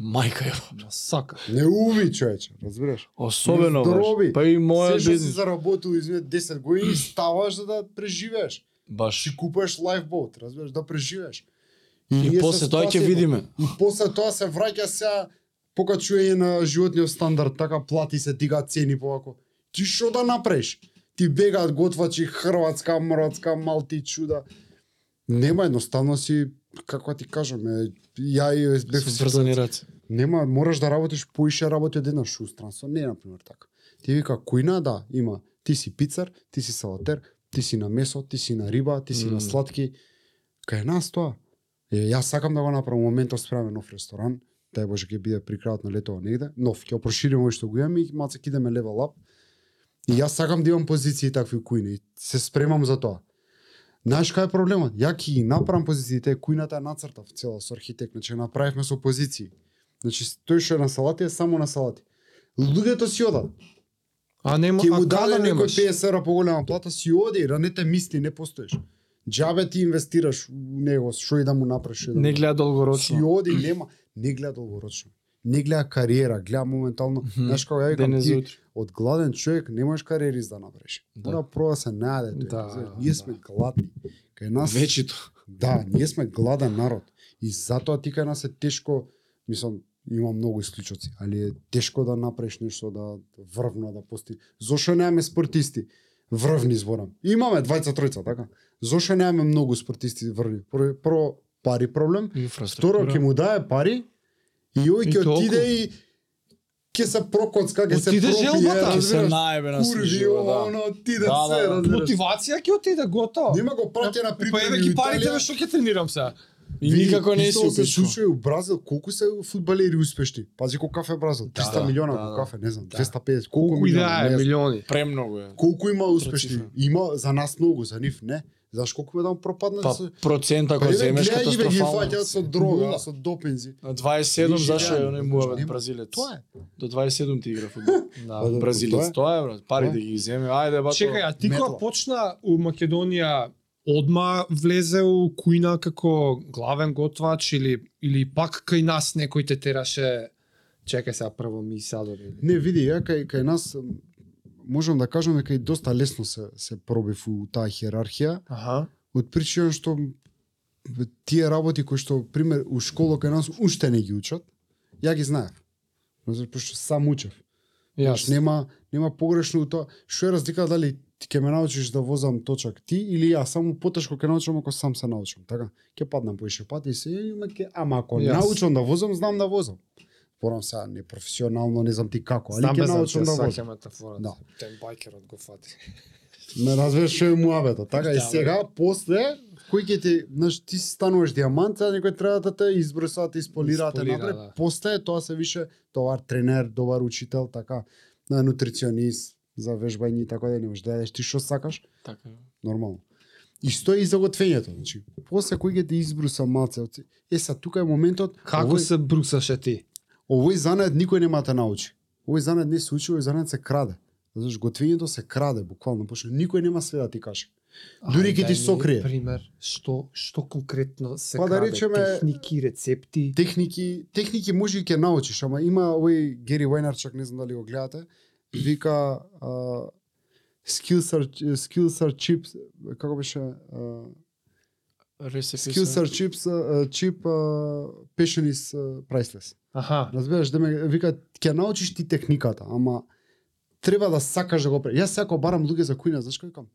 Speaker 1: Мајка ја.
Speaker 3: Ма Сака.
Speaker 2: Не уви, човече, разбираш?
Speaker 1: Особено баш.
Speaker 2: Здрави.
Speaker 1: Па и
Speaker 2: Моја
Speaker 1: моја
Speaker 2: Се што си
Speaker 1: бизнес.
Speaker 2: заработил измет 10 години, ставаш за да преживееш.
Speaker 1: Баш.
Speaker 2: Си купуваш лайфбот, разбираш, да преживееш.
Speaker 1: И
Speaker 2: ние
Speaker 1: после
Speaker 2: со
Speaker 1: тоа ќе
Speaker 2: ситуација-
Speaker 1: видиме.
Speaker 2: И после тоа се враќа се покачување на животниот стандард, така плати се дигаат цени повако. Ти што да направиш? Ти бегаат готвачи хрватска, мрватска, малти чуда. Нема едноставно си како ти кажам, е, ја и бев
Speaker 1: Се врзани раце.
Speaker 2: Нема, мораш да работиш поише работи од една шустранство, не е например така. Ти вика кујна да има, ти си пицар, ти си салатер, ти си на месо, ти си на риба, ти си
Speaker 1: Мм.
Speaker 2: на сладки. Кај нас тоа. Е, јас сакам да го направам моментот справен нов ресторан, дај Боже ќе биде при крајот на летово негде, нов, ќе го проширим овој што го имаме и малце ќе идеме левел ап. И јас сакам да имам позиции такви кујни, и се спремам за тоа. Знаеш кај е проблемот? Ја ќе ги направам позициите, кујната ја нацртав цела со архитект, значи ја направивме со позиции. Значи тој што е на салати е само на салати. Луѓето си одат.
Speaker 3: А нема
Speaker 2: Ќе
Speaker 3: а
Speaker 2: му
Speaker 3: каде
Speaker 2: даде некој
Speaker 3: немаш?
Speaker 2: 50 евра поголема плата си оди, да не те мисли, не постоиш. Џабе ти инвестираш у него, што и да му направиш. што и да му
Speaker 1: Не гледа
Speaker 2: си
Speaker 1: долгорочно.
Speaker 2: оди, нема, не гледа долгорочно. Не гледа кариера, гледа моментално.
Speaker 1: Мгм.
Speaker 2: Знаеш како ја викам,
Speaker 1: Денес
Speaker 2: ти
Speaker 1: утре.
Speaker 2: од гладен човек не можеш кариерист да направиш.
Speaker 1: Да.
Speaker 2: Мора прво да се најде тој.
Speaker 3: Да,
Speaker 2: Знаеш, ние
Speaker 3: да.
Speaker 2: сме гладни. Кај нас
Speaker 1: Вечито.
Speaker 2: Да, ние сме гладен народ. И затоа ти кај нас е тешко, мислам, има многу исклучоци, али е тешко да направиш нешто да врвно да пости. Зошто немаме спортисти? Врвни зборам. Имаме двајца тројца, така? Зошто немаме многу спортисти врвни? Прво, прво пари проблем, второ
Speaker 1: Инфраструктура.
Speaker 2: ќе му дае пари и
Speaker 3: И
Speaker 2: овој ќе
Speaker 3: толку.
Speaker 2: отиде и ќе се прокоцка, ќе се
Speaker 3: Отиде желбата.
Speaker 1: Ќе се
Speaker 2: разбираш?
Speaker 1: наебе на се
Speaker 2: Курви,
Speaker 1: живо,
Speaker 2: ова,
Speaker 1: да.
Speaker 2: оно, отиде
Speaker 1: Да, да,
Speaker 2: се,
Speaker 1: да.
Speaker 2: разбираш?
Speaker 3: Мотивација ќе отиде, готово.
Speaker 2: Нема го праќа на
Speaker 3: Па еве
Speaker 2: припреми
Speaker 3: ги
Speaker 2: у
Speaker 3: парите
Speaker 2: Италија.
Speaker 3: бе што ќе тренирам сега.
Speaker 1: И никако не си
Speaker 2: исто се
Speaker 1: упишно.
Speaker 2: случува и у Бразил, колку се фудбалери успешни. Пази колку кафе Бразил, 300
Speaker 1: да,
Speaker 2: милиона
Speaker 1: да,
Speaker 2: да,
Speaker 1: да.
Speaker 2: кафе, не знам,
Speaker 1: Да.
Speaker 2: 250, колку,
Speaker 3: Колку
Speaker 2: милиона,
Speaker 3: идеја
Speaker 2: не
Speaker 3: е
Speaker 2: знам.
Speaker 3: милиони.
Speaker 1: Премногу е.
Speaker 2: Колку има успешни?
Speaker 1: Процифра.
Speaker 2: Има за нас многу, за нив не. Заш колку едам пропадна
Speaker 1: Па
Speaker 2: се-
Speaker 1: процента
Speaker 2: Па,
Speaker 1: кој
Speaker 2: еве,
Speaker 1: земеш
Speaker 2: гледај, еве, ги
Speaker 1: катастрофално.
Speaker 2: фаќаат со дрога,
Speaker 1: Нула.
Speaker 2: со допинзи.
Speaker 1: На 27
Speaker 2: Вижи,
Speaker 1: зашо е
Speaker 2: реално,
Speaker 1: оној
Speaker 2: значи,
Speaker 1: муавет
Speaker 2: нема.
Speaker 1: бразилец.
Speaker 2: Тоа е.
Speaker 1: До 27 ти игра фудбал.
Speaker 2: Па, да,
Speaker 1: Бразилец тоа е брат. Пари
Speaker 2: Тоа е.
Speaker 1: да ги земе. Ајде бато.
Speaker 3: Чекај, а ти кога
Speaker 2: метла.
Speaker 3: почна у Македонија одма влезе у кујна како главен готвач или или пак кај нас некој те тераше чекај сега прво ми садови.
Speaker 2: Не, види, ја кај, кај нас м, можам да кажам дека и доста лесно се се пробив у таа хиерархија.
Speaker 3: Аха.
Speaker 2: од причина што тие работи кои што пример у школа кај нас уште не ги учат, ја ги знаев. Разбираш, пошто сам учев. Знаеш,
Speaker 3: Јас.
Speaker 2: нема нема погрешно у тоа. Што е разлика дали ти ќе ме научиш да возам точак ти или јас само потешко ќе научам ако сам се научам, така? Ќе паднам поише пати и се и ме ќе ама ако
Speaker 3: Јас.
Speaker 2: научам да возам, знам да возам. Порам сега не професионално, не знам ти како, али
Speaker 3: Знам
Speaker 2: ќе
Speaker 3: без да
Speaker 2: научам да
Speaker 3: се
Speaker 2: возам.
Speaker 3: саќа метафората.
Speaker 2: Да.
Speaker 3: Тен байкерот го фати.
Speaker 2: Ме разбираш што е муабето, така?
Speaker 3: Да,
Speaker 2: и
Speaker 3: бе.
Speaker 2: сега, после, кој ќе ти, знаеш, ти си стануваш диамант, сега некој треба да те избрсаат, исполираат,
Speaker 3: Исполира,
Speaker 2: исполира,
Speaker 3: да.
Speaker 2: да. после тоа се више добар тренер, добар учител, така, на нутриционист, за вежбање и така да не можеш да јадеш ти што сакаш,
Speaker 1: Така.
Speaker 2: нормално. И што е и за готвењето, значи, после кој ќе ти избруса малце, оци- е са тука е моментот,
Speaker 3: Како
Speaker 2: овој,
Speaker 3: се брусаше ти?
Speaker 2: овој занет никој нема да те научи. Овој занет не се учи, овој занет се краде. Знаеш, готвењето се краде, буквално, пошто никој нема све да ти каже. Дури ќе
Speaker 3: Ај,
Speaker 2: ти
Speaker 3: дај ми
Speaker 2: сокрие.
Speaker 3: Пример, што што конкретно се
Speaker 2: Па да
Speaker 3: краде?
Speaker 2: речеме-
Speaker 3: техники, рецепти.
Speaker 2: техники, техники може и ќе научиш, ама има овој Гери Вајнарчак, не знам дали го гледате, вика а, skills are skills are chips, како беше а, skills
Speaker 1: Ресеписа.
Speaker 2: are chips, а, chip а, passion is а, priceless.
Speaker 3: Аха.
Speaker 2: Разбираш, да ме вика ќе научиш ти техниката, ама треба да сакаш да го пре. Јас секој барам луѓе за кои не знаеш како викам.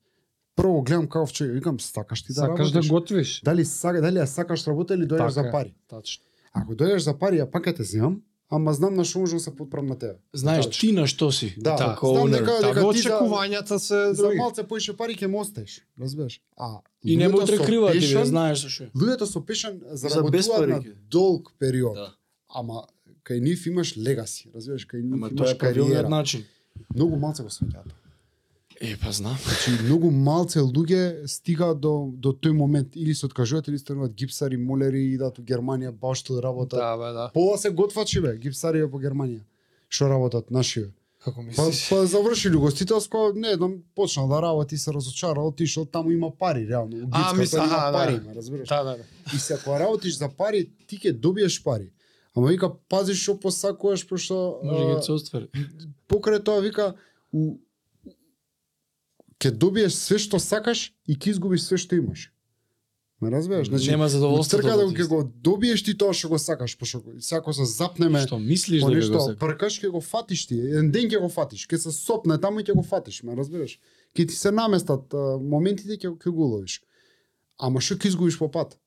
Speaker 2: Прво го гледам као човек, викам сакаш ти да
Speaker 3: Сакаш да
Speaker 2: работиш?
Speaker 3: готвиш?
Speaker 2: Дали сака, дали ја сакаш работа или дојдеш
Speaker 3: Така е.
Speaker 2: за пари?
Speaker 3: Тачно.
Speaker 2: Ако дојдеш за пари, ја пак ќе те земам, ама знам на што можам да се подправам на тебе.
Speaker 1: Знаеш
Speaker 2: Знаеш.
Speaker 1: ти на што си.
Speaker 2: Да,
Speaker 1: како
Speaker 2: знам
Speaker 1: owner.
Speaker 2: дека-
Speaker 3: Така,
Speaker 2: дека ти за-
Speaker 3: очекувањата се
Speaker 2: За
Speaker 3: други.
Speaker 2: малце поише пари ќе му остаеш, разбираш? А
Speaker 1: И не му
Speaker 2: луѓето со
Speaker 1: отрекрива ти,
Speaker 2: пешен-
Speaker 1: бе, знаеш со што. е.
Speaker 2: Луѓето со пешен
Speaker 4: без
Speaker 2: заработуваат
Speaker 4: пари
Speaker 2: на
Speaker 4: ќе.
Speaker 2: долг период.
Speaker 4: Да.
Speaker 2: Ама кај нив имаш легаси, разбираш, кај нив
Speaker 4: Ама
Speaker 2: имаш
Speaker 4: тоа
Speaker 1: Тоа е правилниот
Speaker 2: кариера.
Speaker 1: начин.
Speaker 2: Многу малце го сваќаат.
Speaker 1: Е, па знам.
Speaker 2: Значи многу малце луѓе стигаат до до тој момент или се откажуваат или стануваат гипсари, молери, идат у Германија, баштил работат.
Speaker 3: Да, бе, да.
Speaker 2: Пола се готвачи бе, гипсари по Германија. Што работат наши?
Speaker 3: Како
Speaker 2: Па,
Speaker 3: мислиш?
Speaker 2: па завршили гостителско, не едном почнал да работи, се разочарал, отишол таму има пари реално. У
Speaker 3: А,
Speaker 2: Гипска
Speaker 3: мисла,
Speaker 2: има
Speaker 3: аха, да.
Speaker 2: пари, ме разбираш.
Speaker 3: Да, да, да.
Speaker 2: И се ако работиш за пари, ти ќе добиеш пари. Ама вика пазиш што посакуваш пошто
Speaker 1: Може
Speaker 2: а,
Speaker 1: ги се оствари.
Speaker 2: покрај тоа вика у ќе добиеш све што сакаш и ќе изгубиш све што имаш. Ме разбираш? Значи,
Speaker 1: Нема задоволство.
Speaker 2: трка да ќе го добиеш ти тоа што го сакаш, пошто сако се запнеме
Speaker 1: Што
Speaker 2: Па
Speaker 1: мислиш дека го
Speaker 2: Понешто
Speaker 1: сакаш?
Speaker 2: пркаш ќе го фатиш ти, еден ден ќе го фатиш, ќе се сопне таму и ќе го фатиш, ме разбираш? Ќе ти се наместат а, моментите ќе ќе го ловиш. Ама што ќе изгубиш по пат?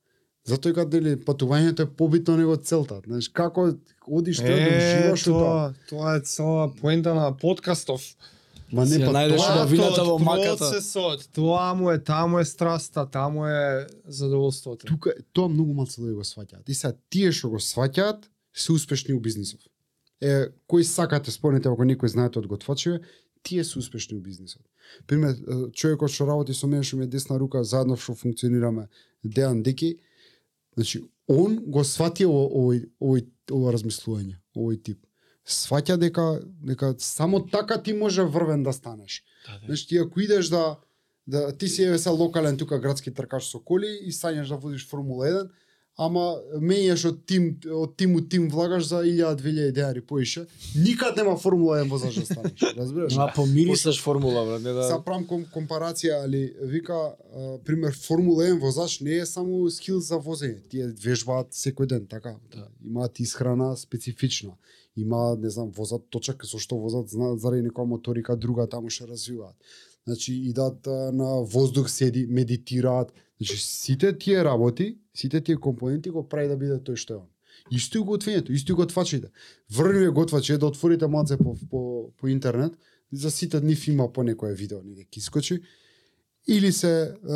Speaker 2: Затоа и дели патувањето е побитно него целта, знаеш, како одиш тоа да
Speaker 3: Е,
Speaker 2: живееш тоа.
Speaker 3: тоа, тоа е цела поента на подкастов.
Speaker 2: Ма
Speaker 1: Си
Speaker 2: не
Speaker 1: ја
Speaker 2: па
Speaker 1: најдеш
Speaker 2: тоа.
Speaker 1: на- новината во маката.
Speaker 3: Процесот, тоа му е, таму е страста, таму е задоволството.
Speaker 2: тука тоа многу малку луѓе го сваќаат. И сега тие што го сваќаат се успешни у бизнисов. Е, кои сакате спомнете ако некој знаете од готвачеве, тие се успешни у бизнисот. Пример, е, човекот што работи со мене што ми е десна рука, заедно што функционираме, Дејан Деки, значи он го свати ово- овој овој ова размислување, овој тип. Сваќа дека дека само така ти може врвен да станеш. Значи ти ако идеш да да ти си еве сега локален тука градски тркач со коли и сањаш да водиш Формула 1, ама мењаш од тим од тим у тим влагаш за 1000-2000 денари поише, никад нема Формула 1 возач да станеш, разбираш?
Speaker 1: Ма помирисаш формула, брат, не да.
Speaker 2: Са правам ком, компарација, али вика, а, пример, Формула 1 возач не е само скил за возење. Тие вежбаат секој ден, така?
Speaker 1: Да.
Speaker 2: Имаат исхрана специфична. Има, не знам, возат точак, со што возат, знаат заради некоја моторика, друга таму што развиваат. Значи, идат а, на воздух, седи, медитираат. Значи, сите тие работи, сите тие компоненти го прави да биде тој што е он. Исто и готвењето, исто и готвачите. Врвиве готвачи, да отворите малце по, по, по интернет, за сите нив има по некое видео негде ќе искочи или се е,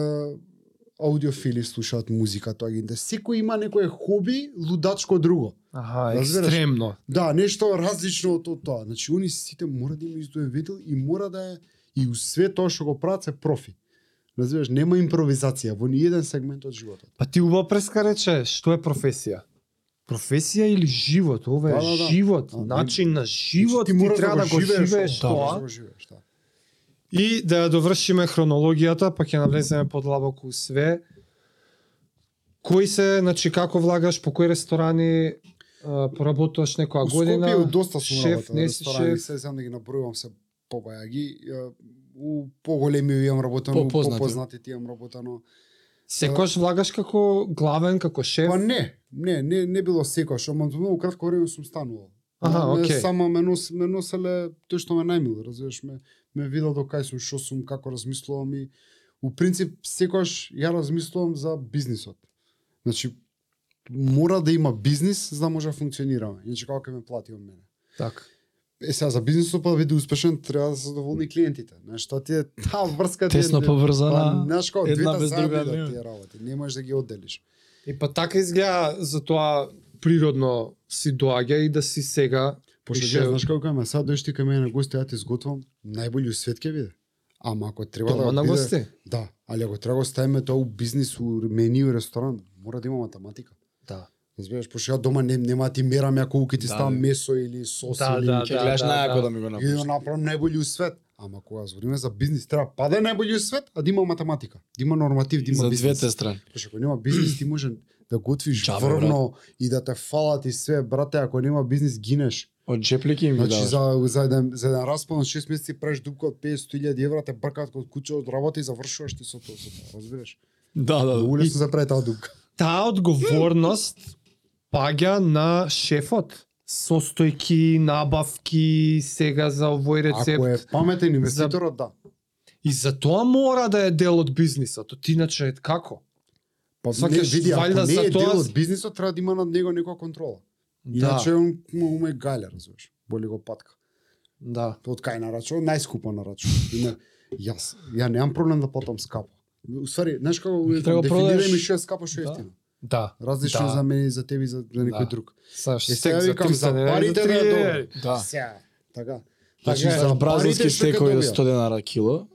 Speaker 2: аудиофили слушаат музика тоа ги интересира. секој има некое хоби лудачко друго
Speaker 3: Аха,
Speaker 2: Разбираш?
Speaker 3: екстремно.
Speaker 2: да нешто различно од од тоа значи они сите мора да има издоен видел и мора да е и у све тоа што го прават се профи разбираш нема импровизација во ниеден сегмент од животот
Speaker 3: Па ти убаво прескарече, што е професија? Професија или живот? Ова е
Speaker 2: Да, да, да.
Speaker 3: живот,
Speaker 2: А, не-
Speaker 3: начин на живот, ти,
Speaker 2: мораш
Speaker 3: треба да го живееш
Speaker 2: мораш да
Speaker 3: тоа.
Speaker 2: го живееш да
Speaker 3: И да ја довршиме хронологијата, па ќе навлеземе подлабоко у све. Кои се, значи како влагаш, по кои ресторани а, поработуваш некоја
Speaker 2: У
Speaker 3: година?
Speaker 2: Скопје доста сум
Speaker 3: шеф,
Speaker 2: работел,
Speaker 3: не си
Speaker 2: ресторани,
Speaker 3: шеф.
Speaker 2: се знам да ги набројувам се побаја ги. Е, У поголеми имам работено, у
Speaker 1: Попознати.
Speaker 2: попознати ти имам работено.
Speaker 3: Секојаш влагаш како главен, како шеф.
Speaker 2: Па не, не, не, не било секојаш, ама за многу кратко време сум станувал.
Speaker 3: Аха,
Speaker 2: Ме-
Speaker 3: окей.
Speaker 2: Сама ме, нос, ме носеле тој што ме најмил, разбираш ме, ме видел до кај сум, што сум, како размислувам и у принцип секојаш ја размислувам за бизнисот. Значи мора да има бизнис за да може да функционираме, иначе како ќе ме плати од мене.
Speaker 3: Така.
Speaker 2: Е, сега, за бизнисот па да биде успешен, треба да се задоволни клиентите. Знаеш, тоа ти е таа врска ти е-
Speaker 1: Тесно поврзана.
Speaker 2: Па, Знаеш како,
Speaker 1: една
Speaker 2: двете
Speaker 1: без
Speaker 2: заедно
Speaker 1: друга
Speaker 2: идат
Speaker 1: нема.
Speaker 2: тие работи, не можеш да ги одделиш.
Speaker 3: И па така изгледа за тоа природно си доаѓа и да си сега
Speaker 2: Пошто
Speaker 3: Пише-
Speaker 2: ќе знаеш како каме, сега дојдеш ти кај мене на гости, ја ти изготвам, најболју свет ќе биде. Ама ако треба
Speaker 3: дома
Speaker 2: да
Speaker 3: на
Speaker 2: биде-
Speaker 3: гости.
Speaker 2: Да, али ако треба да ставиме тоа у бизнис, у менију и ресторан, мора да има математика.
Speaker 3: Да.
Speaker 2: Разбираш, пошто ја дома не, нема да ти мераме ако ќе ти
Speaker 1: Да,
Speaker 2: ставам
Speaker 1: бе.
Speaker 2: месо или сос
Speaker 3: Да,
Speaker 2: или
Speaker 3: да,
Speaker 1: Ќе гледаш
Speaker 3: да,
Speaker 1: најако
Speaker 3: да.
Speaker 1: да ми го
Speaker 2: И Па, да
Speaker 1: направиш.
Speaker 2: направам најбољи у свет. Ама кога збориме за бизнис, треба па да е најбољи у свет, а да има математика, да има норматив, да има
Speaker 1: За
Speaker 2: бизнис.
Speaker 1: двете страни.
Speaker 2: Пошто ако нема бизнис, ти може да готвиш
Speaker 1: Джабе,
Speaker 2: врвно и да те фалат и све, брате, ако нема бизнис, гинеш.
Speaker 1: Од джеплики им ги
Speaker 2: Значи,
Speaker 1: даваш.
Speaker 2: за, за, еден, за еден распон од 6 месеци правиш дупка од 500.000 евра, те бркаат код куча од работа и завршуваш ти со тоа, со тоа, разбираш?
Speaker 1: Да, да,
Speaker 2: Многу
Speaker 1: да.
Speaker 2: лесно се прави таа дупка.
Speaker 3: таа одговорност паѓа на шефот. Состојки, набавки, сега за овој рецепт.
Speaker 2: Ако е паметен инвеститорот, да.
Speaker 3: И за тоа мора да е дел од бизнисот. От иначе како?
Speaker 2: Па не,
Speaker 3: Сваќаш,
Speaker 2: види, ако
Speaker 3: валјда
Speaker 2: не
Speaker 3: за
Speaker 2: е
Speaker 3: тоа
Speaker 2: дел
Speaker 3: с-
Speaker 2: од бизнисот, треба да има над него некоја контрола. Иначе он му уме гале, разбираш. Боли го патка.
Speaker 3: да.
Speaker 2: Од кај нарачо, најскупо нарачо. И на- Јас, ја немам проблем да платам скапо. У ствари, знаеш како
Speaker 1: Треба
Speaker 2: дефинирај
Speaker 1: продаш-
Speaker 2: ми што е скапо, што е
Speaker 1: Да.
Speaker 2: ефтино.
Speaker 3: Да.
Speaker 2: Различно
Speaker 3: Да.
Speaker 2: за мене, за тебе и за, за некој
Speaker 3: Да.
Speaker 2: друг.
Speaker 3: Саш,
Speaker 2: Е,
Speaker 3: секс
Speaker 2: сега
Speaker 3: за
Speaker 2: викам,
Speaker 3: 300
Speaker 2: за
Speaker 3: не е
Speaker 2: парите да
Speaker 3: три
Speaker 2: добро.
Speaker 3: еври.
Speaker 1: Да.
Speaker 2: Сега, така.
Speaker 1: Значи
Speaker 2: Така е,
Speaker 1: за
Speaker 2: парите
Speaker 1: бразилски
Speaker 2: што ќе
Speaker 1: стекови од
Speaker 2: добија.
Speaker 1: 100 денара кило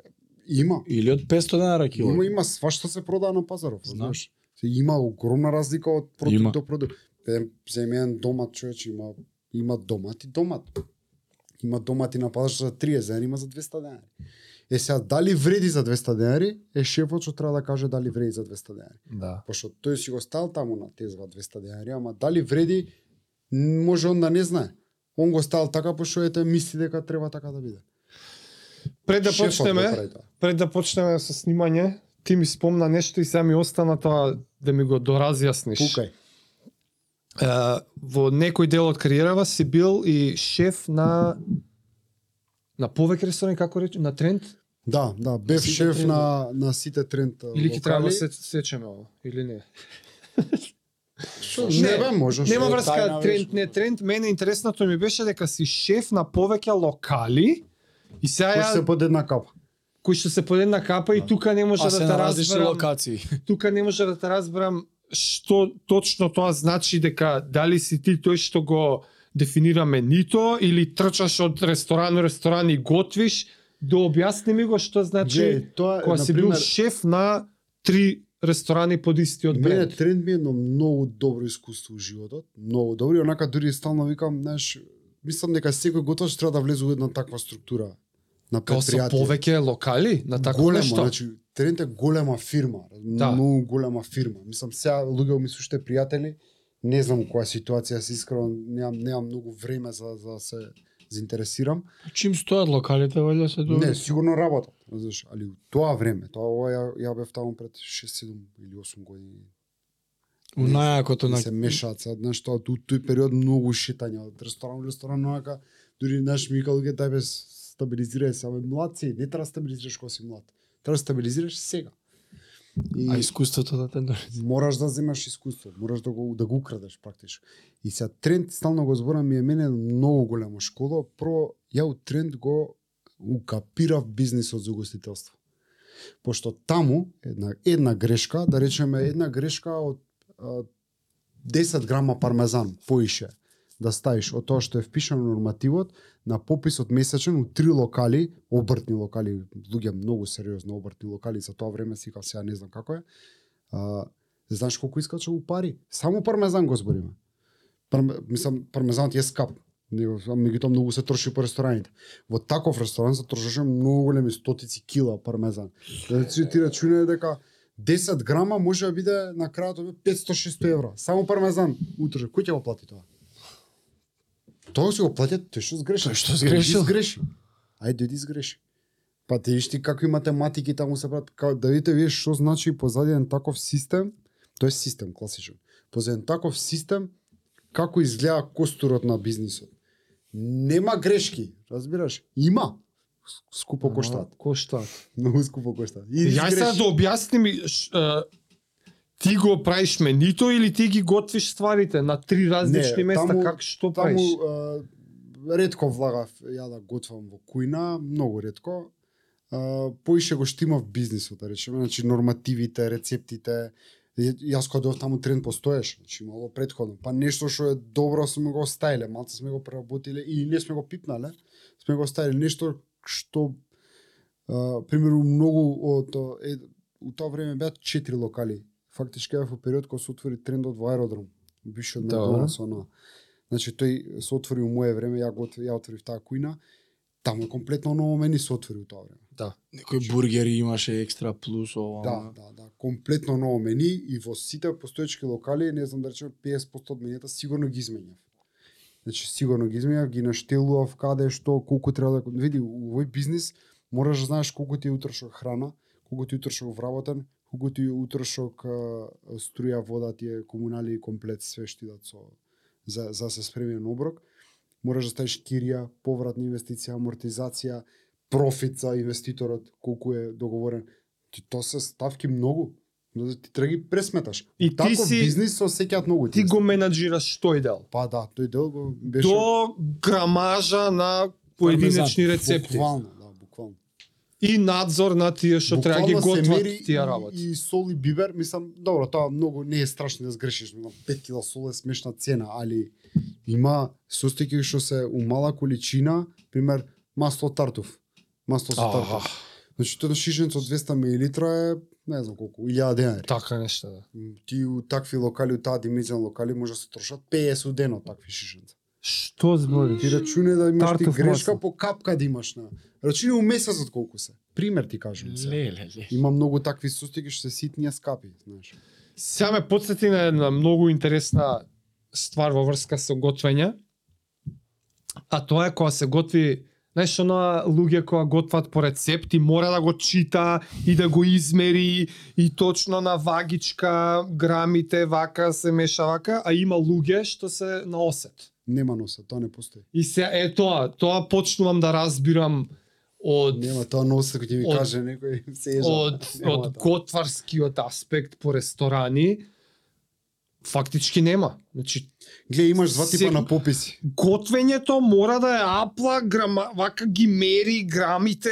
Speaker 2: Има.
Speaker 1: или од 500 денара кило.
Speaker 2: Има има свашто се продава на пазаров,
Speaker 1: Знам.
Speaker 2: знаеш. Се има огромна разлика од продукт
Speaker 1: Има.
Speaker 2: до продукт. Е, Земе еден домат човече има има домат и домат. Има домати на пазар за 30 денари, има за 200 денари. Е сега дали вреди за 200 денари, е шефот што треба да каже дали вреди за 200 денари.
Speaker 3: Да.
Speaker 2: Пошто тој си го стал таму на тезва 200 денари, ама дали вреди н- може он да не знае. Он го стал така пошто ете мисли дека треба така да биде.
Speaker 3: Пред да
Speaker 2: Шефот го
Speaker 3: почнеме,
Speaker 2: прави тоа.
Speaker 3: пред да почнеме со снимање, ти ми спомна нешто и сега ми остана тоа да ми го доразјасниш.
Speaker 2: Пукај.
Speaker 3: Е, во некој дел од кариерава си бил и шеф на на повеќе ресторани, како рече, на тренд?
Speaker 2: Да, да, бев
Speaker 3: Сите
Speaker 2: шеф
Speaker 3: тренд.
Speaker 2: на на сите тренд а,
Speaker 3: Или ќе треба
Speaker 2: локали.
Speaker 3: да се сечеме ово, или не?
Speaker 2: Шо,
Speaker 3: Не,
Speaker 2: не, бе, можеш.
Speaker 3: Нема
Speaker 2: бе,
Speaker 3: врска
Speaker 2: тајна,
Speaker 3: тренд,
Speaker 2: бе.
Speaker 3: не тренд. Мене интересното ми беше дека си шеф на повеќе локали и сега
Speaker 2: Кој
Speaker 3: ја
Speaker 2: се под една капа.
Speaker 3: кој што се под една капа и тука не може
Speaker 1: а
Speaker 3: да
Speaker 1: се
Speaker 3: те
Speaker 1: на различни
Speaker 3: разберам.
Speaker 1: локации.
Speaker 3: Тука не може да те разберам што точно тоа значи дека дали си ти тој што го дефинира менито или трчаш од ресторан у ресторан и готвиш, да објасни ми го што значи
Speaker 2: Значи, тоа е,
Speaker 3: кога си бил
Speaker 2: например,
Speaker 3: шеф на три ресторани под истиот
Speaker 2: мене
Speaker 3: бренд.
Speaker 2: тренд ми е едно многу добро искуство у животот, многу добро, и онака дури стално викам, знаеш, мислам дека секој готвач треба да влезе во една таква структура на
Speaker 3: Као со
Speaker 2: предпријатие.
Speaker 3: повеќе локали на такво
Speaker 2: голема,
Speaker 3: нешто.
Speaker 2: значи, тренд е голема фирма,
Speaker 3: Да.
Speaker 2: многу голема фирма. Мислам сега луѓе ми се уште пријатели, не знам у која ситуација се искрено, немам немам многу време за за да се заинтересирам.
Speaker 1: Чим стојат локалите, валја се добро.
Speaker 2: Не, сигурно работат, знаеш, али у тоа време, тоа ова ја, ја бев таму пред 6, 7 или 8 години.
Speaker 1: У најакото
Speaker 2: На...
Speaker 1: на
Speaker 2: Се мешаат се, знаеш, тоа у тој период многу шетања од ресторан во ресторан, онака, дури наш ми викал ге бе стабилизирај се, абе млад си, не треба да стабилизираш кога си млад. Треба да стабилизираш сега. И
Speaker 1: а искуството да те дори.
Speaker 2: мораш да земеш искуство, мораш да го да го украдеш практично. И се тренд стално го зборам ми е мене многу голема школа. Прво ја у тренд го укапирав бизнисот за гостителство. Пошто таму една една грешка, да речеме една грешка од а, 10 грама пармезан поише да ставиш од тоа што е впишано во нормативот на пописот месечен у три локали, обртни локали, луѓе многу сериозно обртни локали за тоа време си сега не знам како е. А, знаеш колку искача у пари? Само пармезан го збориме. Парме, мислам, пармезанот е скап. Него, а меѓутоа многу се троши по рестораните. Во таков ресторан се трошеше многу големи стотици кила пармезан. Значи ти рачунај дека 10 грама може да биде на крајот овде 500-600 евра. Само пармезан. Утре, кој ќе го плати тоа? Тоа си го платят, тој што сгреши.
Speaker 1: Тој што сгрешил.
Speaker 2: Иди Сгреши. Ајде, иди сгреши. Па ти виж ти какви математики таму се прават, као да видите вие што значи позади еден таков систем, тоа е систем класичен. Позади еден таков систем како изгледа костурот на бизнисот. Нема грешки, разбираш? Има. С- Скупо коштаат,
Speaker 3: Коштаат.
Speaker 2: многу скупо коштаат. И
Speaker 3: Ја сега да објасни ми ш- е, ти го правиш менито или ти ги готвиш стварите на три
Speaker 2: Не,
Speaker 3: различни места
Speaker 2: таму-
Speaker 3: как што
Speaker 2: таму
Speaker 3: правиш?
Speaker 2: а, ретко влагав ја да готвам во кујна, многу ретко. А, поише го штимав бизнисот, да речеме, значи нормативите, рецептите. Ја- Јас кога дојдов таму тренд постоеше, значи имало предходно. Па нешто што е добро сме го оставиле, малце сме го преработиле или не сме го пипнале, сме го оставиле нешто што а, примеру многу од а, е, у тоа време беа четири локали. Фактички во период кога се отвори трендот во аеродром. Беше од
Speaker 3: Да.
Speaker 2: Макдоналдс она. Значи тој се отвори у мое време, ја го отв- ја отворив таа кујна. Таму е комплетно ново мени се отвори у тоа време.
Speaker 1: Некои бургери имаше екстра плюс ова.
Speaker 2: Да, да, да, комплетно ново мени и во сите постоечки локали, не знам да речем 50% од менијата сигурно ги изменјав. Значи сигурно ги изменјав, ги наштелував каде што, колку треба да види у овој бизнис мораш да знаеш колку ти е утрошок храна, колку ти е утрошок вработен, колку ти е утрошок а, струја, вода, тие комунали и комплет све што идат со за за да се спремен оброк. Мораш да ставиш кирија, повратна инвестиција, амортизација, профит за инвеститорот, колку е договорен. Ти то се ставки многу. Но да ти траги пресметаш.
Speaker 3: И
Speaker 2: И
Speaker 3: ти
Speaker 2: Тако
Speaker 3: си-
Speaker 2: бизнис со сеќаат многу.
Speaker 3: Ти
Speaker 2: тие
Speaker 3: го менаджираш тој дел.
Speaker 2: неща. Па да, тој дел го беше...
Speaker 3: До грамажа на поединечни рецепти.
Speaker 2: Буквално, да, буквално.
Speaker 3: И надзор на тие што треба ги
Speaker 2: Буквално се
Speaker 3: готват
Speaker 2: мери
Speaker 3: тие
Speaker 2: и-
Speaker 3: работи.
Speaker 2: И, сол и бибер, мислам, добро, тоа многу не е страшно да сгрешиш, мислам, 5 кила сол е смешна цена, али има состојки што се у мала количина, пример, масло тартуф. Масло со тартуф. Значи, тоа шишенце од 200 мл е, не знам колку, 1000 денари.
Speaker 3: Така нешто да.
Speaker 2: Ти у такви локали, у таа димензија локали може да се трошат 50 дено такви шишенца.
Speaker 3: Што збориш?
Speaker 2: Ти рачуне да имаш ти
Speaker 3: Тартуф
Speaker 2: грешка
Speaker 3: масло.
Speaker 2: по капка да имаш на. Рачуне у месецот колку се. Пример ти кажам. се.
Speaker 1: Леле, леле.
Speaker 2: Има многу такви состојки што се ситни а скапи, знаеш.
Speaker 3: Сега ме подсети на една многу интересна ствар во врска со готвење. А тоа е кога се готви, знаеш, она луѓе која готват по рецепти, мора да го чита и да го измери и точно на вагичка, грамите, вака се меша вака, а има луѓе што се на осет.
Speaker 2: Нема носа, тоа не постои.
Speaker 3: И се е тоа, тоа почнувам да разбирам од
Speaker 2: Нема тоа носа кој ќе ми
Speaker 3: Од-
Speaker 2: каже некој се ежа.
Speaker 3: од
Speaker 2: Нема
Speaker 3: од
Speaker 2: тоа.
Speaker 3: готварскиот аспект по ресторани фактички нема. Значи
Speaker 2: Гле имаш два типа
Speaker 3: Сек-
Speaker 2: на пописи.
Speaker 3: готвењето мора да е апла грама, вака ги мери грамите.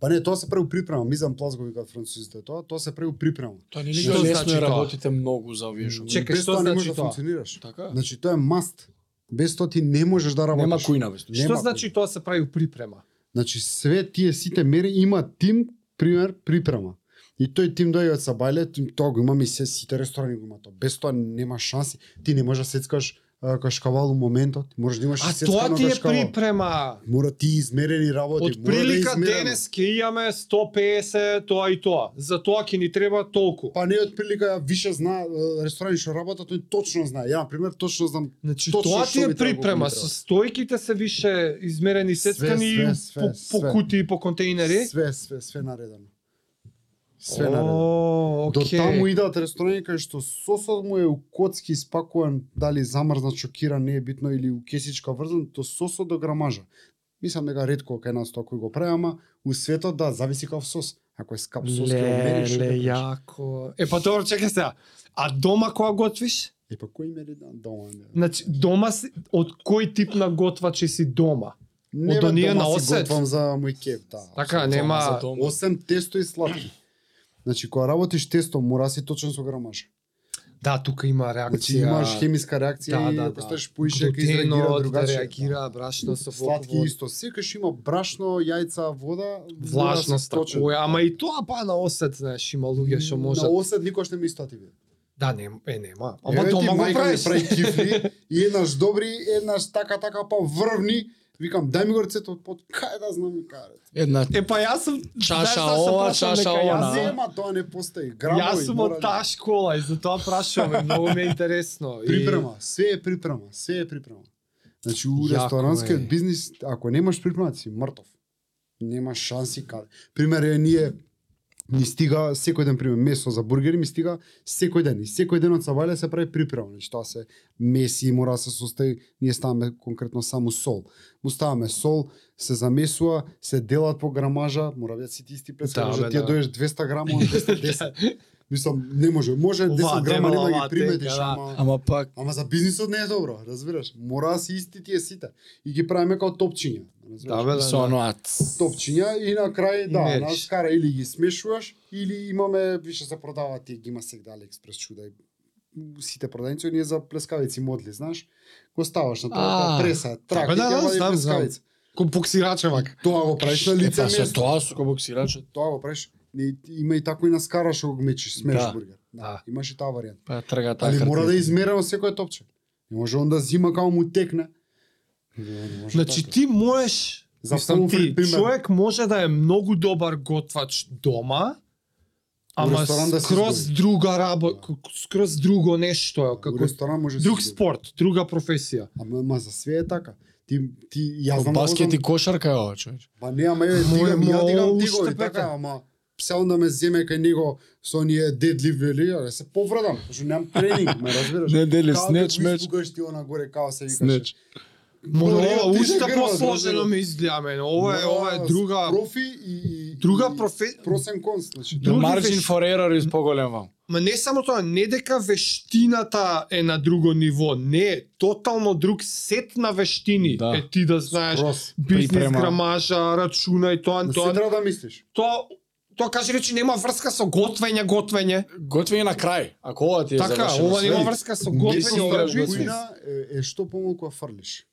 Speaker 2: Па не, тоа се прво припрема, мизан плас го викаат французите, тоа тоа се прво припрема.
Speaker 1: Тоа не
Speaker 3: Што
Speaker 1: лига лесно
Speaker 3: значи
Speaker 1: е
Speaker 3: тоа?
Speaker 1: работите многу за овие што.
Speaker 3: Чек- Чекај,
Speaker 2: Без
Speaker 3: што
Speaker 2: тоа не можеш
Speaker 3: значи
Speaker 2: да
Speaker 3: тоа?
Speaker 2: функционираш.
Speaker 1: Така.
Speaker 2: Значи тоа е маст. Без тоа ти не можеш да работиш.
Speaker 1: Нема кујна без тоа.
Speaker 2: Нема
Speaker 3: Што
Speaker 2: кој.
Speaker 3: значи тоа се прави у припрема?
Speaker 2: Значи све тие сите мери има тим пример припрема. И тој тим дојде од Сабајле, тим- тоа го имаме и се сите ресторани го има тоа. Без тоа нема шанси. Ти не можеш да сецкаш а, кашкавал у моментот, можеш да имаш
Speaker 3: А тоа
Speaker 2: сецкано
Speaker 3: ти е
Speaker 2: кашкавал.
Speaker 3: припрема.
Speaker 2: Мора ти измерени работи,
Speaker 3: Од
Speaker 2: мора да е
Speaker 3: прилика
Speaker 2: измерено.
Speaker 3: денес ќе имаме 150 тоа и тоа. За тоа ќе ни треба толку.
Speaker 2: Па не од прилика више зна е, ресторани што работат, тој точно знае. Ја на пример точно знам
Speaker 3: Значи
Speaker 2: Точно
Speaker 3: тоа ти
Speaker 2: што
Speaker 3: е
Speaker 2: би требало
Speaker 3: припрема,
Speaker 2: да
Speaker 3: со стојките се више измерени
Speaker 2: Све,
Speaker 3: сецкани
Speaker 2: све,
Speaker 3: и
Speaker 2: све,
Speaker 3: по, по
Speaker 2: све.
Speaker 3: кутии по контејнери.
Speaker 2: све све све наредено. Све наредено.
Speaker 3: О,
Speaker 2: До таму
Speaker 3: окей.
Speaker 2: идат ресторани кај што сосот му е у коцки испакуван, дали замрзнат, шокиран, не е битно или у кесичка врзан, до сосот до грамажа. Мислам дека ретко кај нас тоа кој го прави, ама у светот да зависи каков сос. Ако е скап сос, ќе го мериш, ќе
Speaker 3: Леле,
Speaker 2: го правиш.
Speaker 3: јако. Е, па добро, чекaj сега. А дома кога готвиш?
Speaker 2: Е па кој мери да дома? не.
Speaker 3: Значи, дома си, од кој тип на готвачи си дома?
Speaker 2: Не бе,
Speaker 3: од оние
Speaker 2: дома
Speaker 3: на
Speaker 2: си
Speaker 3: осет?
Speaker 2: готвам за мој кеф, да.
Speaker 3: Така,
Speaker 1: Дома
Speaker 3: нема...
Speaker 1: за дома.
Speaker 2: Осем тесто и сладки. Значи, кога работиш тесто, мора си точен со грамажа.
Speaker 3: Да, тука има
Speaker 2: Значи,
Speaker 3: реакција.
Speaker 2: имаш хемиска реакција
Speaker 3: да,
Speaker 2: и
Speaker 3: да,
Speaker 2: ако
Speaker 3: да.
Speaker 2: ставиш поише, ќе изреагира
Speaker 3: Глутенот,
Speaker 2: другаче.
Speaker 3: да реагира, брашно со
Speaker 2: Сладки
Speaker 3: воковод.
Speaker 2: исто. Секогаш има брашно, јајца, вода,
Speaker 3: влажност така,
Speaker 2: точно.
Speaker 3: такоја, ама и тоа па на осет, знаеш, има луѓе што
Speaker 2: На
Speaker 3: можат.
Speaker 2: осет никош не ми истоа ти биде.
Speaker 3: Да, не, е, нема.
Speaker 2: Еве
Speaker 3: Ама
Speaker 2: ти,
Speaker 3: дома го
Speaker 2: мајка ми
Speaker 3: правиш.
Speaker 2: прави кифли и еднаш добри, еднаш така така па врвни. Викам, дај ми го рецептот под кај да знам ми каре.
Speaker 1: Една
Speaker 3: Е, па јас сум...
Speaker 1: Чаша
Speaker 3: знаеш зашто
Speaker 1: ова,
Speaker 3: прашам,
Speaker 1: чаша
Speaker 3: дека јас
Speaker 1: она.
Speaker 3: сум-
Speaker 2: Па Зема тоа не постои. Грамови,
Speaker 3: Јас сум
Speaker 2: мора
Speaker 3: од
Speaker 2: да-
Speaker 3: таа школа и затоа прашувам, е, многу ми е интересно. И-
Speaker 2: Припрема, све е припрема, све е припрема. Значи у
Speaker 3: Јако е.
Speaker 2: ресторанскиот бизнис, ако немаш припрема, си мртов. Немаш шанси каде. Пример е ние ни стига секој ден пример месо за бургери ми стига секој ден и секој ден од Савале се прави припрема, значи тоа се меси и мора да се состои, ние ставаме конкретно само сол. Му ставаме сол, се замесува, се делат по грамажа, мора да си ти исти пес,
Speaker 3: Да,
Speaker 2: да,
Speaker 3: бе,
Speaker 2: може ти ја
Speaker 3: да.
Speaker 2: доеш 200 грама, 210. Мислам, не може, може 10
Speaker 3: Оваа
Speaker 2: грама нема
Speaker 3: демала,
Speaker 2: ги приметиш,
Speaker 3: тека, да.
Speaker 2: ама...
Speaker 1: Ама пак
Speaker 2: Ама за бизнисот не е добро, разбираш? Мора да се исти тие сите. И ги правиме као топчиња. Разбираш?
Speaker 3: Да, бе, да,
Speaker 1: со
Speaker 3: да.
Speaker 1: оноа.
Speaker 2: Топчиња и на крај,
Speaker 3: И
Speaker 2: да,
Speaker 3: мериш.
Speaker 2: нас кара или ги смешуваш, или имаме, више се продаваат тие, ги има сега Алиекспрес чуда и сите продавници, оние за плескавици модли, знаеш? Го ставаш на тоа,
Speaker 1: А,
Speaker 2: преса, трак,
Speaker 3: да,
Speaker 2: и
Speaker 3: да,
Speaker 2: ќе
Speaker 3: да,
Speaker 2: вади
Speaker 3: знам,
Speaker 2: плескавица.
Speaker 3: Ко буксираче вака.
Speaker 2: Тоа го правиш на
Speaker 1: Е,
Speaker 2: лице
Speaker 1: па со
Speaker 2: место.
Speaker 1: тоа со боксирачот.
Speaker 2: Тоа го правиш. И- Има и тако и на скара што го мечиш, смеш
Speaker 1: Да.
Speaker 2: бургер.
Speaker 3: Да.
Speaker 2: Имаш и таа варијанта.
Speaker 1: Па трга таа.
Speaker 2: Али мора да
Speaker 1: картинка.
Speaker 2: измерено секој топче. Не може он да зима како му текне. Не може
Speaker 3: Значи
Speaker 2: така.
Speaker 3: ти можеш,
Speaker 2: За
Speaker 3: мислам ти,
Speaker 2: помфрит, пример.
Speaker 3: човек може да е многу добар готвач
Speaker 2: У
Speaker 3: дома, ама
Speaker 2: ресторан да се
Speaker 3: скроз
Speaker 2: изгуби.
Speaker 3: друга работа, скроз друго нешто, е,
Speaker 2: како
Speaker 3: како
Speaker 2: ресторан може да
Speaker 3: друг
Speaker 2: се изгуби.
Speaker 3: спорт, друга професија.
Speaker 2: Ама ма за све е така. Ти ти ја
Speaker 1: Во
Speaker 2: знам
Speaker 1: Баскет и
Speaker 2: да го знам.
Speaker 1: кошарка е ова, човече.
Speaker 2: Па не, ама еве
Speaker 3: Мој-
Speaker 2: дигам, ја
Speaker 3: мој
Speaker 2: дигам
Speaker 3: уште
Speaker 2: тигови,
Speaker 3: пека.
Speaker 2: така, ама се онда ме земе кај него со оние дедли вели, а се повредам, зашто немам тренинг, ме разбираш.
Speaker 1: Не дели
Speaker 2: Као да го
Speaker 1: снеч меч.
Speaker 2: испугаш ти она горе као се викаше.
Speaker 1: Снеч.
Speaker 3: Мора
Speaker 2: Добре,
Speaker 3: ова
Speaker 2: ти се
Speaker 3: уште
Speaker 2: грбаш,
Speaker 3: посложено
Speaker 2: разбираш.
Speaker 3: ми изгледа мене. Ова е
Speaker 2: Мора
Speaker 3: ова е
Speaker 2: да си
Speaker 3: друга
Speaker 2: Профи и, и,
Speaker 3: Друга
Speaker 2: и-
Speaker 3: професија,
Speaker 2: Просен конс, значи.
Speaker 3: Други
Speaker 1: Margin
Speaker 3: веш-
Speaker 1: for error is поголем вам.
Speaker 3: Ма не само тоа, не дека вештината е на друго ниво, не, тотално друг сет на вештини.
Speaker 1: Да.
Speaker 3: Е ти да знаеш
Speaker 2: Прос.
Speaker 3: бизнес
Speaker 1: Припрема.
Speaker 3: грамажа, рачуна и тоа,
Speaker 2: На
Speaker 3: тоа,
Speaker 2: се треба да мислиш.
Speaker 3: тоа, тоа каже речи нема врска со готвење, готвење.
Speaker 1: Готвени на крај, ако ова ти е
Speaker 3: Така,
Speaker 1: завршено
Speaker 3: ова
Speaker 1: све.
Speaker 3: нема врска со
Speaker 1: Мислам,
Speaker 3: готвење,
Speaker 1: тоа
Speaker 3: ова е
Speaker 1: е
Speaker 3: бизнес.
Speaker 2: Кујна е, е што помалку ја фрлиш.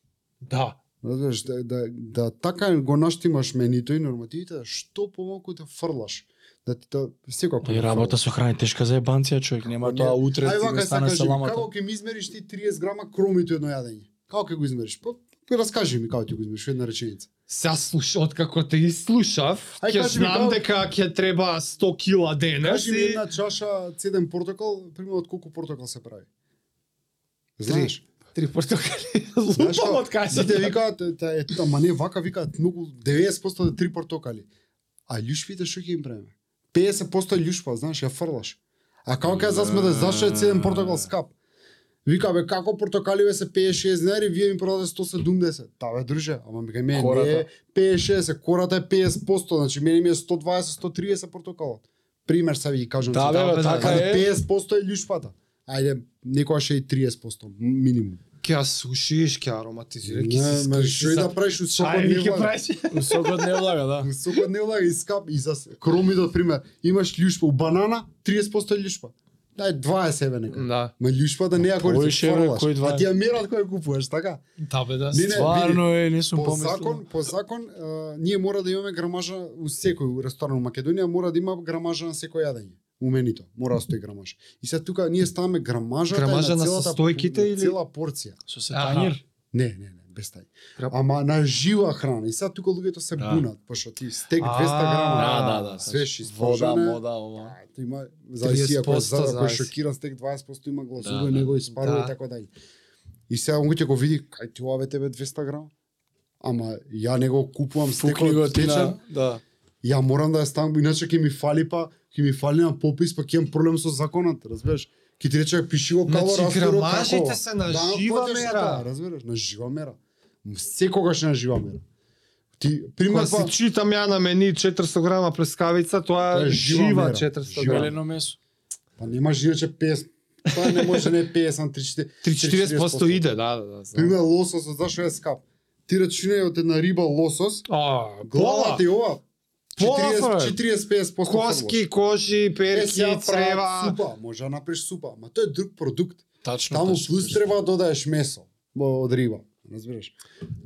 Speaker 3: Да.
Speaker 2: Знаеш, да, да, да така го наштимаш менито и нормативите, да што помалку да фрлаш. Да ти да секој
Speaker 1: И работа со храна е тешка за ебанција, човек. Нема
Speaker 2: Ако не-
Speaker 1: тоа утре
Speaker 2: Ај
Speaker 1: ти
Speaker 2: вака
Speaker 1: не
Speaker 2: се
Speaker 1: стане
Speaker 2: кажи, како
Speaker 1: саламата.
Speaker 2: ќе ми измериш ти 30 грама кромито едно јадење? Како ќе го измериш? Па па раскажи ми како ќе го измериш во една реченица.
Speaker 3: Се слуш, откако те изслушав,
Speaker 2: Ај,
Speaker 3: ќе
Speaker 2: кажи ми,
Speaker 3: знам
Speaker 2: да.
Speaker 3: дека ќе треба 100 кила денес.
Speaker 2: Кажи ми
Speaker 3: и-
Speaker 2: една чаша цеден портокал, примерно од колку портокал се прави? Знаеш?
Speaker 3: Три портокали.
Speaker 2: Знаеш како?
Speaker 3: Лупам
Speaker 2: Да
Speaker 3: од кај
Speaker 2: Сите викаат, та, е, ама не, вака викаат многу 90% од три портокали. А љушпите што ќе им правиме? 50% љушпа, па, знаеш, ја фрлаш. А како ќе засмете зашто е цеден портокал скап? Вика бе како портокаливе се 56 денари, вие ми продадете 170. Та бе друже, ама ми кај мене не е
Speaker 1: Кората.
Speaker 2: 56, кората е 50%, значи мене ми е 120, 130 портокалот. Пример се ви ги кажам.
Speaker 1: Да,
Speaker 2: сега.
Speaker 1: бе,
Speaker 3: да,
Speaker 1: бе,
Speaker 3: да,
Speaker 1: така
Speaker 2: Али
Speaker 1: е.
Speaker 2: 50% е љушпата. Ајде, некојаш е и 30% минимум.
Speaker 3: Ќе ја сушиш, ќе ја ароматизираш, ќе се
Speaker 2: Не, ме, што и
Speaker 3: скршиш.
Speaker 2: да правиш у сокот
Speaker 3: Чај
Speaker 2: не
Speaker 3: ми ќе
Speaker 2: влага.
Speaker 3: правиш.
Speaker 1: Сокот не влага, да.
Speaker 2: У сокот не влага и скап и за кромидот пример. Имаш љушпа у банана, 30% љушпа. Дај 20 еве нека.
Speaker 3: Да,
Speaker 2: Ма љушпата не ја гориш,
Speaker 1: Повише, бе,
Speaker 2: фрлаш.
Speaker 1: кој
Speaker 2: А
Speaker 1: 20?
Speaker 2: ти ја мерат кој ја купуваш, така?
Speaker 3: да бе да.
Speaker 2: Не, не,
Speaker 1: Стварно е, не сум
Speaker 2: По
Speaker 1: помислил.
Speaker 2: закон, по закон, а, ние мора да имаме грамажа у секој ресторан во Македонија, мора да има грамажа на секој јадење. У менито, мора да стои грамаж. И сега тука ние ставаме грамажата
Speaker 3: Грамажа на
Speaker 2: целата-
Speaker 3: состојките
Speaker 2: на
Speaker 3: или-
Speaker 2: цела порција.
Speaker 1: Со се
Speaker 3: Аха.
Speaker 1: тањер.
Speaker 2: Не, не, не, без тај.
Speaker 3: Гра-
Speaker 2: Ама на жива храна. И сега тука луѓето се
Speaker 1: Да.
Speaker 2: бунат, пошто ти стек 200
Speaker 3: А,
Speaker 2: грама.
Speaker 1: Да, да, да.
Speaker 2: Свеш
Speaker 1: Вода,
Speaker 2: испожане.
Speaker 1: мода, ова.
Speaker 2: Тоа има зависи ако
Speaker 3: 30%
Speaker 2: за ако
Speaker 3: зависи.
Speaker 2: шокиран стек 20% има гласува
Speaker 1: Да, да.
Speaker 2: да, него испарува
Speaker 3: Да.
Speaker 2: и така дај. И сега он ќе го види, кај ти ова бе тебе 200 грама. Ама ја него купувам
Speaker 1: Фукни
Speaker 2: стекот
Speaker 1: го ти
Speaker 2: течен,
Speaker 1: на... Да.
Speaker 2: ја морам да ја ставам, иначе ќе ми фали па, ќе ми фали на попис, па ќе имам проблем со законот, разбираш? Ќе ти рече пиши го кало
Speaker 3: Значи
Speaker 2: растурот
Speaker 3: грамажите се на
Speaker 2: да,
Speaker 3: жива
Speaker 2: платиш на тоа,
Speaker 3: мера.
Speaker 2: разбираш, на жива мера. Секогаш е на жива мера. Ти пример
Speaker 3: Кога
Speaker 2: па
Speaker 3: си читам ја на мени 400 грама прескавица, тоа е жива
Speaker 2: да?
Speaker 3: 400 грама.
Speaker 1: Желено месо.
Speaker 2: Па немаш иначе 50. Тоа не може не е 50, 30.
Speaker 3: 3-40% иде, да, да, да. знам.
Speaker 2: Пример лососот зашо е скап? Ти рачунај од една риба лосос,
Speaker 3: А,
Speaker 2: глава
Speaker 3: глава,
Speaker 2: ти ова
Speaker 3: Пола,
Speaker 2: 40
Speaker 3: бе.
Speaker 2: 40-50%
Speaker 3: коски, кожи, перки, црева.
Speaker 2: супа, може да направиш супа, ма тоа е друг продукт.
Speaker 1: Тачно.
Speaker 2: Таму
Speaker 1: тачно,
Speaker 2: плюс
Speaker 1: тачно.
Speaker 2: треба да додаеш месо бо, од риба, разбираш?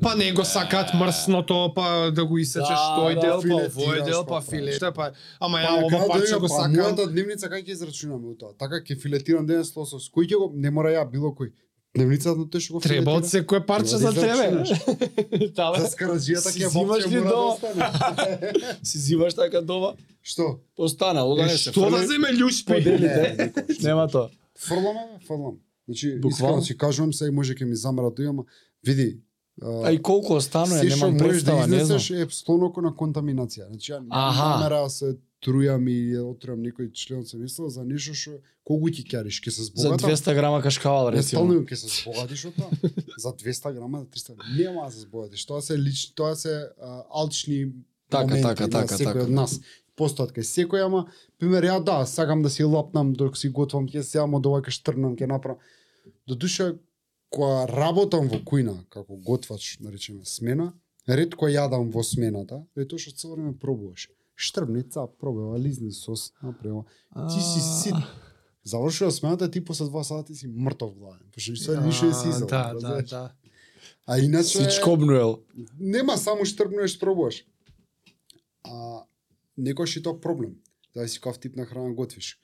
Speaker 3: Па не го сакаат мрсното, па да го исечеш
Speaker 1: Да,
Speaker 3: тој
Speaker 1: да,
Speaker 3: дел, па
Speaker 2: филетираш,
Speaker 3: овој дел, па
Speaker 2: па
Speaker 3: филета, па... Ама ја
Speaker 2: Па
Speaker 3: ова
Speaker 2: кај
Speaker 3: парче
Speaker 2: да
Speaker 3: го
Speaker 2: го па
Speaker 3: сакам.
Speaker 2: мојата дневница кај ќе израчунаме у тоа? Така ќе филетирам денес лосос. Кој ќе го не мора ја било кој. Дневницата на тој што го
Speaker 3: Треба од
Speaker 2: филетира.
Speaker 3: секое парче за
Speaker 2: Треба да
Speaker 3: тебе.
Speaker 2: За
Speaker 3: Тале.
Speaker 2: скараджијата
Speaker 1: Си
Speaker 2: ќе
Speaker 1: взимаш
Speaker 2: бабче
Speaker 1: ли
Speaker 2: мора да
Speaker 1: до?
Speaker 2: остане.
Speaker 1: Си зиваш така дома,
Speaker 2: Што?
Speaker 1: останало да
Speaker 3: Е,
Speaker 1: не се.
Speaker 3: Што да
Speaker 1: фрли.
Speaker 3: земе љушпи?
Speaker 1: Поделите. Нема тоа.
Speaker 2: Фрламе, фрлам. Значи, искрено
Speaker 1: Буквално.
Speaker 2: си кажувам се и може ќе ми замерат тоа, ама види. а,
Speaker 1: А и колку останува,
Speaker 2: се што
Speaker 1: немам
Speaker 2: Па, можеш да
Speaker 1: представа, не знам.
Speaker 2: изнесеш е стоноко на контаминација. Значи, ја
Speaker 1: Аха.
Speaker 2: намера се трујам и отрујам некој член се мислел за нешто што колку ќе кериш, ќе се
Speaker 1: За
Speaker 2: збогатам.
Speaker 1: 200 грама кашкавал,
Speaker 2: Не
Speaker 1: рецимо.
Speaker 2: стално ќе се збогатиш од тоа. За 200 грама, за 300 нема да се збогатиш. Тоа се лични, тоа се а, алчни
Speaker 1: Така,
Speaker 2: моменти
Speaker 1: така,
Speaker 2: на
Speaker 1: така,
Speaker 2: секој
Speaker 1: така.
Speaker 2: од нас. Постојат кај секој, ама пример ја да, сакам да си лапнам док си готвам, ќе се јам од ова ќе штрнам, ќе направам. До душа кога работам во кујна како готвач, да речеме, смена, ретко јадам во смената, е тоа што цело време пробуваш. Штрбница, пробува лизни сос, направо. Ти си сит. Завршува смената, ти после два сати си мртов гладен, пошто ништо ништо не си
Speaker 3: А,
Speaker 2: изел.
Speaker 3: Да, да,
Speaker 2: разбираш?
Speaker 3: да.
Speaker 2: А иначе
Speaker 1: Си чкобнуел.
Speaker 2: нема само штрбнуваш, пробуваш. А некојаш и тоа проблем. Зависи каков тип на храна готвиш.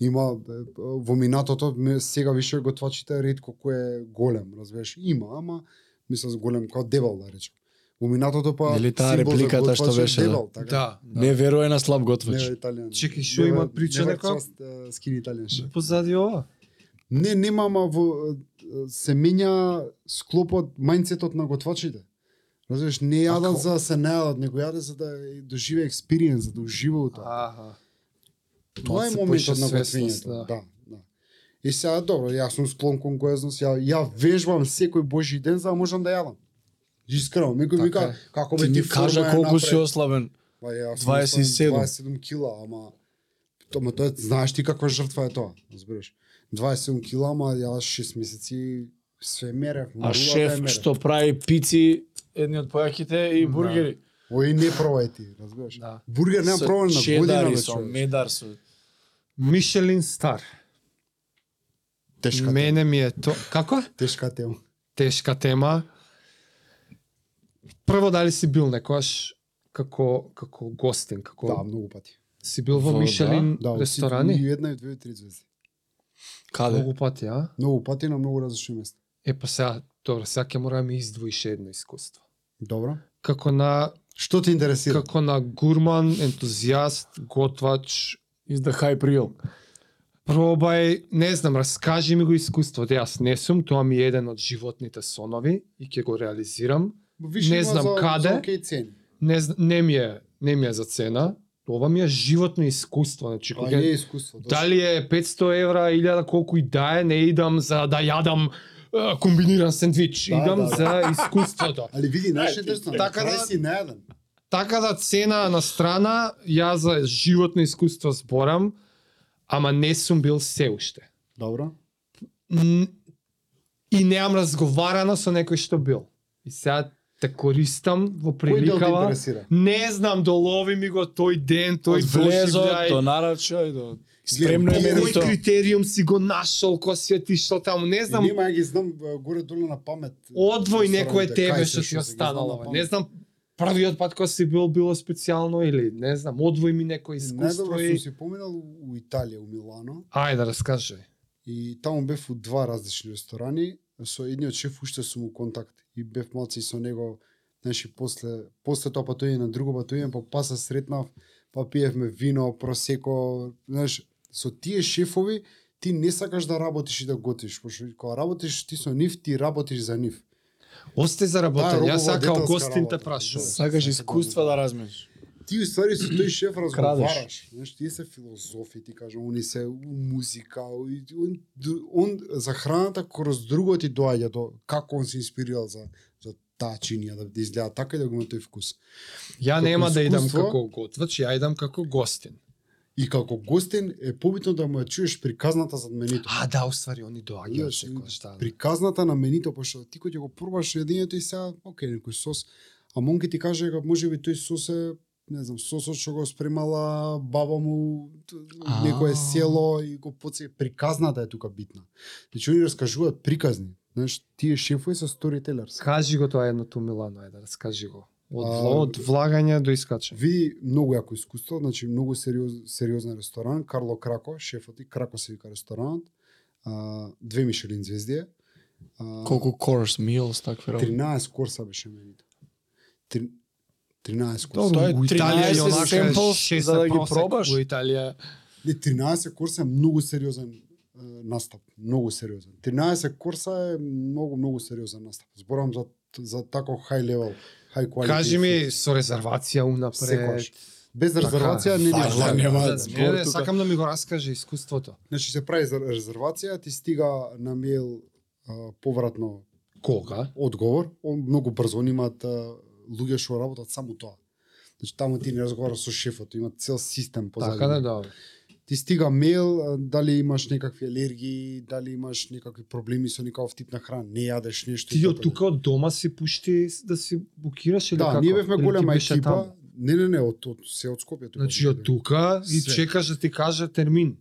Speaker 2: Има е, е, во минатото ме- сега више готвачите ретко кој е голем, разбираш? Има, ама мислам за голем како дебел да речем. Во минатото па
Speaker 1: Нели таа
Speaker 2: символ за
Speaker 1: репликата што
Speaker 2: готвач е
Speaker 1: беше, да?
Speaker 2: дебел, така.
Speaker 3: Да.
Speaker 1: Не веруе на слаб
Speaker 2: Не е
Speaker 1: готвач.
Speaker 2: италијан.
Speaker 3: Чекај, шо
Speaker 2: Never-
Speaker 3: имат прича
Speaker 2: never
Speaker 3: нека?
Speaker 2: trust, е, skinny Italian chef.
Speaker 3: Позади ова.
Speaker 2: Не, нема, ама во е, се менја склопот, мајнцетот на готвачите. Разбираш, не јадат
Speaker 3: како?
Speaker 2: за да се најадат, него јадат за да е- доживе експириенс, за да ужива у тоа.
Speaker 3: Аха.
Speaker 2: Тоа е
Speaker 3: се
Speaker 2: моментот
Speaker 3: пуша
Speaker 2: на
Speaker 3: свесност,
Speaker 2: готвењето. Да. да, И сега добро, јас сум склон кон гојазност, ја ја вежбам секој божи ден за да можам да јадам. Искрено, некој ми
Speaker 3: Така
Speaker 2: кажа како бе
Speaker 1: Ти
Speaker 2: ти
Speaker 1: ми
Speaker 2: форма
Speaker 1: кажа
Speaker 2: ја
Speaker 1: колку
Speaker 2: направи.
Speaker 1: си ослабен.
Speaker 2: Па ја
Speaker 1: 27.
Speaker 2: 27 кила, ама то, ма, тоа е- знаеш ти каква жртва е тоа, разбираш. 27 кила, ама ја 6 месеци се мерев, да
Speaker 1: А
Speaker 2: на рулата ја
Speaker 1: шеф
Speaker 2: мерев.
Speaker 1: што прави пици, едни од појаките и
Speaker 3: Да.
Speaker 1: бургери.
Speaker 2: Ој не пробај ти, разбираш.
Speaker 3: Да.
Speaker 2: Бургер нема
Speaker 1: Со
Speaker 2: проблем на
Speaker 1: чедари,
Speaker 2: година, бе,
Speaker 1: со
Speaker 2: човек.
Speaker 1: медар, со...
Speaker 3: Мишелин Стар.
Speaker 2: Тешка, тема,
Speaker 3: Мене ми е то... Како?
Speaker 2: тешка тема.
Speaker 3: Тешка тема. Прво, дали си бил некојаш како, како гостин, како
Speaker 2: Да, многу пати.
Speaker 3: си бил во
Speaker 1: Во,
Speaker 3: Мишелин
Speaker 2: Да,
Speaker 3: ресторани?
Speaker 2: И една и две и три звезди.
Speaker 1: Каде?
Speaker 3: Многу пати, а?
Speaker 2: Многу пати на многу различни места.
Speaker 3: Е, па сега, добро, сега ќе мора да ми издвоиш едно искуство.
Speaker 2: Добро.
Speaker 3: Како на,
Speaker 2: Што те интересира?
Speaker 3: како на гурман, ентузијаст, готвач,
Speaker 1: Is the high priel.
Speaker 3: пробај, не знам, раскажи ми го искуството. Јас не сум, тоа ми е еден од животните сонови и ќе го реализирам. не
Speaker 2: има
Speaker 3: знам
Speaker 2: за,
Speaker 3: каде.
Speaker 2: За окей цени.
Speaker 3: Не, зн- не ми е, не ми е за цена. Ова ми е животно искуство, значи
Speaker 2: Тоа
Speaker 3: кога
Speaker 2: Па е искуство. точно.
Speaker 3: дали е 500 евра, 1000 колку и да е, не идам за да јадам е, комбиниран сендвич,
Speaker 2: Да,
Speaker 3: идам
Speaker 2: да, да.
Speaker 3: за искуството.
Speaker 2: Али види, знаеш интересно,
Speaker 3: Така
Speaker 2: така
Speaker 3: да-
Speaker 2: да си најаден.
Speaker 3: Така да цена на страна, ја за животно искуство зборам, ама не сум бил се уште.
Speaker 2: Добро.
Speaker 3: Н- И неам разговарано со некој што бил. И сега те користам во
Speaker 2: Кој дел да те
Speaker 3: приликава.
Speaker 2: интересира?
Speaker 3: Не знам, долови ми го тој ден, тој
Speaker 1: Од влезот,
Speaker 3: доживљај.
Speaker 1: до нарачај, до... Спремно е
Speaker 2: Гледам,
Speaker 1: мене
Speaker 3: Кој
Speaker 1: и тоа.
Speaker 3: критериум си го нашол, кој си отишол таму, не
Speaker 2: Знам...
Speaker 3: знам,
Speaker 2: Нема, ја ги знам а, горе долу на памет.
Speaker 3: одвој некое
Speaker 2: Рестораните,
Speaker 3: тебе
Speaker 2: кај
Speaker 3: што
Speaker 2: се,
Speaker 3: ти
Speaker 2: се ги знам на
Speaker 3: останало. бе.
Speaker 2: памет.
Speaker 3: Не знам, првиот пат кога си бил било специјално или не знам, одвој ми некој искуство
Speaker 2: Најдобро
Speaker 3: и
Speaker 2: сум си поминал у Италија, у Милано,
Speaker 3: ајде да раскажи.
Speaker 2: и таму бев у два различни ресторани, со едниот шеф уште сум у контакт и бев малци со него, знаеш, и после, после тоа па тој е на друго, па тој е, па па се сретнав, па пиевме вино, просеко, знаеш, со тие шефови ти не сакаш да работиш и да готвиш, пошто кога работиш ти со нив, ти работиш за нив.
Speaker 3: Осте заработен,
Speaker 2: Да,
Speaker 3: ја
Speaker 2: робова
Speaker 3: сакал
Speaker 2: детелска
Speaker 3: гостин те
Speaker 2: работа.
Speaker 3: прашува.
Speaker 1: Сакаш искуства да размениш.
Speaker 2: ти у ствари со тој шеф
Speaker 1: Крадеш.
Speaker 2: разговараш. Знаеш, тие се филозофи, ти кажам, они се у музика, и он, он за храната кроз друго ти доаѓа до како он се инспирирал за за таа чинија да, да изгледа така и да го има тој вкус.
Speaker 3: Ја
Speaker 2: Како
Speaker 3: нема да идам
Speaker 2: искуство?
Speaker 3: како готвач, ја идам како гостин.
Speaker 2: И како гостен е побитно да му ја чуеш приказната за менито.
Speaker 3: А да, уствари они доаѓаат
Speaker 2: Знаеш,
Speaker 3: секој шта.
Speaker 2: приказната на менито, пошто ти кој ќе го пробаш јадењето и сега, окей, некој сос, а Монки ти каже дека можеби тој сос е, не знам, сосот што го спремала баба му т-
Speaker 1: А.
Speaker 2: некое село и го поце приказната е тука битна. Значи они раскажуваат приказни. Знаеш, тие шефови се сторителерс.
Speaker 3: Кажи го тоа едното Милано, ајде, раскажи го. Од,
Speaker 2: А,
Speaker 3: вла- од влагање до искачање.
Speaker 2: Ви многу јако искуство, значи многу сериоз, сериозен ресторан, Карло Крако, шефот и Крако се вика ресторанот. А, две Мишелин звезди. е. А,
Speaker 1: Колку course meals, такви работи.
Speaker 2: 13 курса беше менито. Три- 13 курса.
Speaker 1: Добро. Тоа е
Speaker 3: у Италија
Speaker 1: 13
Speaker 3: и онака
Speaker 1: samples
Speaker 3: шест
Speaker 1: за да
Speaker 3: е
Speaker 1: ги
Speaker 3: просек
Speaker 1: пробаш.
Speaker 3: Во Италија
Speaker 2: Не, 13 курса е многу сериозен е, настап, многу сериозен. 13 курса е многу многу сериозен настап. Зборам за за тако high level, high quality.
Speaker 3: Кажи ми со резервација унапред.
Speaker 2: секогаш. без резервација не
Speaker 1: Така,
Speaker 2: ни
Speaker 1: нема
Speaker 3: Да, да,
Speaker 1: збор
Speaker 3: не, не,
Speaker 1: тука.
Speaker 3: сакам да ми го раскаже искуството.
Speaker 2: Значи се прави за резервација, ти стига на мејл а, повратно
Speaker 3: Кога?
Speaker 2: одговор, он многу брзо, они имаат а, луѓе што работат само тоа. Значи таму ти не разговараш со шефот, имаат цел систем позади.
Speaker 3: Така да, да.
Speaker 2: ти стига мејл а, дали имаш некакви алергии, дали имаш некакви проблеми со некаков тип на храна, не јадеш нешто. и
Speaker 3: Ти
Speaker 2: така
Speaker 3: од тука од дома си пушти да си букираш или
Speaker 2: Да,
Speaker 3: како?
Speaker 2: ние бевме
Speaker 3: Или ти
Speaker 2: голема
Speaker 3: беше таму?
Speaker 2: екипа. Не, не, не, од, од се од Скопје тука.
Speaker 3: Значи од тука и
Speaker 2: Све.
Speaker 3: чекаш да ти каже термин.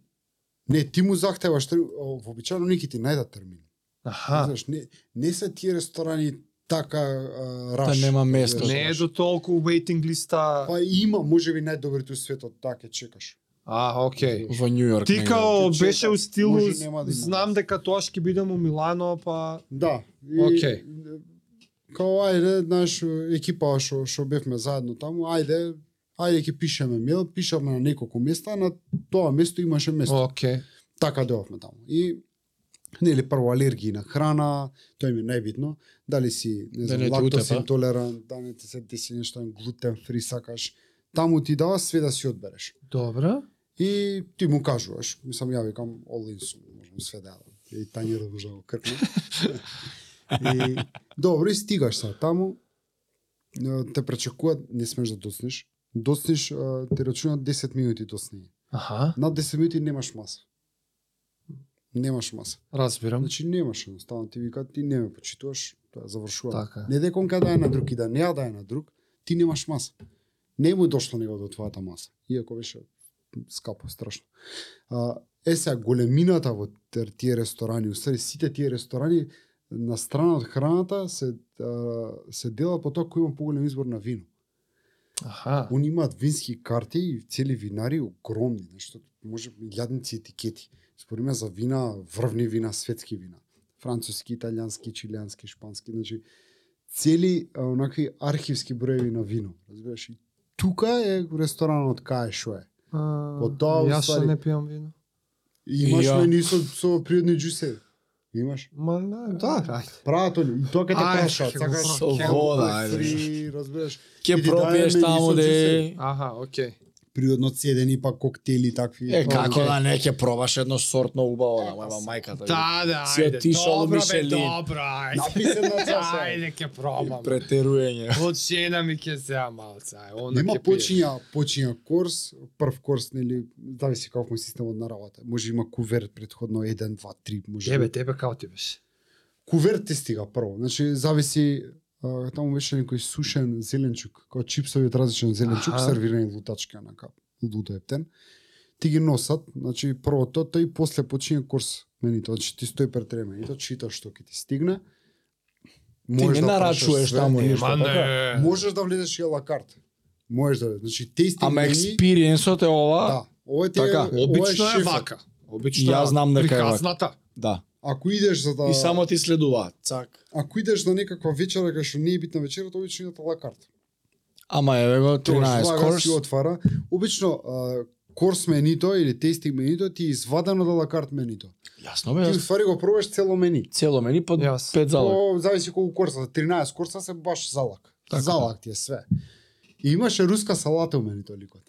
Speaker 2: Не, ти му захтеваш тер- о, вообичаено некои ти најдат термин.
Speaker 3: Аха.
Speaker 2: Знаеш, не не се тие ресторани така а,
Speaker 1: Та
Speaker 2: раш.
Speaker 1: нема
Speaker 2: да,
Speaker 1: место.
Speaker 3: Не е до толку waiting листа.
Speaker 2: Па има можеби најдобрите у светот, така ќе чекаш.
Speaker 3: А, окей.
Speaker 1: Во Нью Йорк.
Speaker 3: Ти као
Speaker 2: Ти чекаш,
Speaker 3: беше у стилу,
Speaker 2: може и нема да има.
Speaker 3: знам дека тоа ќе бидам у Милано, па...
Speaker 2: Да. и-
Speaker 3: Окей.
Speaker 2: Као, ајде, знаеш, екипа што што бевме заедно таму, ајде, ајде ќе пишеме мел, пишавме на неколку места, на тоа место имаше место.
Speaker 3: Окей.
Speaker 2: Така дојавме таму. И нели прво алергии на храна, тоа ми е најбитно, дали си,
Speaker 1: Да
Speaker 2: не знам,
Speaker 1: не те
Speaker 2: лактос
Speaker 1: утепа.
Speaker 2: интолерант, да не ти се деси нешто глутен фри сакаш, таму ти дава све да си одбереш.
Speaker 3: Добра.
Speaker 2: И ти му кажуваш, мислам ја викам all in сум, можам све да јадам. И тање да може да го кркне. и добро и стигаш са таму. е, Те пречекуваат, не смеш да доцнеш. досниш, а, ти рачунат 10 минути досни.
Speaker 3: Аха,
Speaker 2: Над 10 минути немаш маса. Немаш маса.
Speaker 3: разбирам.
Speaker 2: Значи немаш едноставно. Ти вика, ти не ме почитуваш, тоа завршува.
Speaker 3: Така.
Speaker 2: Не дека онка да е на друг и да не ја да е на друг, ти немаш маса. Не му е дошло него до твојата маса. Иако беше скапо, страшно. А, е сега, големината во тер- тие ресторани, усреди сите тие ресторани, на страна од храната се, а, се дела по тоа кој има поголем избор на вино.
Speaker 3: Аха.
Speaker 2: Они имаат вински карти и цели винари огромни, нешто може милиадници етикети. Според мен за вина, врвни вина, светски вина. Француски, италијански, чилијански, шпански, значи цели а, онакви архивски броеви на вино. Разбираш? И тука е ресторанот кај што е.
Speaker 3: По
Speaker 2: тоа,
Speaker 3: Јас
Speaker 2: уствари-
Speaker 3: што не пијам вино.
Speaker 2: И имаш
Speaker 1: Ја.
Speaker 2: мени со, со приодни џусе. Имаш.
Speaker 3: Ма, не, да, ајде.
Speaker 2: Прават они. И тоа ќе те
Speaker 3: Ај,
Speaker 2: прашаат,
Speaker 3: ќе го
Speaker 2: сакаш
Speaker 1: со
Speaker 2: ќе
Speaker 1: вода,
Speaker 2: го
Speaker 1: ајде.
Speaker 2: така
Speaker 1: значи.
Speaker 2: фри, разбираш?
Speaker 1: Ке
Speaker 2: Иди
Speaker 1: пропиеш
Speaker 2: дај мене
Speaker 1: таму
Speaker 2: со
Speaker 1: де...
Speaker 3: Аха, окей.
Speaker 2: Приодно цедени, па коктели такви.
Speaker 1: Е, како
Speaker 3: Океј.
Speaker 1: да не ќе пробаш едно сортно убаво, да, моја мајката.
Speaker 3: да,
Speaker 1: Си отишол у Мишелин.
Speaker 3: ајде.
Speaker 2: Написан на чаша.
Speaker 3: ќе
Speaker 1: И Претеруење.
Speaker 3: Од жена ми ќе се малце, ај, она
Speaker 2: Нема
Speaker 3: ќе пие.
Speaker 2: почиња, почиња курс, прв курс нели, зависи како му е системот на работа. Може има куверт предходно 1 2 3, може.
Speaker 3: Тебе, тебе како ти беше?
Speaker 2: Куверт ти стига прво. Значи зависи а, таму беше некој сушен зеленчук, како чипсови од различен зеленчук,
Speaker 3: Аха.
Speaker 2: сервирани лутачки онака, лудо ептен. Ти ги носат, значи прво тоа, тој после почиња курс. Мени тоа, значи ти стои пред ременито, читаш што ќе ти стигне.
Speaker 1: Ти
Speaker 2: Можеш да
Speaker 1: не
Speaker 2: прашаш
Speaker 1: нарачуваш
Speaker 2: све.
Speaker 1: таму ништо.
Speaker 3: Ма
Speaker 1: така?
Speaker 3: не.
Speaker 2: Можеш да влезеш и алакарт. Можеш да, значи тестинг
Speaker 1: Ама
Speaker 2: мени-
Speaker 1: експириенсот е ова.
Speaker 2: Да, ова ти
Speaker 1: Така,
Speaker 2: е,
Speaker 3: Обично
Speaker 2: ова
Speaker 3: е
Speaker 2: шефот.
Speaker 3: вака.
Speaker 1: И
Speaker 3: Обично.
Speaker 1: Ја знам дека е вака.
Speaker 3: приказната.
Speaker 1: Да.
Speaker 2: Ако идеш за да
Speaker 1: И само ти следуваат. Цак.
Speaker 2: ако идеш на некаква вечера кај што не е битна вечерата, обично идат алакарт.
Speaker 1: Ама еве го 13
Speaker 2: слага си
Speaker 1: корс.
Speaker 2: отвара. Обично а, курс менито или тестинг менито ти е извадено од алакарт менито.
Speaker 1: Јасно бе.
Speaker 2: Ти уствари го пробаш цело мени.
Speaker 1: Цело мени под
Speaker 3: Јас.
Speaker 1: 5 залог.
Speaker 2: О, зависи колку курса, 13 курса се баш залак.
Speaker 3: Така.
Speaker 2: Залак ти е све. И имаше руска салата у менито ликот.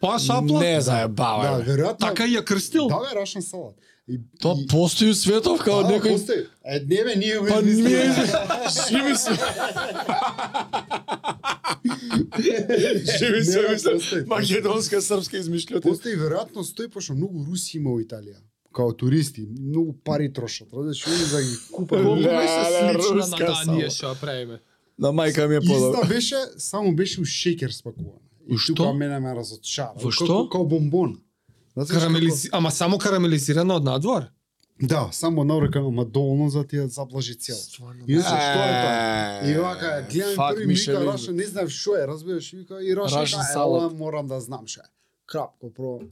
Speaker 3: Па шапла.
Speaker 1: Не
Speaker 2: да,
Speaker 1: заебавај. бе.
Speaker 2: веројатно.
Speaker 3: Така ја крстил.
Speaker 2: Да, бе, рашен салат. И,
Speaker 1: Тоа
Speaker 2: и-
Speaker 1: постои у светов као
Speaker 2: Да,
Speaker 1: некој
Speaker 2: постои. Е, не бе, ние го
Speaker 1: Па
Speaker 2: измислиме.
Speaker 1: ние живи се. Живи
Speaker 2: Не,
Speaker 1: се,
Speaker 2: не,
Speaker 1: мисля,
Speaker 2: постои.
Speaker 1: македонска српска измишлјоти.
Speaker 2: Постои веројатно стои пошто многу руси има во Италија као туристи, многу пари трошат, разбираш, они за ги купат.
Speaker 3: Колку
Speaker 1: Леле,
Speaker 3: беше слична на
Speaker 1: Да, руска
Speaker 3: таа
Speaker 1: сала.
Speaker 3: ние што ја правиме.
Speaker 1: На мајка ми е
Speaker 2: Иста
Speaker 1: подобро.
Speaker 2: беше, само беше у шеќер спакувана. И
Speaker 1: У да. што?
Speaker 2: тука мене ме разочара.
Speaker 1: Во
Speaker 2: Како-
Speaker 1: што?
Speaker 2: Као бомбон. Знаеш
Speaker 3: Карамелизи... Ама само карамелизирана од надвор?
Speaker 2: како- Да, само наврека, ама долно за ти ја заблажи цел.
Speaker 3: Стварно,
Speaker 2: И
Speaker 3: да.
Speaker 2: се што е тоа? И вака, гледам
Speaker 1: Fuck
Speaker 2: први мика
Speaker 1: Michelin.
Speaker 2: Раша, не знам што е, разбираш, и вика, и Раша,
Speaker 1: Russian
Speaker 2: да,
Speaker 1: salad.
Speaker 2: ела, морам да знам што е. Крапко, пробам.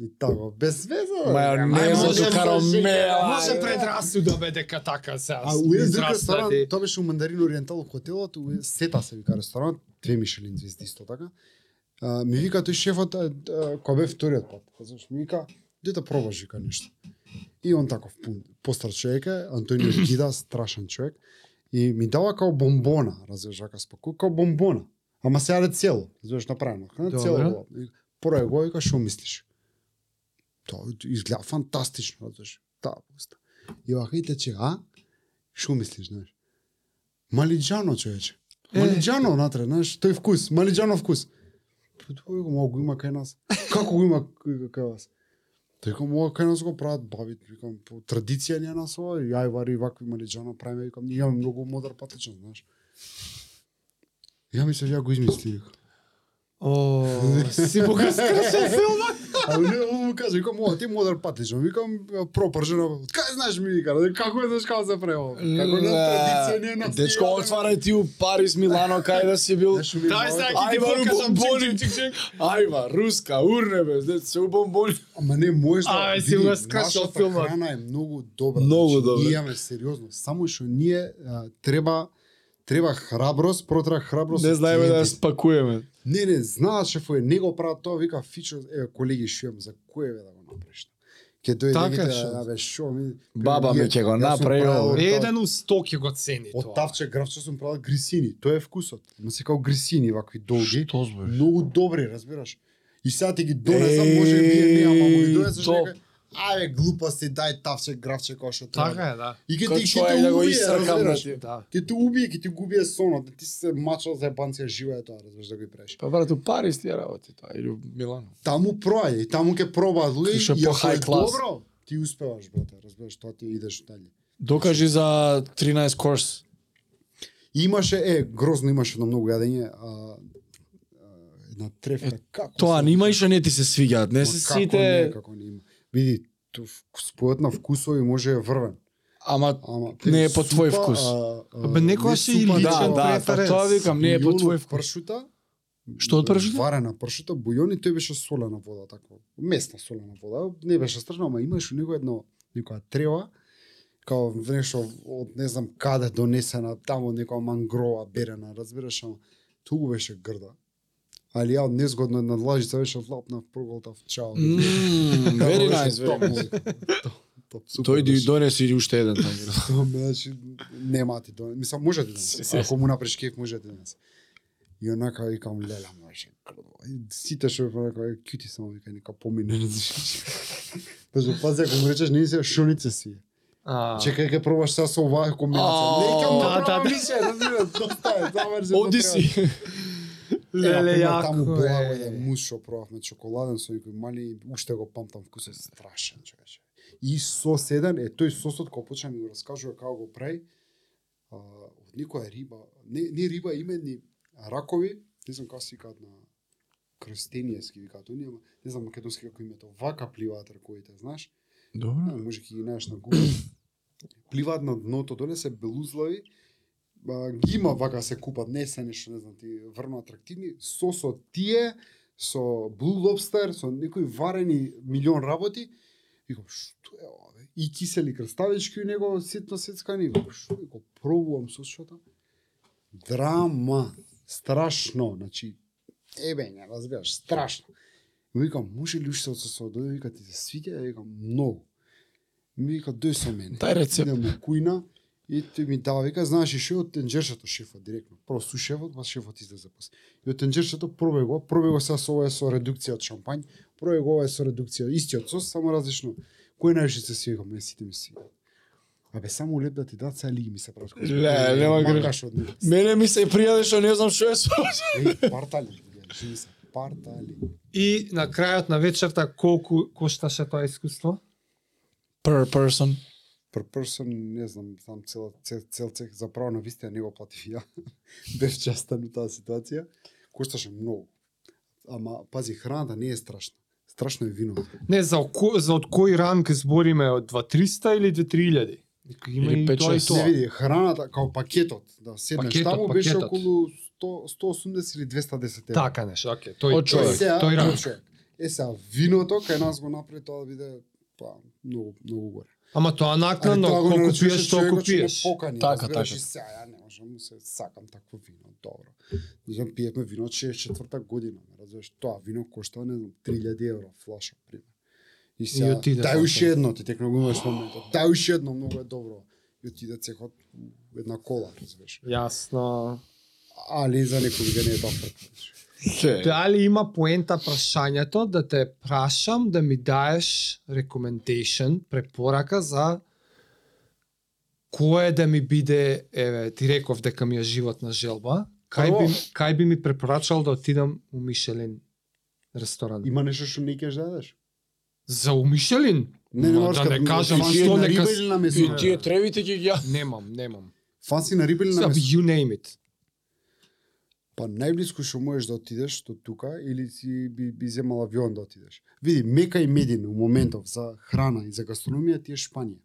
Speaker 2: И така, без веза.
Speaker 1: Майонеза со карамела.
Speaker 3: Може предрасуда бе дека така се.
Speaker 2: А у еден друг ресторан,
Speaker 3: израстади.
Speaker 2: тоа беше у Мандарин Ориентал хотелот, у Сета се вика ресторанот, две Мишелин звезди исто така. А, ми вика тој шефот, а, а, кога бе вториот пат, знаеш, ми вика, де да пробаш, вика нешто. И он таков пун- постар човек е, Антонио Гида, страшен човек, и ми дава као бомбона, разбираш, вака спаку, као бомбона. Ама се јаде цело, знаеш, направено, храна цело.
Speaker 3: Добро.
Speaker 2: било. И Порај го, вика, што мислиш? Тоа изгледа фантастично, разбираш, таа пуста. И вака, и тече, а? Што мислиш, знаеш? Малиджано, човече.
Speaker 3: Е.
Speaker 2: Малиджано внатре, знаеш, тој вкус, малиджано вкус. Па Тој го мога го има кај нас. Како го има кај кај вас? Тој го мога кај нас го прават бабит, викам, по традиција ни е нас ова, и ај вари вакви малиджано правиме, викам, ние имаме многу модар патечен, знаеш. Ја мислев, ја го измислив.
Speaker 3: О, си бога скршил филмот.
Speaker 2: А не, он му кажа, викам, ова ти е модар патечен, викам, пропржено, од кај знаеш ми вика, како е знаеш како се прави ова? Како не традиција ни е нас.
Speaker 1: Дечко,
Speaker 2: ние имаме-
Speaker 1: отварај ти у Париз, Милано, кај да си бил.
Speaker 2: Знаеш, ми е
Speaker 3: Дај
Speaker 2: малко-
Speaker 3: сега ќе ти
Speaker 1: Ајва,
Speaker 3: покажам
Speaker 1: бомбони.
Speaker 3: чик, чик, чик, чик.
Speaker 1: Ајва, руска, урне бе, дед се у бомбони.
Speaker 2: Ама не можеш да
Speaker 3: Абе,
Speaker 2: види,
Speaker 3: си го скачал
Speaker 2: нашата
Speaker 3: филмот.
Speaker 2: храна е многу добра.
Speaker 1: Многу
Speaker 2: Значи,
Speaker 1: добра.
Speaker 2: Ние имаме сериозно, само што ние а, треба треба храброст, протра храброст.
Speaker 1: Не
Speaker 2: од
Speaker 1: знаеме да ја
Speaker 2: клиентите.
Speaker 1: спакуваме.
Speaker 2: Не, не, знаат шефове, не го прават тоа, вика фичо, е колеги што имам за кое бе да го направиш. Ќе дојде
Speaker 3: Така,
Speaker 2: некој
Speaker 3: шо?
Speaker 2: да абе што ми
Speaker 1: Баба ми ќе го
Speaker 2: Јас сум
Speaker 1: направи
Speaker 2: правил
Speaker 1: ово.
Speaker 2: од тав-
Speaker 3: Еден у сто ќе го цени
Speaker 2: Од
Speaker 3: тоа.
Speaker 2: тавче гравче сум правил грисини, тоа е вкусот. Ма се као грисини вакви долги.
Speaker 1: Што збориш?
Speaker 2: Многу добри, разбираш. И сега ти ги донесам, може би е не, ама му ги
Speaker 1: Еј,
Speaker 2: донесеш
Speaker 1: топ.
Speaker 2: некој. ајде глупости, дај тавче, гравче, кошо.
Speaker 3: Така е, да.
Speaker 2: И ке
Speaker 1: Кој
Speaker 2: ти ќе
Speaker 1: човек
Speaker 2: те
Speaker 1: да го
Speaker 2: убие,
Speaker 1: исркам, значи.
Speaker 2: разбираш.
Speaker 1: брат.
Speaker 3: Да.
Speaker 2: Ќе те убие, ќе ти губие сонот, да ти се мачал за ебанција жива е тоа, разбираш да го и преш.
Speaker 1: Па брат, у Париз тие работи тоа, или у Милано.
Speaker 2: Таму проаѓа и таму ќе пробаат луѓе
Speaker 1: Крише
Speaker 2: и ако е
Speaker 1: по-high class.
Speaker 2: добро, ти успеваш, брате, разбираш, тоа ти идеш дале.
Speaker 1: Докажи за 13 курс.
Speaker 2: Имаше, е, грозно имаше едно многу јадење, а, а, една трефка, како
Speaker 1: Тоа
Speaker 2: се-
Speaker 1: нема и што не ти се свигаат, не
Speaker 2: Ма
Speaker 1: се
Speaker 2: како не,
Speaker 1: сите.
Speaker 2: како не има. Види, ту- спојот на вкусови може да е врвен.
Speaker 1: Ама
Speaker 2: Ама
Speaker 1: Не е по твој
Speaker 2: супа,
Speaker 1: вкус.
Speaker 2: а, а,
Speaker 3: Абе, некоја
Speaker 2: не
Speaker 3: си
Speaker 2: супа,
Speaker 3: и
Speaker 2: да,
Speaker 1: да, да,
Speaker 3: личен
Speaker 1: па
Speaker 3: преференс.
Speaker 1: тоа викам, не е по
Speaker 2: бујон
Speaker 1: твој
Speaker 2: од
Speaker 1: вкус.
Speaker 2: пршута.
Speaker 1: Што од пршута?
Speaker 2: Варена пршута, бујон и тој беше солена вода, така. Местна солена вода, не беше стрна, ама имаше у него едно некоја трева као нешто од не знам каде донесена таму од некоја мангрова берена, разбираш, ама туку беше грда. Али ја од незгодно една длажица беше лапна проголтав чао.
Speaker 1: Мм,
Speaker 2: Таму
Speaker 1: Very nice,
Speaker 2: беше
Speaker 1: very
Speaker 2: топ
Speaker 1: nice.
Speaker 2: музика. Топ, топ, супер
Speaker 1: Тој
Speaker 2: беше.
Speaker 1: ди донесе и уште еден таму.
Speaker 2: Тоа, Значи, нема ти доне. Мислам, може да донесе. Ако му направиш кеф, може да донесе. И онака викам, леле, може. И Сите што го рекоа, е, кјути само вика, нека помине. Пазо, пази, ако му речеш, не се, шунице си.
Speaker 3: А,
Speaker 2: Чекај, ке пробаш сега со оваа комбинација. Не, кам
Speaker 1: Да,
Speaker 2: да
Speaker 3: да,
Speaker 2: пробам више, разбираш, доста е, да заврши.
Speaker 1: Оди си.
Speaker 3: леле,
Speaker 2: Таму
Speaker 3: јако
Speaker 2: благо да
Speaker 3: е.
Speaker 2: мус што пробавме чоколаден со некој мали, уште го памтам вкусот страшен, човече. И соседен е тој сосот кој почна ми го раскажува како го прави. А, од некоја риба, не, не риба, име ни ракови, не знам како се викаат на крстенијски викаат оние, ама не знам македонски како името, вака пливаат раковите, знаеш?
Speaker 1: Добро.
Speaker 2: Не, може ќе ги најдеш на Google. Пливаат на дното, доле се белузлави, а, ги има вака се купат, не се нешто, не знам, ти врно атрактивни, со со тие, со Blue Lobster, со некои варени милион работи, викам, што е ова, бе? И кисели крставички у него, ситно сецкани, викам, што е, го пробувам со шота. Драма, страшно, значи, ебе, не разбираш, страшно. Му викам, може ли уште од со со дојде, вика, ти се свиѓа, Ја викам, многу. Ми вика, дој со мене.
Speaker 1: Дај рецепт.
Speaker 2: Идем у кујна, и тој ми дава, вика, знаеш, и шефот, тенџершето шефот, директно. Прво су шефот, па шефот излезе после. И од тенџершето пробај го, пробај го сега со ова е со редукција од шампањ, пробај го ова е со редукција, истиот сос, само различно. Кој најше се свига, ме сите ми се свига. Абе, само леп да ти дат, сега лиги ми се прават.
Speaker 1: Ле, нема грижа.
Speaker 2: Макаш од него.
Speaker 1: Мене ми се пријави што не знам што е со.
Speaker 2: Ей, партали, гледаш, ми се, партали.
Speaker 3: И на крајот на вечерта колку кошташе тоа искуство?
Speaker 1: Per person.
Speaker 2: per person, не знам, знам цел, цел, цел цех, заправо на вистина не го платив ја. Бев частен у таа ситуација. Кошташе многу. Ама, пази, храната не е страшна. Страшно е виното.
Speaker 3: Не, за, око, за од кој ранг збориме, од 2-300 или 2-3000? Има
Speaker 1: Или
Speaker 3: и
Speaker 1: пет,
Speaker 3: тоа и
Speaker 1: шест.
Speaker 2: Не
Speaker 3: тоа.
Speaker 2: види, храната, као пакетот, да седнеш
Speaker 3: Пакетот,
Speaker 2: таму, беше
Speaker 3: пакетот.
Speaker 2: околу 100, 180 или 210 евра.
Speaker 3: Така нешто, окей, тој,
Speaker 1: Од
Speaker 3: тој,
Speaker 1: човек.
Speaker 3: тој, тој ранг.
Speaker 2: човек. Е, сега, виното, кај нас го направи тоа да биде, па, многу, многу горе.
Speaker 3: Ама тоа накнадно,
Speaker 2: тоа го
Speaker 3: колку
Speaker 2: наречуваше
Speaker 3: пиеш, толку
Speaker 2: човекот што ме
Speaker 3: пиеш.
Speaker 2: Покани,
Speaker 1: Така,
Speaker 2: така, разбираш,
Speaker 1: така.
Speaker 2: така. Сега, ја не можам му се сакам такво вино, добро. Не знам, пиевме вино од 64-та година, ме разбираш, тоа вино кошта, не знам, 3000 евро флаша, пример. И
Speaker 3: И
Speaker 2: сега,
Speaker 3: отиде
Speaker 2: дај
Speaker 3: флаша.
Speaker 2: уште едно, ти текна го имаш моментот, дај уште едно, многу е добро. И отиде цехот у една кола, разбираш.
Speaker 3: Јасно.
Speaker 2: Али за некој луѓе не е тоа фрка.
Speaker 3: Дали има поента прашањето да те прашам да ми даеш recommendation, препорака за кое да ми биде, еве, ти реков дека ми е животна желба, кај би,
Speaker 2: Прво.
Speaker 3: кај би ми препорачал да отидам у Мишелин ресторан?
Speaker 2: Има нешто што не кеш да дадеш?
Speaker 3: За у Мишелин? Ма,
Speaker 2: можеш
Speaker 3: да не
Speaker 2: да
Speaker 3: кажам
Speaker 2: фанси
Speaker 3: што
Speaker 2: на
Speaker 3: нека...
Speaker 2: риба или на
Speaker 1: И
Speaker 2: месо.
Speaker 1: тие тревите ќе ги ја.
Speaker 3: Немам, немам.
Speaker 2: Фанси на риба или на
Speaker 3: Саб,
Speaker 2: месо.
Speaker 3: you name it.
Speaker 2: Па најблиску што можеш да отидеш до тука или си би, би земал авион да отидеш. Види, Мека и Медина у моментов за храна и за гастрономија ти е Шпанија.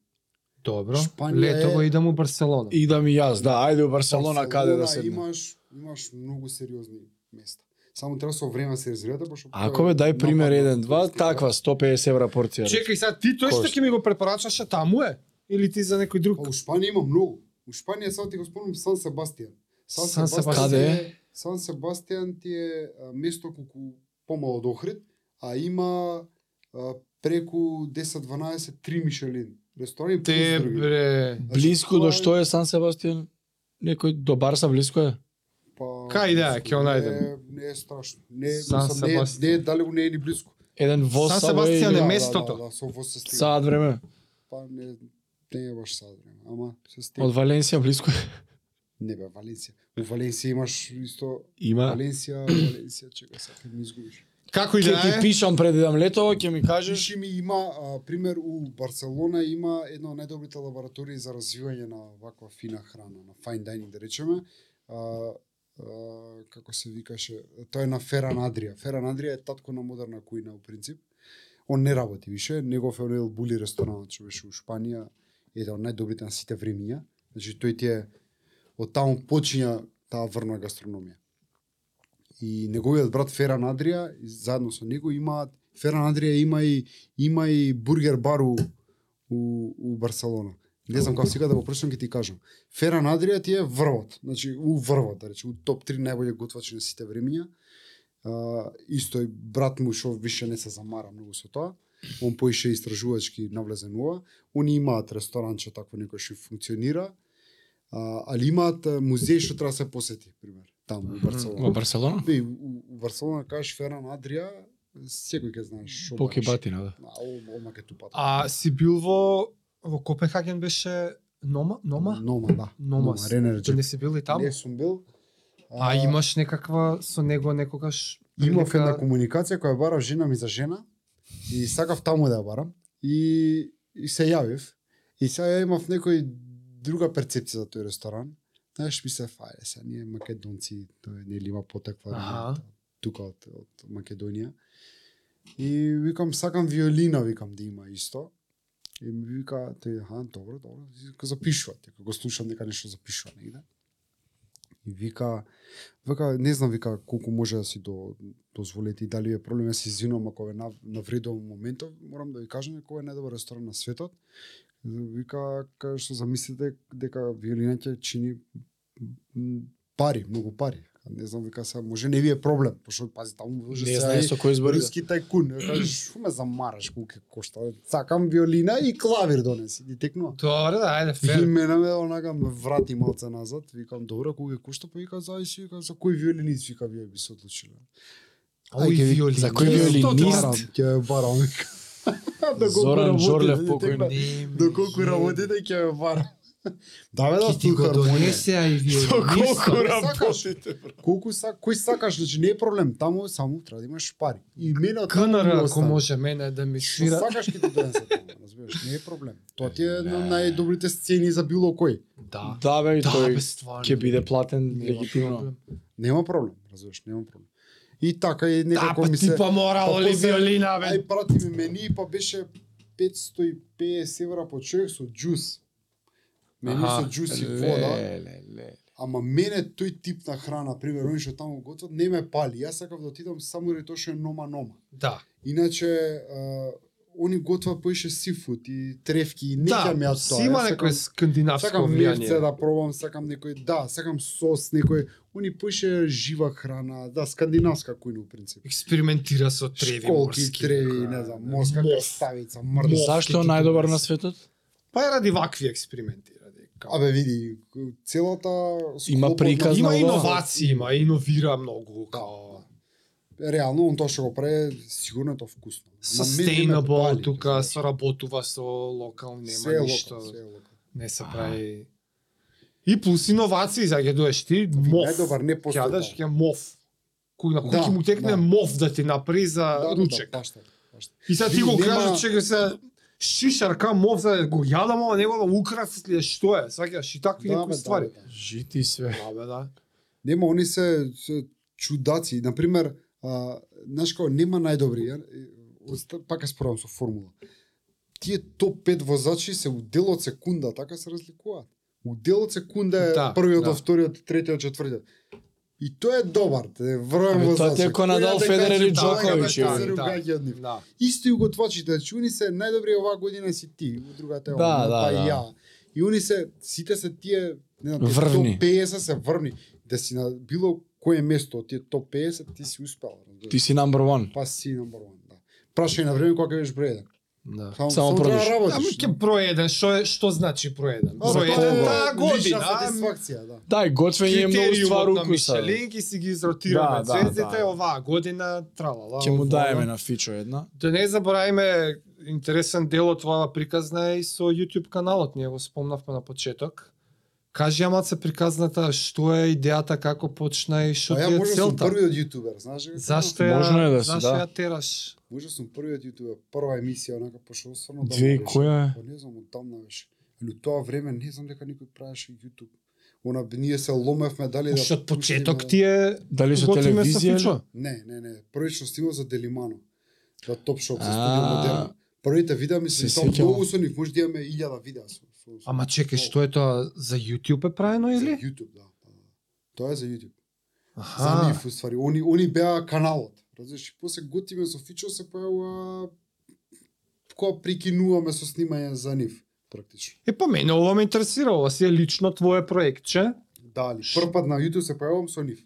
Speaker 3: Добро.
Speaker 2: Шпанија
Speaker 3: Летово
Speaker 2: е-
Speaker 3: идам у Барселона.
Speaker 1: И да ми јас, да, ајде у Барселона каде да
Speaker 2: се
Speaker 1: седне.
Speaker 2: имаш имаш многу сериозни места. Само треба со време да се резервира, пошто
Speaker 1: Ако бе дај пример 1 2, таква 150 евра порција.
Speaker 3: Чекај сега, ти тој што
Speaker 1: Кошт.
Speaker 3: ќе ми го препорачаше таму е? Или ти за некој друг?
Speaker 2: Па у Шпанија има многу. У Шпанија само ти го спомнам Сан Себастијан.
Speaker 3: Сан Себастијан.
Speaker 1: Каде е?
Speaker 2: Сан Себастијан ти е а, место колку помало од Охрид, а има а, преку 10-12 три Мишелин ресторани плюс
Speaker 3: Те,
Speaker 2: други.
Speaker 3: бре...
Speaker 1: Блиску
Speaker 2: Значи,
Speaker 1: до
Speaker 2: тоа
Speaker 1: што е Сан Себастијан? Некој до Барса блиско е?
Speaker 2: Па,
Speaker 3: Кај да е, ќе ја
Speaker 2: не е-
Speaker 3: најдем.
Speaker 2: Не е страшно. Не, е-
Speaker 3: Сан
Speaker 2: мислам, не, е-
Speaker 3: Себастијан.
Speaker 2: не е далеку, не е ни близко.
Speaker 1: еден во
Speaker 3: Сан
Speaker 1: Subway,
Speaker 3: Себастијан е
Speaker 1: да.
Speaker 3: ме- местото.
Speaker 2: Да, да, да, со во се стига.
Speaker 1: Сад време.
Speaker 2: Па не, не е баш сад време, ама се стига.
Speaker 1: Од Валенсија близко е.
Speaker 2: Не бе, Валенсија. У Валенсија имаш исто...
Speaker 1: Има.
Speaker 2: Валенсија, Валенсија, чека, сакам ми изгубиш.
Speaker 3: Како и
Speaker 1: Ќе
Speaker 3: да
Speaker 1: ти
Speaker 3: е,
Speaker 1: пишам пред да летово, ќе ми кажеш.
Speaker 2: Кажеш ми има а, пример у Барселона има едно од најдобрите лаборатории за развивање на ваква фина храна, на fine dining да речеме. А, а, како се викаше, тоа е на Феран Адрија. Феран Адрија е татко на модерна кујна во принцип. Он не работи више, негов е оној Ел Були ресторанот што беше у Шпанија, еден од најдобрите на сите времиња. Значи тој ти е од таму почиња таа врна гастрономија. И неговиот брат Феран Адрија заедно со него имаат Феран Адрија има и има и бургер бар у у, у Барселона. Не знам како сега да го прочитам ќе ти кажам. Феран Адрија ти е врвот, значи у врвот, да рече, у топ 3 најбољи готвачи на сите времиња. А, исто и брат му што више не се замара многу со тоа. Он поише истражувачки навлезенува. Они имаат ресторанче такво некој што функционира. А, али имаат а, музеј што треба да се посети, пример, таму у
Speaker 1: Во
Speaker 2: Барселона.
Speaker 1: Барселона?
Speaker 2: Бе, у, у Барселона кажеш Феран Адрија, секој ќе знаеш што
Speaker 1: Поке
Speaker 2: бараш.
Speaker 1: батина, да.
Speaker 2: А, о- Ома ке тупат.
Speaker 3: а си бил во во Копенхаген беше Нома, Нома,
Speaker 2: Нома, да.
Speaker 3: Нома.
Speaker 2: Ренер
Speaker 3: Ти Па не си бил и таму?
Speaker 2: Не сум бил.
Speaker 3: А имаш некаква со него некогаш
Speaker 2: Имав една
Speaker 3: прилика?
Speaker 2: комуникација која ја барав жена ми за жена и сакав таму да ја барам и, и се јавив. И сега ја имав некој друга перцепција за тој ресторан. Знаеш, ми се фајде, сега ние македонци, тој нели има потекла
Speaker 3: Аха.
Speaker 2: тука од, од Македонија. И викам, сакам виолина, викам да има исто. И ми вика, тој, аха, добро, добро, И го запишува, дека го слушам дека нешто запишува негде. И вика, вика, не знам, вика, колку може да си до, дозволите и дали е проблем, ја се извинувам ако ве нав- навредувам во моментов, морам да ви кажам дека кој е најдобар ресторан на светот. Вика, кај што замислите дека виолина ќе чини м, пари, многу пари. Не знам, вика, сега може не ви е проблем, пошто пази таму може
Speaker 1: Не
Speaker 2: сега
Speaker 1: знае
Speaker 2: и-
Speaker 1: со кој збори. да.
Speaker 2: Руски тајкун, Ја кажеш, што ме замараш колку ќе кошта? Сакам виолина и клавир донеси, и текнува.
Speaker 3: Добре, да, ајде,
Speaker 2: И
Speaker 3: фер.
Speaker 2: мене ме онака ме врати малце назад, викам добро колку ќе кошта, па вика зависи, вика за кој виолинист вика вие би се одлучиле.
Speaker 3: Ој,
Speaker 1: Ајде, ви-
Speaker 3: виолинист.
Speaker 1: за кој виолинист?
Speaker 2: барам, ќе ја барам. вика. До колку
Speaker 1: Зоран
Speaker 2: работите,
Speaker 1: Жорлев,
Speaker 2: не
Speaker 1: покојни.
Speaker 2: текна. До колку работите ќе ја барам. Да, бе, да,
Speaker 3: Ки ти го
Speaker 2: слухам, моје.
Speaker 3: донесе, а и
Speaker 1: Со колку
Speaker 3: виолинист.
Speaker 1: работите, бро.
Speaker 2: Колку са, кој сакаш, значи не е проблем, таму само треба да имаш пари. И мене од таму ми
Speaker 3: КНР, ако
Speaker 2: остана.
Speaker 3: може мене да ми
Speaker 2: Што
Speaker 3: свира.
Speaker 2: сакаш ќе ти донесе таму, разбираш, не е проблем. Тоа ти е на
Speaker 1: Не.
Speaker 2: најдобрите сцени за било кој.
Speaker 3: Да.
Speaker 1: Да, бе, и
Speaker 3: Да,
Speaker 1: тој
Speaker 3: бе, стварно.
Speaker 1: ќе биде платен
Speaker 2: Нема
Speaker 1: легитимно.
Speaker 2: Нема проблем, разбираш, нема проблем. И така и
Speaker 3: Да,
Speaker 2: некако
Speaker 3: па
Speaker 2: ми
Speaker 3: ти
Speaker 2: се
Speaker 3: па морало
Speaker 2: Па
Speaker 3: ли
Speaker 2: после-
Speaker 3: виолина, бе?
Speaker 2: ај прати ми мени па беше 550 евра по човек со џус. Мени
Speaker 3: Аха,
Speaker 2: со џус и вода,
Speaker 1: Ле, ле, ле.
Speaker 2: ама мене тој тип на храна, пример, они што таму готват, не ме пали. Јас сакав да отидам само ради тоа што е нома нома.
Speaker 3: Да.
Speaker 2: Иначе а, они готват поише сифут и тревки и не
Speaker 3: Да,
Speaker 2: ќе ми ја тоа.
Speaker 3: си има
Speaker 2: Јас
Speaker 3: некој
Speaker 2: сакам-
Speaker 3: скандинавско
Speaker 2: Сакам мирце
Speaker 3: влијание.
Speaker 2: да пробам, сакам некој, да, сакам сос, некој, уни пуше жива храна, да, скандинавска кујна во принцип.
Speaker 3: Експериментира со треви
Speaker 2: Школки,
Speaker 3: морски. да, така.
Speaker 2: треви,
Speaker 3: тука.
Speaker 2: не знам, морска
Speaker 3: Мов.
Speaker 2: крставица, мрда.
Speaker 3: Мов.
Speaker 1: Зашто
Speaker 3: ти
Speaker 1: најдобар
Speaker 3: донесе.
Speaker 1: на светот?
Speaker 3: Па е ради вакви експерименти. Ради, као-
Speaker 2: Абе види, целата
Speaker 1: Има
Speaker 2: склопот
Speaker 1: приказ
Speaker 2: на-
Speaker 3: има
Speaker 1: знам, да.
Speaker 3: иновации, има, иновира
Speaker 2: Да.
Speaker 3: многу. Као...
Speaker 2: реално он тоа што го прави сигурно е тоа вкусно. На мене ме
Speaker 3: Sustainable,
Speaker 2: пали,
Speaker 3: тука
Speaker 2: знаеш.
Speaker 3: соработува со локал, нема
Speaker 2: Све е
Speaker 3: ништо,
Speaker 2: локал, све е локал.
Speaker 3: не се прави. И плюс иновации, загедуваш ти, мов.
Speaker 2: Најдобар не
Speaker 3: Ќе јадеш,
Speaker 2: постои.
Speaker 3: ќе мов. Кој на кој
Speaker 2: Да,
Speaker 3: ќе му текне
Speaker 2: да.
Speaker 3: мов да ти направи за ручек.
Speaker 2: баш така, баш така.
Speaker 3: И сега ти го
Speaker 2: Нема-
Speaker 3: кажеш, чека се шишарка мов за да го јадам, ама него да украсат ли е што е, сваќаш и такви
Speaker 2: Да, бе,
Speaker 3: некои
Speaker 2: да,
Speaker 3: ствари.
Speaker 2: бе, да.
Speaker 1: Жити све.
Speaker 3: Да, бе, да.
Speaker 2: Нема, они се, се чудаци. Например, а, знаеш како, нема најдобри. Ја, е, оста- пак ја справам со формула. Тие топ 5 возачи се у дел од секунда, така се разликуваат. У дел од секунда е
Speaker 3: Да,
Speaker 2: првиот,
Speaker 3: да.
Speaker 2: да. вториот, третиот, четвртиот. И тој е добар, да е врвен
Speaker 1: Абе, тоа
Speaker 2: возач.
Speaker 1: ти е
Speaker 2: Кој
Speaker 1: ко Надал,
Speaker 2: да
Speaker 1: Федерер
Speaker 2: каже,
Speaker 1: или
Speaker 2: да,
Speaker 1: Джокович,
Speaker 2: да,
Speaker 1: е,
Speaker 2: се
Speaker 3: бе.
Speaker 2: ругаѓа од нив.
Speaker 3: Да.
Speaker 2: Исто и готвачите, значи уни се најдобри оваа година си ти, у другата е
Speaker 1: Да,
Speaker 2: она,
Speaker 1: да,
Speaker 2: па
Speaker 1: да.
Speaker 2: и ја. И уни се сите се тие, не знам, тие
Speaker 1: Врвни.
Speaker 2: топ 50 се врвни, да си на било кое место од тие топ 50 ти си успел. разбираш.
Speaker 1: Ти си number one.
Speaker 2: Па си number one, да. Прашај на време кога ќе бидеш број еден.
Speaker 3: Да.
Speaker 1: Само
Speaker 2: Само, само треба
Speaker 1: продаш.
Speaker 2: да
Speaker 3: Ама
Speaker 2: работиш.
Speaker 3: ќе проеден, што е- што значи проеден?
Speaker 2: Ама,
Speaker 3: Проеден
Speaker 2: е
Speaker 3: таа
Speaker 2: лична
Speaker 3: година. ам,
Speaker 2: сатисфакција, да.
Speaker 1: Тај, готвење е многу ствар
Speaker 3: Критериумот на
Speaker 1: укуса. бе.
Speaker 3: Мишелин, ќе си ги изротираме
Speaker 1: Да, да,
Speaker 3: звездите,
Speaker 1: да.
Speaker 3: оваа година, тралала.
Speaker 1: Ќе му
Speaker 3: оваа.
Speaker 1: даеме на фичо една.
Speaker 3: Да не забораваме интересен дел од оваа приказна е и со YouTube каналот, ние го спомнавме на почеток. Кажи ама се приказната што е идејата, како почна и што
Speaker 2: Па ја
Speaker 3: ти е
Speaker 2: може сум
Speaker 3: целта.
Speaker 2: првиот јутубер, знаеш ли? како?
Speaker 3: Зашто ја,
Speaker 1: Можно е да си,
Speaker 3: зашто
Speaker 1: да.
Speaker 3: ја тераш?
Speaker 2: Може сум првиот јутубер, прва емисија, онака пошо осврно да.
Speaker 1: Две и која е?
Speaker 2: Па не знам, одамна беше. Али у тоа време не знам дека никој правеше YouTube. Она ние се ломевме дали да
Speaker 3: Уште од
Speaker 2: пуштиме-
Speaker 3: почеток ти е
Speaker 1: Дали со
Speaker 3: готвиме со
Speaker 1: телевизија? да.
Speaker 3: фичо.
Speaker 1: или?
Speaker 2: Не, не, не. Првично стигнав за Делимано. Да топ шоп со
Speaker 1: А.
Speaker 2: студио модерн. Првите видеа ми се
Speaker 1: Се
Speaker 2: тоа
Speaker 1: сеќавам.
Speaker 2: многу со нив, може да имаме 1000 видеа со. со, со
Speaker 3: Ама чекај, што е тоа за YouTube е правено
Speaker 2: За
Speaker 3: или?
Speaker 2: YouTube, да. да, да. Тоа е за YouTube. За
Speaker 3: Аха.
Speaker 2: нив уствари, они они беа каналот. Разбираш, и после готиме со Фичо се појава кога прикинуваме со снимање за нив практично.
Speaker 3: Е па мене ова ме интересира, ова си е лично твое
Speaker 2: Да.
Speaker 3: проектче.
Speaker 2: Дали, прв пат на YouTube се појавам со нив.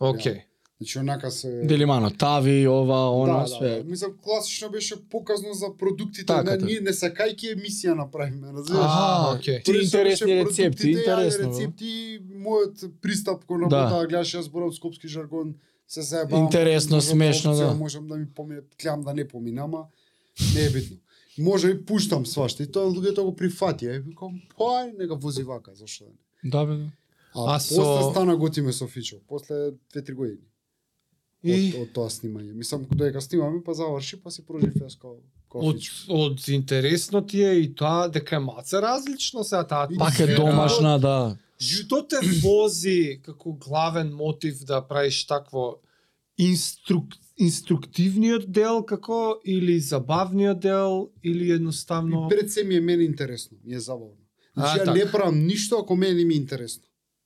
Speaker 3: Океј.
Speaker 2: Значи онака се
Speaker 1: Делимано, тави, ова,
Speaker 2: да,
Speaker 1: она,
Speaker 2: да,
Speaker 1: све.
Speaker 2: Да, мислам класично беше показно за продуктите,
Speaker 1: Така,
Speaker 2: на
Speaker 1: така.
Speaker 2: ние не сакајки емисија направиме, разбираш?
Speaker 3: Аха, океј.
Speaker 1: Ти
Speaker 2: Прво што
Speaker 1: интересни
Speaker 2: беше
Speaker 1: рецепти,
Speaker 2: продуктите, јаје
Speaker 1: интересно, бе.
Speaker 2: Рецепти, мојот пристап кон
Speaker 1: Да.
Speaker 2: работа, гледаш јас зборам скопски жаргон, се заебавам.
Speaker 1: Интересно,
Speaker 2: можам
Speaker 1: смешно,
Speaker 2: опција,
Speaker 1: да.
Speaker 2: Можам да ми помине, клям да не помина, ама не е битно. Може и пуштам свашта и тоа луѓето го прифатија. И викам, па, ај, нека вози вака, зашто да не.
Speaker 1: Да, бе. да.
Speaker 2: А,
Speaker 3: А
Speaker 2: после
Speaker 3: со-
Speaker 2: стана готиме со Фичо, после 2-3 години.
Speaker 3: И
Speaker 2: Од, од тоа снимање. Мислам, додека снимаме, па заврши, па си прожив јас као, као
Speaker 3: од
Speaker 2: Фичо.
Speaker 3: од интересно ти е и тоа дека е маце различно се таа
Speaker 2: И
Speaker 1: Пак е
Speaker 3: атмосфера.
Speaker 1: домашна, да.
Speaker 3: Што те вози како главен мотив да правиш такво инструк инструктивниот дел како или забавниот дел или едноставно
Speaker 2: И пред се ми е мене интересно, ми е забавно. Значи
Speaker 3: А,
Speaker 2: ја
Speaker 3: така.
Speaker 2: не правам ништо ако мене не ми е интересно.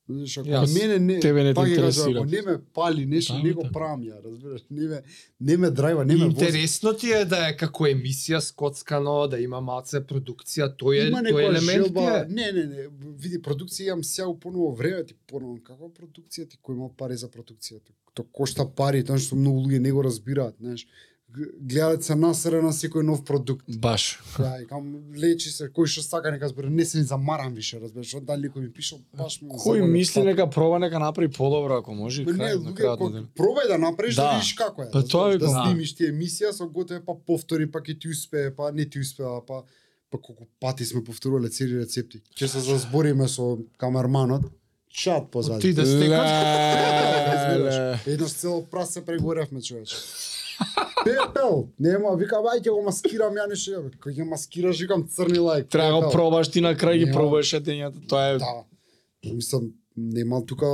Speaker 2: Знаеш, ако
Speaker 3: Јас-
Speaker 2: мене не,
Speaker 1: тебе не те
Speaker 2: пак ја кажам,
Speaker 1: интересира.
Speaker 2: ако не ме пали нешто,
Speaker 1: Да,
Speaker 2: не го
Speaker 1: така.
Speaker 2: правам ја, разбираш, не ме не ме драйва, не ме вози.
Speaker 3: Интересно ти е да е како емисија скоцкано, да има малце продукција, тој е
Speaker 2: Има
Speaker 3: тој
Speaker 2: некоја
Speaker 3: елемент ти
Speaker 2: желба,
Speaker 3: е.
Speaker 2: не, не, не, види, продукција имам сега упоново време, ти поновам, каква продукција ти, кој има пари за продукција, ти, то кошта пари, тоа што многу луѓе не го разбираат, знаеш, Г- гледаат се насера на секој нов продукт.
Speaker 1: Баш.
Speaker 2: Да, и кам лечи се, кој што сака нека збори, не се ни замарам више, разбираш, од дали кој ми пишал, баш ми
Speaker 1: Кој
Speaker 2: заболе
Speaker 1: мисли
Speaker 2: пат.
Speaker 1: нека проба нека направи подобро ако може и
Speaker 2: Ме Па не,
Speaker 1: крај на
Speaker 2: луѓе,
Speaker 1: крајот на
Speaker 2: ко-
Speaker 1: ден.
Speaker 2: пробај да направиш да,
Speaker 1: Да.
Speaker 2: видиш како е.
Speaker 1: Па
Speaker 2: разбираш,
Speaker 1: тоа ви
Speaker 2: да
Speaker 1: кажам.
Speaker 2: снимиш ти емисија со готове, па повтори, па ќе ти успее, па не ти успеа, па па колку пати сме повторувале цели рецепти. Ќе се зазбориме со камерманот. Чат
Speaker 3: Ти
Speaker 2: позади.
Speaker 3: да стекаш.
Speaker 1: Леле.
Speaker 2: Еднаш цело прасе прегоревме, човече. Пепел, нема, викам, ај ќе го маскирам, ја нешто, ја, бе, кој ќе маскираш, викам црни лайк.
Speaker 1: Треба да го
Speaker 2: пепел.
Speaker 1: пробаш ти на крај ги
Speaker 2: Нема.
Speaker 1: пробаш едењата, тоа е
Speaker 2: Да. Мислам, нема тука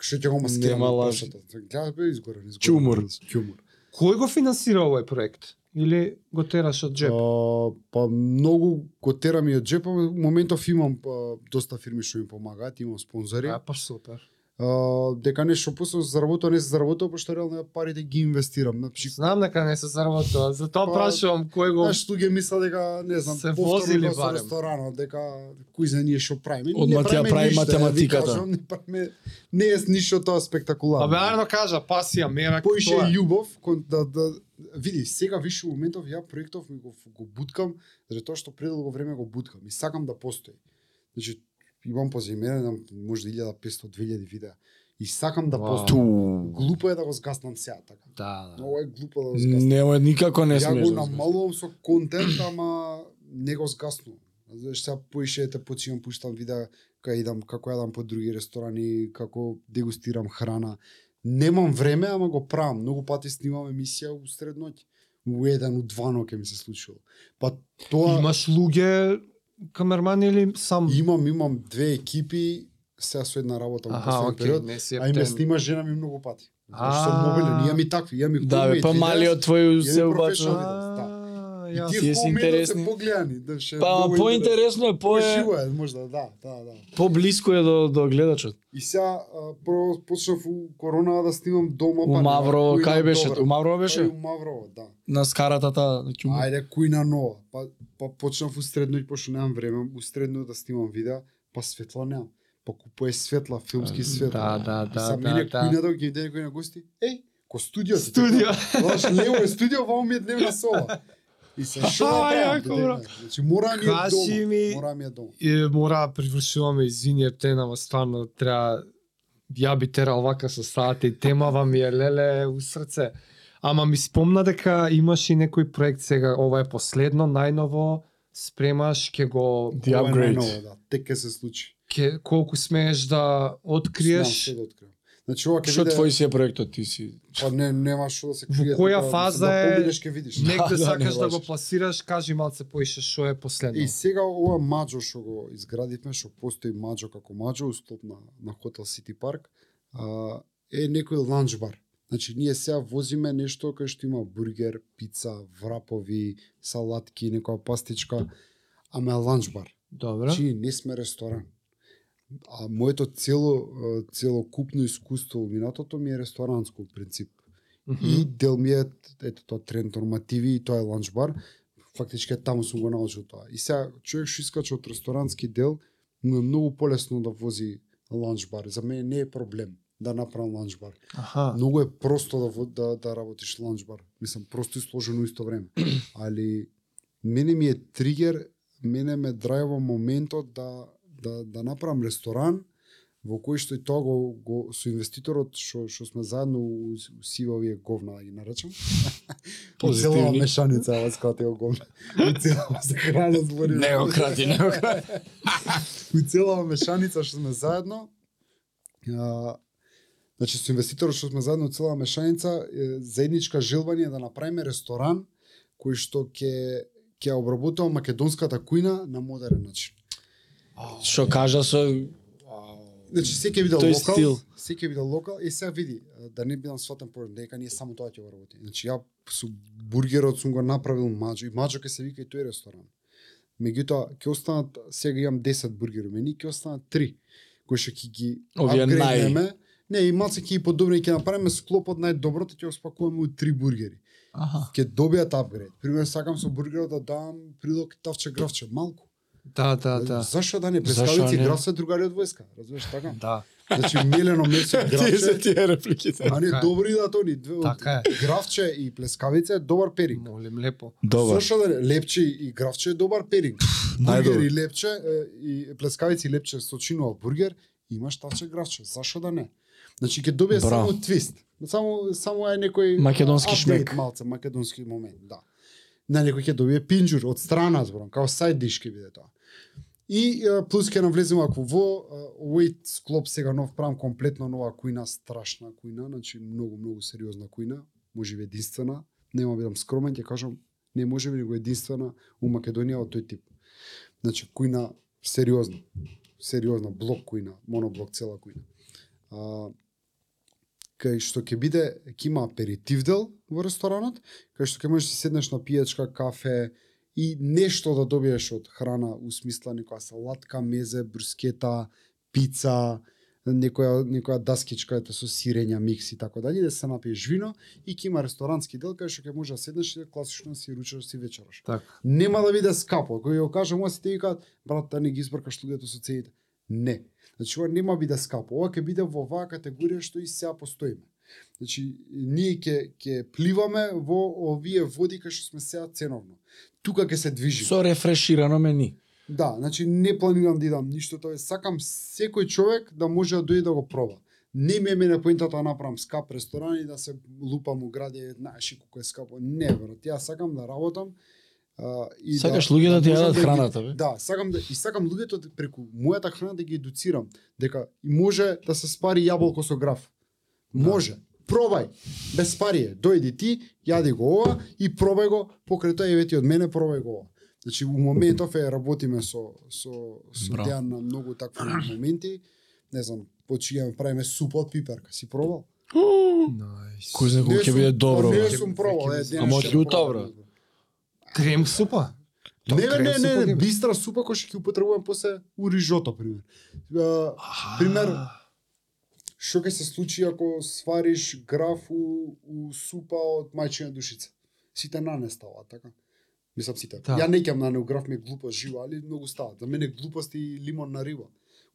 Speaker 2: што ќе го маскираме.
Speaker 1: Нема лажи.
Speaker 2: Гледаш бе изгорен, изгорен.
Speaker 1: Чумур.
Speaker 2: Чумур.
Speaker 3: Кој го финансира овој проект? Или го тераш од джеб?
Speaker 2: А, па многу го терам и од джепа, во моментов имам а, доста фирми што ми помагаат, имам спонзори.
Speaker 3: А, па супер.
Speaker 2: А, дека нешто после заработува, не се заработува, пошто реално парите ги инвестирам. Значи,
Speaker 3: Знам дека не се заработува, затоа
Speaker 2: Па,
Speaker 3: прашувам кој го
Speaker 2: Знаеш, луѓе мисла дека, не знам,
Speaker 3: Се
Speaker 2: повторно
Speaker 3: возили
Speaker 2: кај со
Speaker 3: барем.
Speaker 2: ресторанот, дека кој за ние што правиме.
Speaker 1: Одма ти ја
Speaker 2: правиме
Speaker 1: прави
Speaker 2: ништо, ја ви
Speaker 1: математиката.
Speaker 2: кажам, Не, правиме, не е ништо тоа спектакуларно.
Speaker 3: Абе, Арно кажа, пасија, мерак,
Speaker 2: поише
Speaker 3: тоа е.
Speaker 2: љубов кон да да види сега више во моментов ја проектов ми го го буткам заради тоа што предолго време го буткам и сакам да постои. Значи имам позајмерен може да 1500 2000 видеа и сакам да
Speaker 3: Вау.
Speaker 2: постои.
Speaker 1: ту.
Speaker 2: Глупо е да го згаснам сега така.
Speaker 3: Да,
Speaker 2: Многу е глупо да го згаснам.
Speaker 1: Нема никако не
Speaker 2: Ја
Speaker 1: смеш.
Speaker 2: го
Speaker 1: да збориш.
Speaker 2: намалувам со контент, ама не го згаснувам. Знаеш, сега поише ете почивам, пуштам видеа кај идам, како јадам по други ресторани, како дегустирам храна. Немам време, ама го правам. Многу пати снимам емисија у средноќ. У еден, у два ноќе ми се случило. Па тоа
Speaker 3: Имаш луѓе камермани или сам?
Speaker 2: имам, имам две екипи, сега со една работа во
Speaker 3: Аха,
Speaker 2: последен
Speaker 3: окей,
Speaker 2: период.
Speaker 3: не си
Speaker 2: А
Speaker 3: е
Speaker 2: и ме
Speaker 3: птен.
Speaker 2: снима жена ми многу пати. Зашто
Speaker 3: А.
Speaker 2: сум мобилен, имам и такви, имам и
Speaker 1: Да, бе,
Speaker 2: хубави
Speaker 1: па
Speaker 2: видеа.
Speaker 1: малиот твој
Speaker 2: Ја
Speaker 1: се
Speaker 2: ми
Speaker 1: обаче.
Speaker 2: професионал.
Speaker 3: А,
Speaker 2: И
Speaker 3: јас.
Speaker 1: Тие
Speaker 2: тие да
Speaker 1: си
Speaker 2: се
Speaker 1: интересни.
Speaker 2: интересни. Погледани, да ше.
Speaker 1: Па поинтересно е, по е,
Speaker 2: Пошиво е, можда, да, да, да.
Speaker 1: поблиско е до до гледачот.
Speaker 2: И сега а, прво почнав у корона да снимам дома. па
Speaker 1: У
Speaker 2: не,
Speaker 1: Маврово
Speaker 2: кој на
Speaker 1: кај беше?
Speaker 2: добра.
Speaker 1: У Маврово
Speaker 2: Па и
Speaker 1: беше
Speaker 2: У Маврово, да.
Speaker 1: на скаратата на Ќумур.
Speaker 2: Ајде, кој на нова. Па, па почнав у средно, пошто немам време, у средно да снимам видеа, па светла немам. Па купуе светла, филмски светла.
Speaker 3: Да, да,
Speaker 2: И
Speaker 3: да,
Speaker 2: сега мене
Speaker 3: да,
Speaker 2: кој
Speaker 3: да.
Speaker 2: на доги ден кој на гости? Еј, ко студио.
Speaker 3: Студио.
Speaker 2: Знаеш, лево е студио, вамо ми е дневна соба. И се шоа,
Speaker 3: јако, бра.
Speaker 2: Значи, мора ми е
Speaker 3: Каси ми-
Speaker 2: дома. Мора ми е дома.
Speaker 3: И мора да привршуваме извини птен, ама стварно треба ја би терал вака со сати, темава ми е леле у срце. Ама ми спомна дека имаш и некој проект сега, ова е последно, најново, спремаш, ќе го
Speaker 1: The
Speaker 2: Ова е
Speaker 1: upgrade.
Speaker 2: најново, да. Тек ќе се случи.
Speaker 3: ќе колку смееш да
Speaker 2: Знам,
Speaker 3: откриеш
Speaker 2: што да откриам. Значи ова ќе
Speaker 1: Што
Speaker 2: биде...
Speaker 1: твој си е проектот, ти си...
Speaker 2: Па не, нема што да се
Speaker 3: Во
Speaker 2: крие.
Speaker 3: која
Speaker 2: тука,
Speaker 3: фаза
Speaker 2: да
Speaker 3: е-
Speaker 2: Поминеш ќе видиш.
Speaker 3: негде
Speaker 1: Да, да,
Speaker 3: сакаш
Speaker 1: не
Speaker 3: да го
Speaker 1: лажеш.
Speaker 3: пласираш, кажи малце поише што е последно.
Speaker 2: И сега ова маџо што го изградивме, што постои маџо како маџо, устоп на, на Hotel City Park, а, е некој ланч бар. Значи, ние сега возиме нешто кај што има бургер, пица, врапови, салатки, некоја пастичка, ама е ланч бар.
Speaker 3: Добро.
Speaker 2: Значи, не сме ресторан. А моето цело, е, целокупно искуство у минатото ми е ресторанско, у принцип.
Speaker 3: Мгм.
Speaker 2: И дел ми е, ето тоа тренд нормативи и тоа е ланч бар. Фактички е таму сум го научил тоа. И сега човек што искача од ресторански дел, му е многу полесно да вози ланч бар. За мене не е проблем да направам ланч бар.
Speaker 3: Аха.
Speaker 2: Многу е просто да, во- да, да работиш ланч бар. Мислам, просто и сложено исто време. Али, мене ми е тригер, мене ме драйва моментот да, да, да направам ресторан, во кој што и тоа го, го со инвеститорот што што сме заедно у, у сива овие говна да ги наречам. У целава
Speaker 1: Позитивни.
Speaker 2: мешаница ја скатео говна. У целава се храна збори.
Speaker 1: Не го крати, не го крати.
Speaker 2: У целава мешаница што сме заедно. А, значи со инвеститорот што сме заедно у целава мешаница е, заедничка желбање е да направиме ресторан кој што ќе ќе ја обработува македонската кујна на модерен начин.
Speaker 1: Што кажа со...
Speaker 2: Значи секој видел
Speaker 1: Тој
Speaker 2: локал,
Speaker 1: стил.
Speaker 2: секој видел локал и сега види да не бидам сватен поради дека не само тоа ќе го работи. Значи ја со бургерот сум го направил маџо и маџо ќе се вика и тој ресторан. Меѓутоа ќе останат сега имам 10 бургери мени, ќе останат 3 кои што ќе ги
Speaker 1: Овие нај.
Speaker 2: апгрейднеме. Не, и малце ќе ги подобриме, ќе направиме склоп од најдоброто, ќе го спакуваме у 3 бургери.
Speaker 1: Аха.
Speaker 2: Ќе добијат апгрейд. Пример сакам со бургерот да дам прилог тавче гравче малку.
Speaker 3: Да, да, да.
Speaker 2: Зашо да не
Speaker 1: Зашо
Speaker 2: прескалици
Speaker 1: не?
Speaker 2: гравце другари од војска, разбираш така?
Speaker 3: Да,
Speaker 2: Значи Милено Месо
Speaker 1: Тие се
Speaker 2: Гравче,
Speaker 1: тие репликите.
Speaker 2: а не
Speaker 3: Така е.
Speaker 2: добри да тони, две од
Speaker 3: така е.
Speaker 2: Гравче и Плескавица е добар перинг.
Speaker 3: Молим лепо.
Speaker 1: Добар.
Speaker 2: Зошто да не, Лепче и Гравче е добар перинг. Бургер
Speaker 1: најдобар.
Speaker 2: и Лепче е, и Плескавица и Лепче со чинува бургер, имаш таче Гравче, зашо да не? Значи ќе добие
Speaker 1: Браво.
Speaker 2: само твист. Само само е некој
Speaker 1: Македонски
Speaker 2: апдейт
Speaker 1: шмек.
Speaker 2: малце македонски момент, да. На некој ќе добие пинџур од страна зборам, као сайд диш ќе биде тоа. И е, плюс ќе навлеземе ако во Wait склоп сега нов правам комплетно нова кујна, страшна кујна, значи многу многу сериозна кујна, можеби единствена, нема да бидам скромен, ќе кажам, не можеби него единствена у Македонија од тој тип. Значи кујна сериозна, сериозна блок кујна, моноблок цела кујна. А, кај што ќе биде ќе има аперитив дел во ресторанот, кај што ќе можеш да си седнеш на пијачка, кафе, и нешто да добиеш од храна, у смисла некоја салатка, мезе, брускета, пица, некоја некоја даскичка ете со сирења, микс и така дале, да се напиеш вино и ќе има ресторански дел кај што ќе може да седнеш и да класично си ручаш си вечераш.
Speaker 3: Так.
Speaker 2: Нема да биде скапо, кој го кажам, ова сите викаат, брат, да не ги избркаш луѓето со цените. Не. Значи ова нема биде скапо, ова ќе биде во оваа категорија што и сега постоиме. Значи ние ќе ќе пливаме во овие води кај што сме сега ценовно. Тука ќе се движиме.
Speaker 1: Со рефреширано мени.
Speaker 2: Да, значи не планирам да идам ништо тоа. е. Сакам секој човек да може да дојде да го проба. Не ми е мене поентата да направам скап ресторан и да се лупам у граде, знаеш и колку е скапо. Не, брат, ја сакам да работам. А, и
Speaker 1: Сакаш луѓе да ти
Speaker 2: можам
Speaker 1: јадат
Speaker 2: ги-
Speaker 1: храната, бе.
Speaker 2: Да, сакам да и сакам луѓето да- преку мојата храна да ги едуцирам дека и може да се спари јаболко со граф.
Speaker 1: Да.
Speaker 2: Може. Пробај. Без пари е. Дојди ти, јади го ова и пробај го покрај тоа еве ти од мене пробај го ова. Значи у моментов е работиме со со со
Speaker 1: Браво.
Speaker 2: Дејан на многу такви моменти. Не знам, почијаме правиме суп од пиперка. Си пробал?
Speaker 3: Најс.
Speaker 1: Кој знае
Speaker 2: Не
Speaker 1: колку ќе
Speaker 2: сум-
Speaker 1: биде
Speaker 2: па
Speaker 1: добро.
Speaker 2: Не
Speaker 1: бе.
Speaker 2: сум пробал, е, денес
Speaker 1: Ама
Speaker 2: ќе
Speaker 1: од јута,
Speaker 2: пробам.
Speaker 1: брат.
Speaker 3: Крем супа?
Speaker 2: Не,
Speaker 3: Тоа
Speaker 2: не,
Speaker 3: крем
Speaker 2: не,
Speaker 3: супа
Speaker 2: не,
Speaker 3: ќе
Speaker 2: не,
Speaker 3: биде.
Speaker 2: бистра супа кој што ќе употребувам после у рижото, пример. А, пример, Што ќе се случи ако свариш граф у, у супа од мајчина душица? Сите нане ставаат, така? Мислам сите.
Speaker 3: Да.
Speaker 2: Ја не ќам нане, у граф ми е глупо жива, али многу ставаат. За мене глупост и лимон на риба.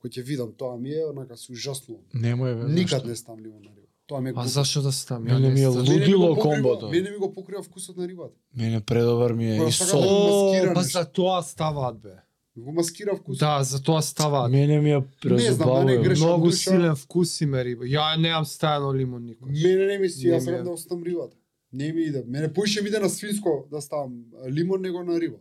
Speaker 2: Кој ќе видам, тоа ми е, онака се ужаснувам.
Speaker 1: Немој бе.
Speaker 2: Никад не ставам лимон на риба. Тоа ме
Speaker 3: А
Speaker 2: го-
Speaker 3: зашо да стам?
Speaker 1: Мене ми е
Speaker 3: стам.
Speaker 1: луд.
Speaker 2: Мене ми го
Speaker 1: лудило
Speaker 2: покрива-
Speaker 1: комбото.
Speaker 2: Мене ми го покрива вкусот на рибата.
Speaker 1: Мене предобар ми е
Speaker 2: Па,
Speaker 1: и
Speaker 2: сакам
Speaker 1: сол.
Speaker 2: маскирано
Speaker 3: О, Па
Speaker 2: нешто.
Speaker 3: за тоа ставаат бе.
Speaker 2: Го маскира вкусот.
Speaker 3: Да, за тоа ставаат.
Speaker 1: Мене ми е
Speaker 2: знам, мене
Speaker 1: презубавува.
Speaker 2: греш- грешен
Speaker 3: Многу
Speaker 2: душа.
Speaker 3: силен вкус има риба. Ја неам стајано лимон никој.
Speaker 2: Мене не ми си,
Speaker 3: Не
Speaker 2: јас
Speaker 3: ми е.
Speaker 2: сакам да оставам рибата. Не ми иде. Мене поише ми иде на свинско да ставам а, лимон него на риба.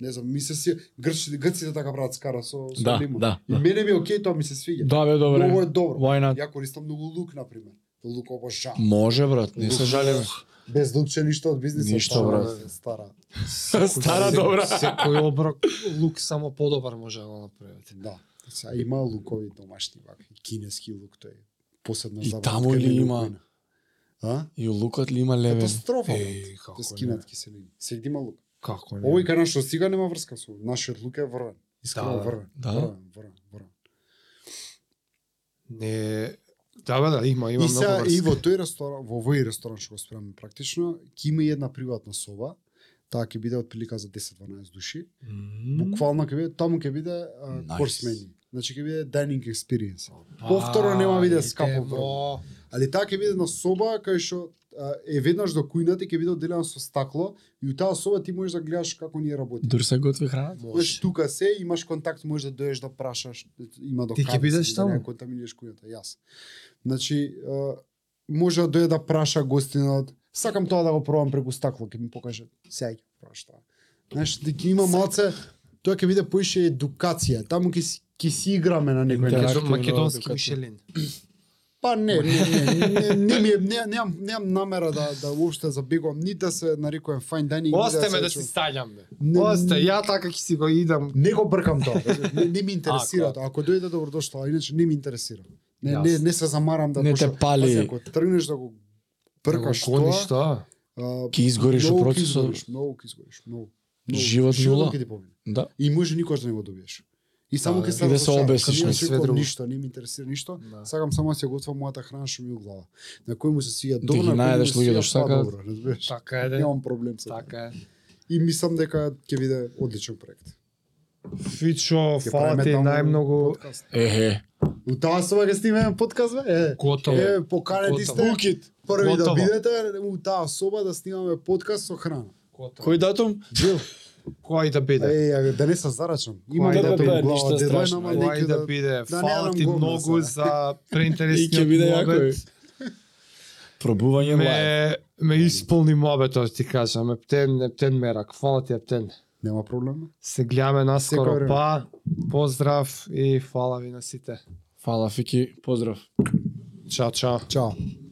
Speaker 2: Не знам, ми се си грчите грците така прават скара со со
Speaker 1: Да,
Speaker 2: лимон.
Speaker 1: да,
Speaker 2: И
Speaker 1: да.
Speaker 2: мене ми е окей, тоа ми се свиѓа.
Speaker 1: Да, бе,
Speaker 2: Многу е
Speaker 1: добре.
Speaker 2: добро.
Speaker 1: Why not?
Speaker 2: Ја користам многу лук на пример. Лук обожавам.
Speaker 1: Може, брат, не се
Speaker 2: Лук.
Speaker 1: жалеме.
Speaker 2: Без лук че ништо од бизнисот.
Speaker 1: Ништо,
Speaker 2: стара,
Speaker 1: брат.
Speaker 2: бе, Стара.
Speaker 1: Стара добра.
Speaker 3: Секој оброк лук само подобар може да го направите.
Speaker 2: Да. Сега има лукови домашни вакви, кинески лук тој. е Посебно
Speaker 1: И
Speaker 2: забава,
Speaker 1: таму
Speaker 2: кај
Speaker 1: ли
Speaker 2: мене
Speaker 1: има?
Speaker 2: луковина. А?
Speaker 1: И лукот ли има левен?
Speaker 2: Катастрофа. брат.
Speaker 3: Е,
Speaker 2: Те
Speaker 3: како не?
Speaker 2: скинат киселини. Сегде има лук.
Speaker 3: Како
Speaker 2: да Овој
Speaker 3: не?
Speaker 2: кај нашо сега нема врска со нашиот лук е врвен. Искрено
Speaker 3: Да,
Speaker 2: врвен.
Speaker 1: да.
Speaker 2: Врвен, врвен, врвен.
Speaker 3: Не... Да, бе, да, има, има
Speaker 2: И
Speaker 3: многу
Speaker 2: сега и
Speaker 3: врска.
Speaker 2: во тој ресторан, во овој ресторан што го спремаме практично, ќе има и една приватна соба. Таа ќе биде отприлика за 10-12 души.
Speaker 3: М.
Speaker 2: Буквално ќе биде таму ќе биде а,
Speaker 1: Nice.
Speaker 2: course menu. Значи ќе биде dining experience.
Speaker 3: Па,
Speaker 2: повторно нема виде скапо
Speaker 3: идемо.
Speaker 2: врв. Али таа ќе биде една соба кај што а, е веднаш до кујната ќе биде одделена со стакло и у таа соба ти можеш да гледаш како ние работи.
Speaker 1: Дур се готви храната?
Speaker 2: Можеш тука се, имаш контакт, можеш да дојдеш да прашаш, има до
Speaker 3: Ти ќе
Speaker 2: кафе,
Speaker 3: бидеш
Speaker 2: се, да не
Speaker 3: таму?
Speaker 2: ја контаминираш кујата, јас. Значи, е, може да дојде да праша гостинот, сакам тоа да го пробам преку стакло, ќе ми покаже, сега ќе праш тоа. Знаеш, да ќе има малце, тоа ќе биде поише едукација, таму ќе си- ќе си играме на некој начин.
Speaker 1: Интерак-
Speaker 3: Македон-
Speaker 1: Интерактивно,
Speaker 3: Македонски
Speaker 1: адекватно.
Speaker 3: Мишелин.
Speaker 2: Па не, не, не, не, не, ми е- не, немам, немам намера да, да уопште забегувам, ни да се нарекувам fine dining, ни
Speaker 3: Оставе ме
Speaker 2: се
Speaker 3: да си
Speaker 2: чувам-
Speaker 3: стаѓам бе.
Speaker 2: Не,
Speaker 3: Остај, ја така ќе си го идам.
Speaker 2: Не го бркам тоа. разбираш, Не, не ми интересира
Speaker 3: Ако-
Speaker 2: тоа. Ако дојде добродошла, а иначе не ми интересира. Не, не,
Speaker 3: Јасно.
Speaker 2: не се замарам да
Speaker 1: Не
Speaker 2: пошо-
Speaker 1: те пали.
Speaker 2: Пази, ако тргнеш да го бркаш
Speaker 3: Го гониш
Speaker 2: тоа,
Speaker 3: тоа.
Speaker 2: а,
Speaker 1: Ки изгориш во
Speaker 2: многу ќе
Speaker 1: процесот?
Speaker 2: изгориш, Многу ќе изгориш, многу. многу.
Speaker 1: Живот нула.
Speaker 2: ќе ти помине.
Speaker 1: Да.
Speaker 2: И може никош да не го добиеш. И само ќе
Speaker 3: Да, да.
Speaker 2: се
Speaker 1: И да се
Speaker 2: разочараш.
Speaker 1: обесиш
Speaker 2: Кај
Speaker 1: на
Speaker 2: мене
Speaker 3: све
Speaker 2: секој
Speaker 3: друго.
Speaker 2: Ништо, не ми интересира ништо.
Speaker 3: Да.
Speaker 2: Сакам само да се готвам мојата храна што ми е у глава. На кој му се свија
Speaker 1: Да
Speaker 2: добро,
Speaker 1: ги
Speaker 2: на кој му
Speaker 1: најдеш
Speaker 2: се
Speaker 1: луѓе
Speaker 2: свија
Speaker 1: да што сакаат.
Speaker 2: подобро, разбираш.
Speaker 3: Така е, де.
Speaker 2: Немам проблем со тоа.
Speaker 3: така е.
Speaker 2: И мислам дека ќе биде одличен проект.
Speaker 3: Фичо,
Speaker 2: Ќе
Speaker 3: фала
Speaker 2: правиме
Speaker 3: ти
Speaker 2: таму
Speaker 3: најмногу.
Speaker 2: подкаст.
Speaker 1: Ехе.
Speaker 2: У таа соба ќе снимеме подкаст, бе? Е,
Speaker 3: Готово.
Speaker 2: е поканети
Speaker 3: Готово.
Speaker 2: сте први да
Speaker 3: Готово.
Speaker 2: бидете у таа соба да снимаме подкаст со храна.
Speaker 3: Кој,
Speaker 1: Кој датум?
Speaker 2: Бил.
Speaker 3: кој да биде?
Speaker 2: Е, ја- да не се зарачам. Имам
Speaker 3: Ајде,
Speaker 2: да
Speaker 3: бе,
Speaker 2: тоа
Speaker 1: ништо
Speaker 2: глава дедој,
Speaker 1: страшно,
Speaker 2: ама
Speaker 1: ајде.
Speaker 2: некој
Speaker 3: Кој да
Speaker 2: да
Speaker 3: биде?
Speaker 2: да
Speaker 3: Фала
Speaker 2: немам
Speaker 3: ти
Speaker 2: говна сега.
Speaker 3: многу за
Speaker 1: И ќе
Speaker 3: преинтересниот
Speaker 1: биде јако.
Speaker 3: мобет.
Speaker 1: е. Пробување лайв.
Speaker 3: Ме, ме исполни мобетот, ти кажам. Ептен, ептен мерак. Фала ти, ептен.
Speaker 2: Нема проблем.
Speaker 3: Се гледаме
Speaker 2: Секој
Speaker 3: наскоро,
Speaker 2: време.
Speaker 3: па. Поздрав и фала ви на сите.
Speaker 1: Фала, Фики. Поздрав.
Speaker 3: Чао, чао.
Speaker 2: Чао.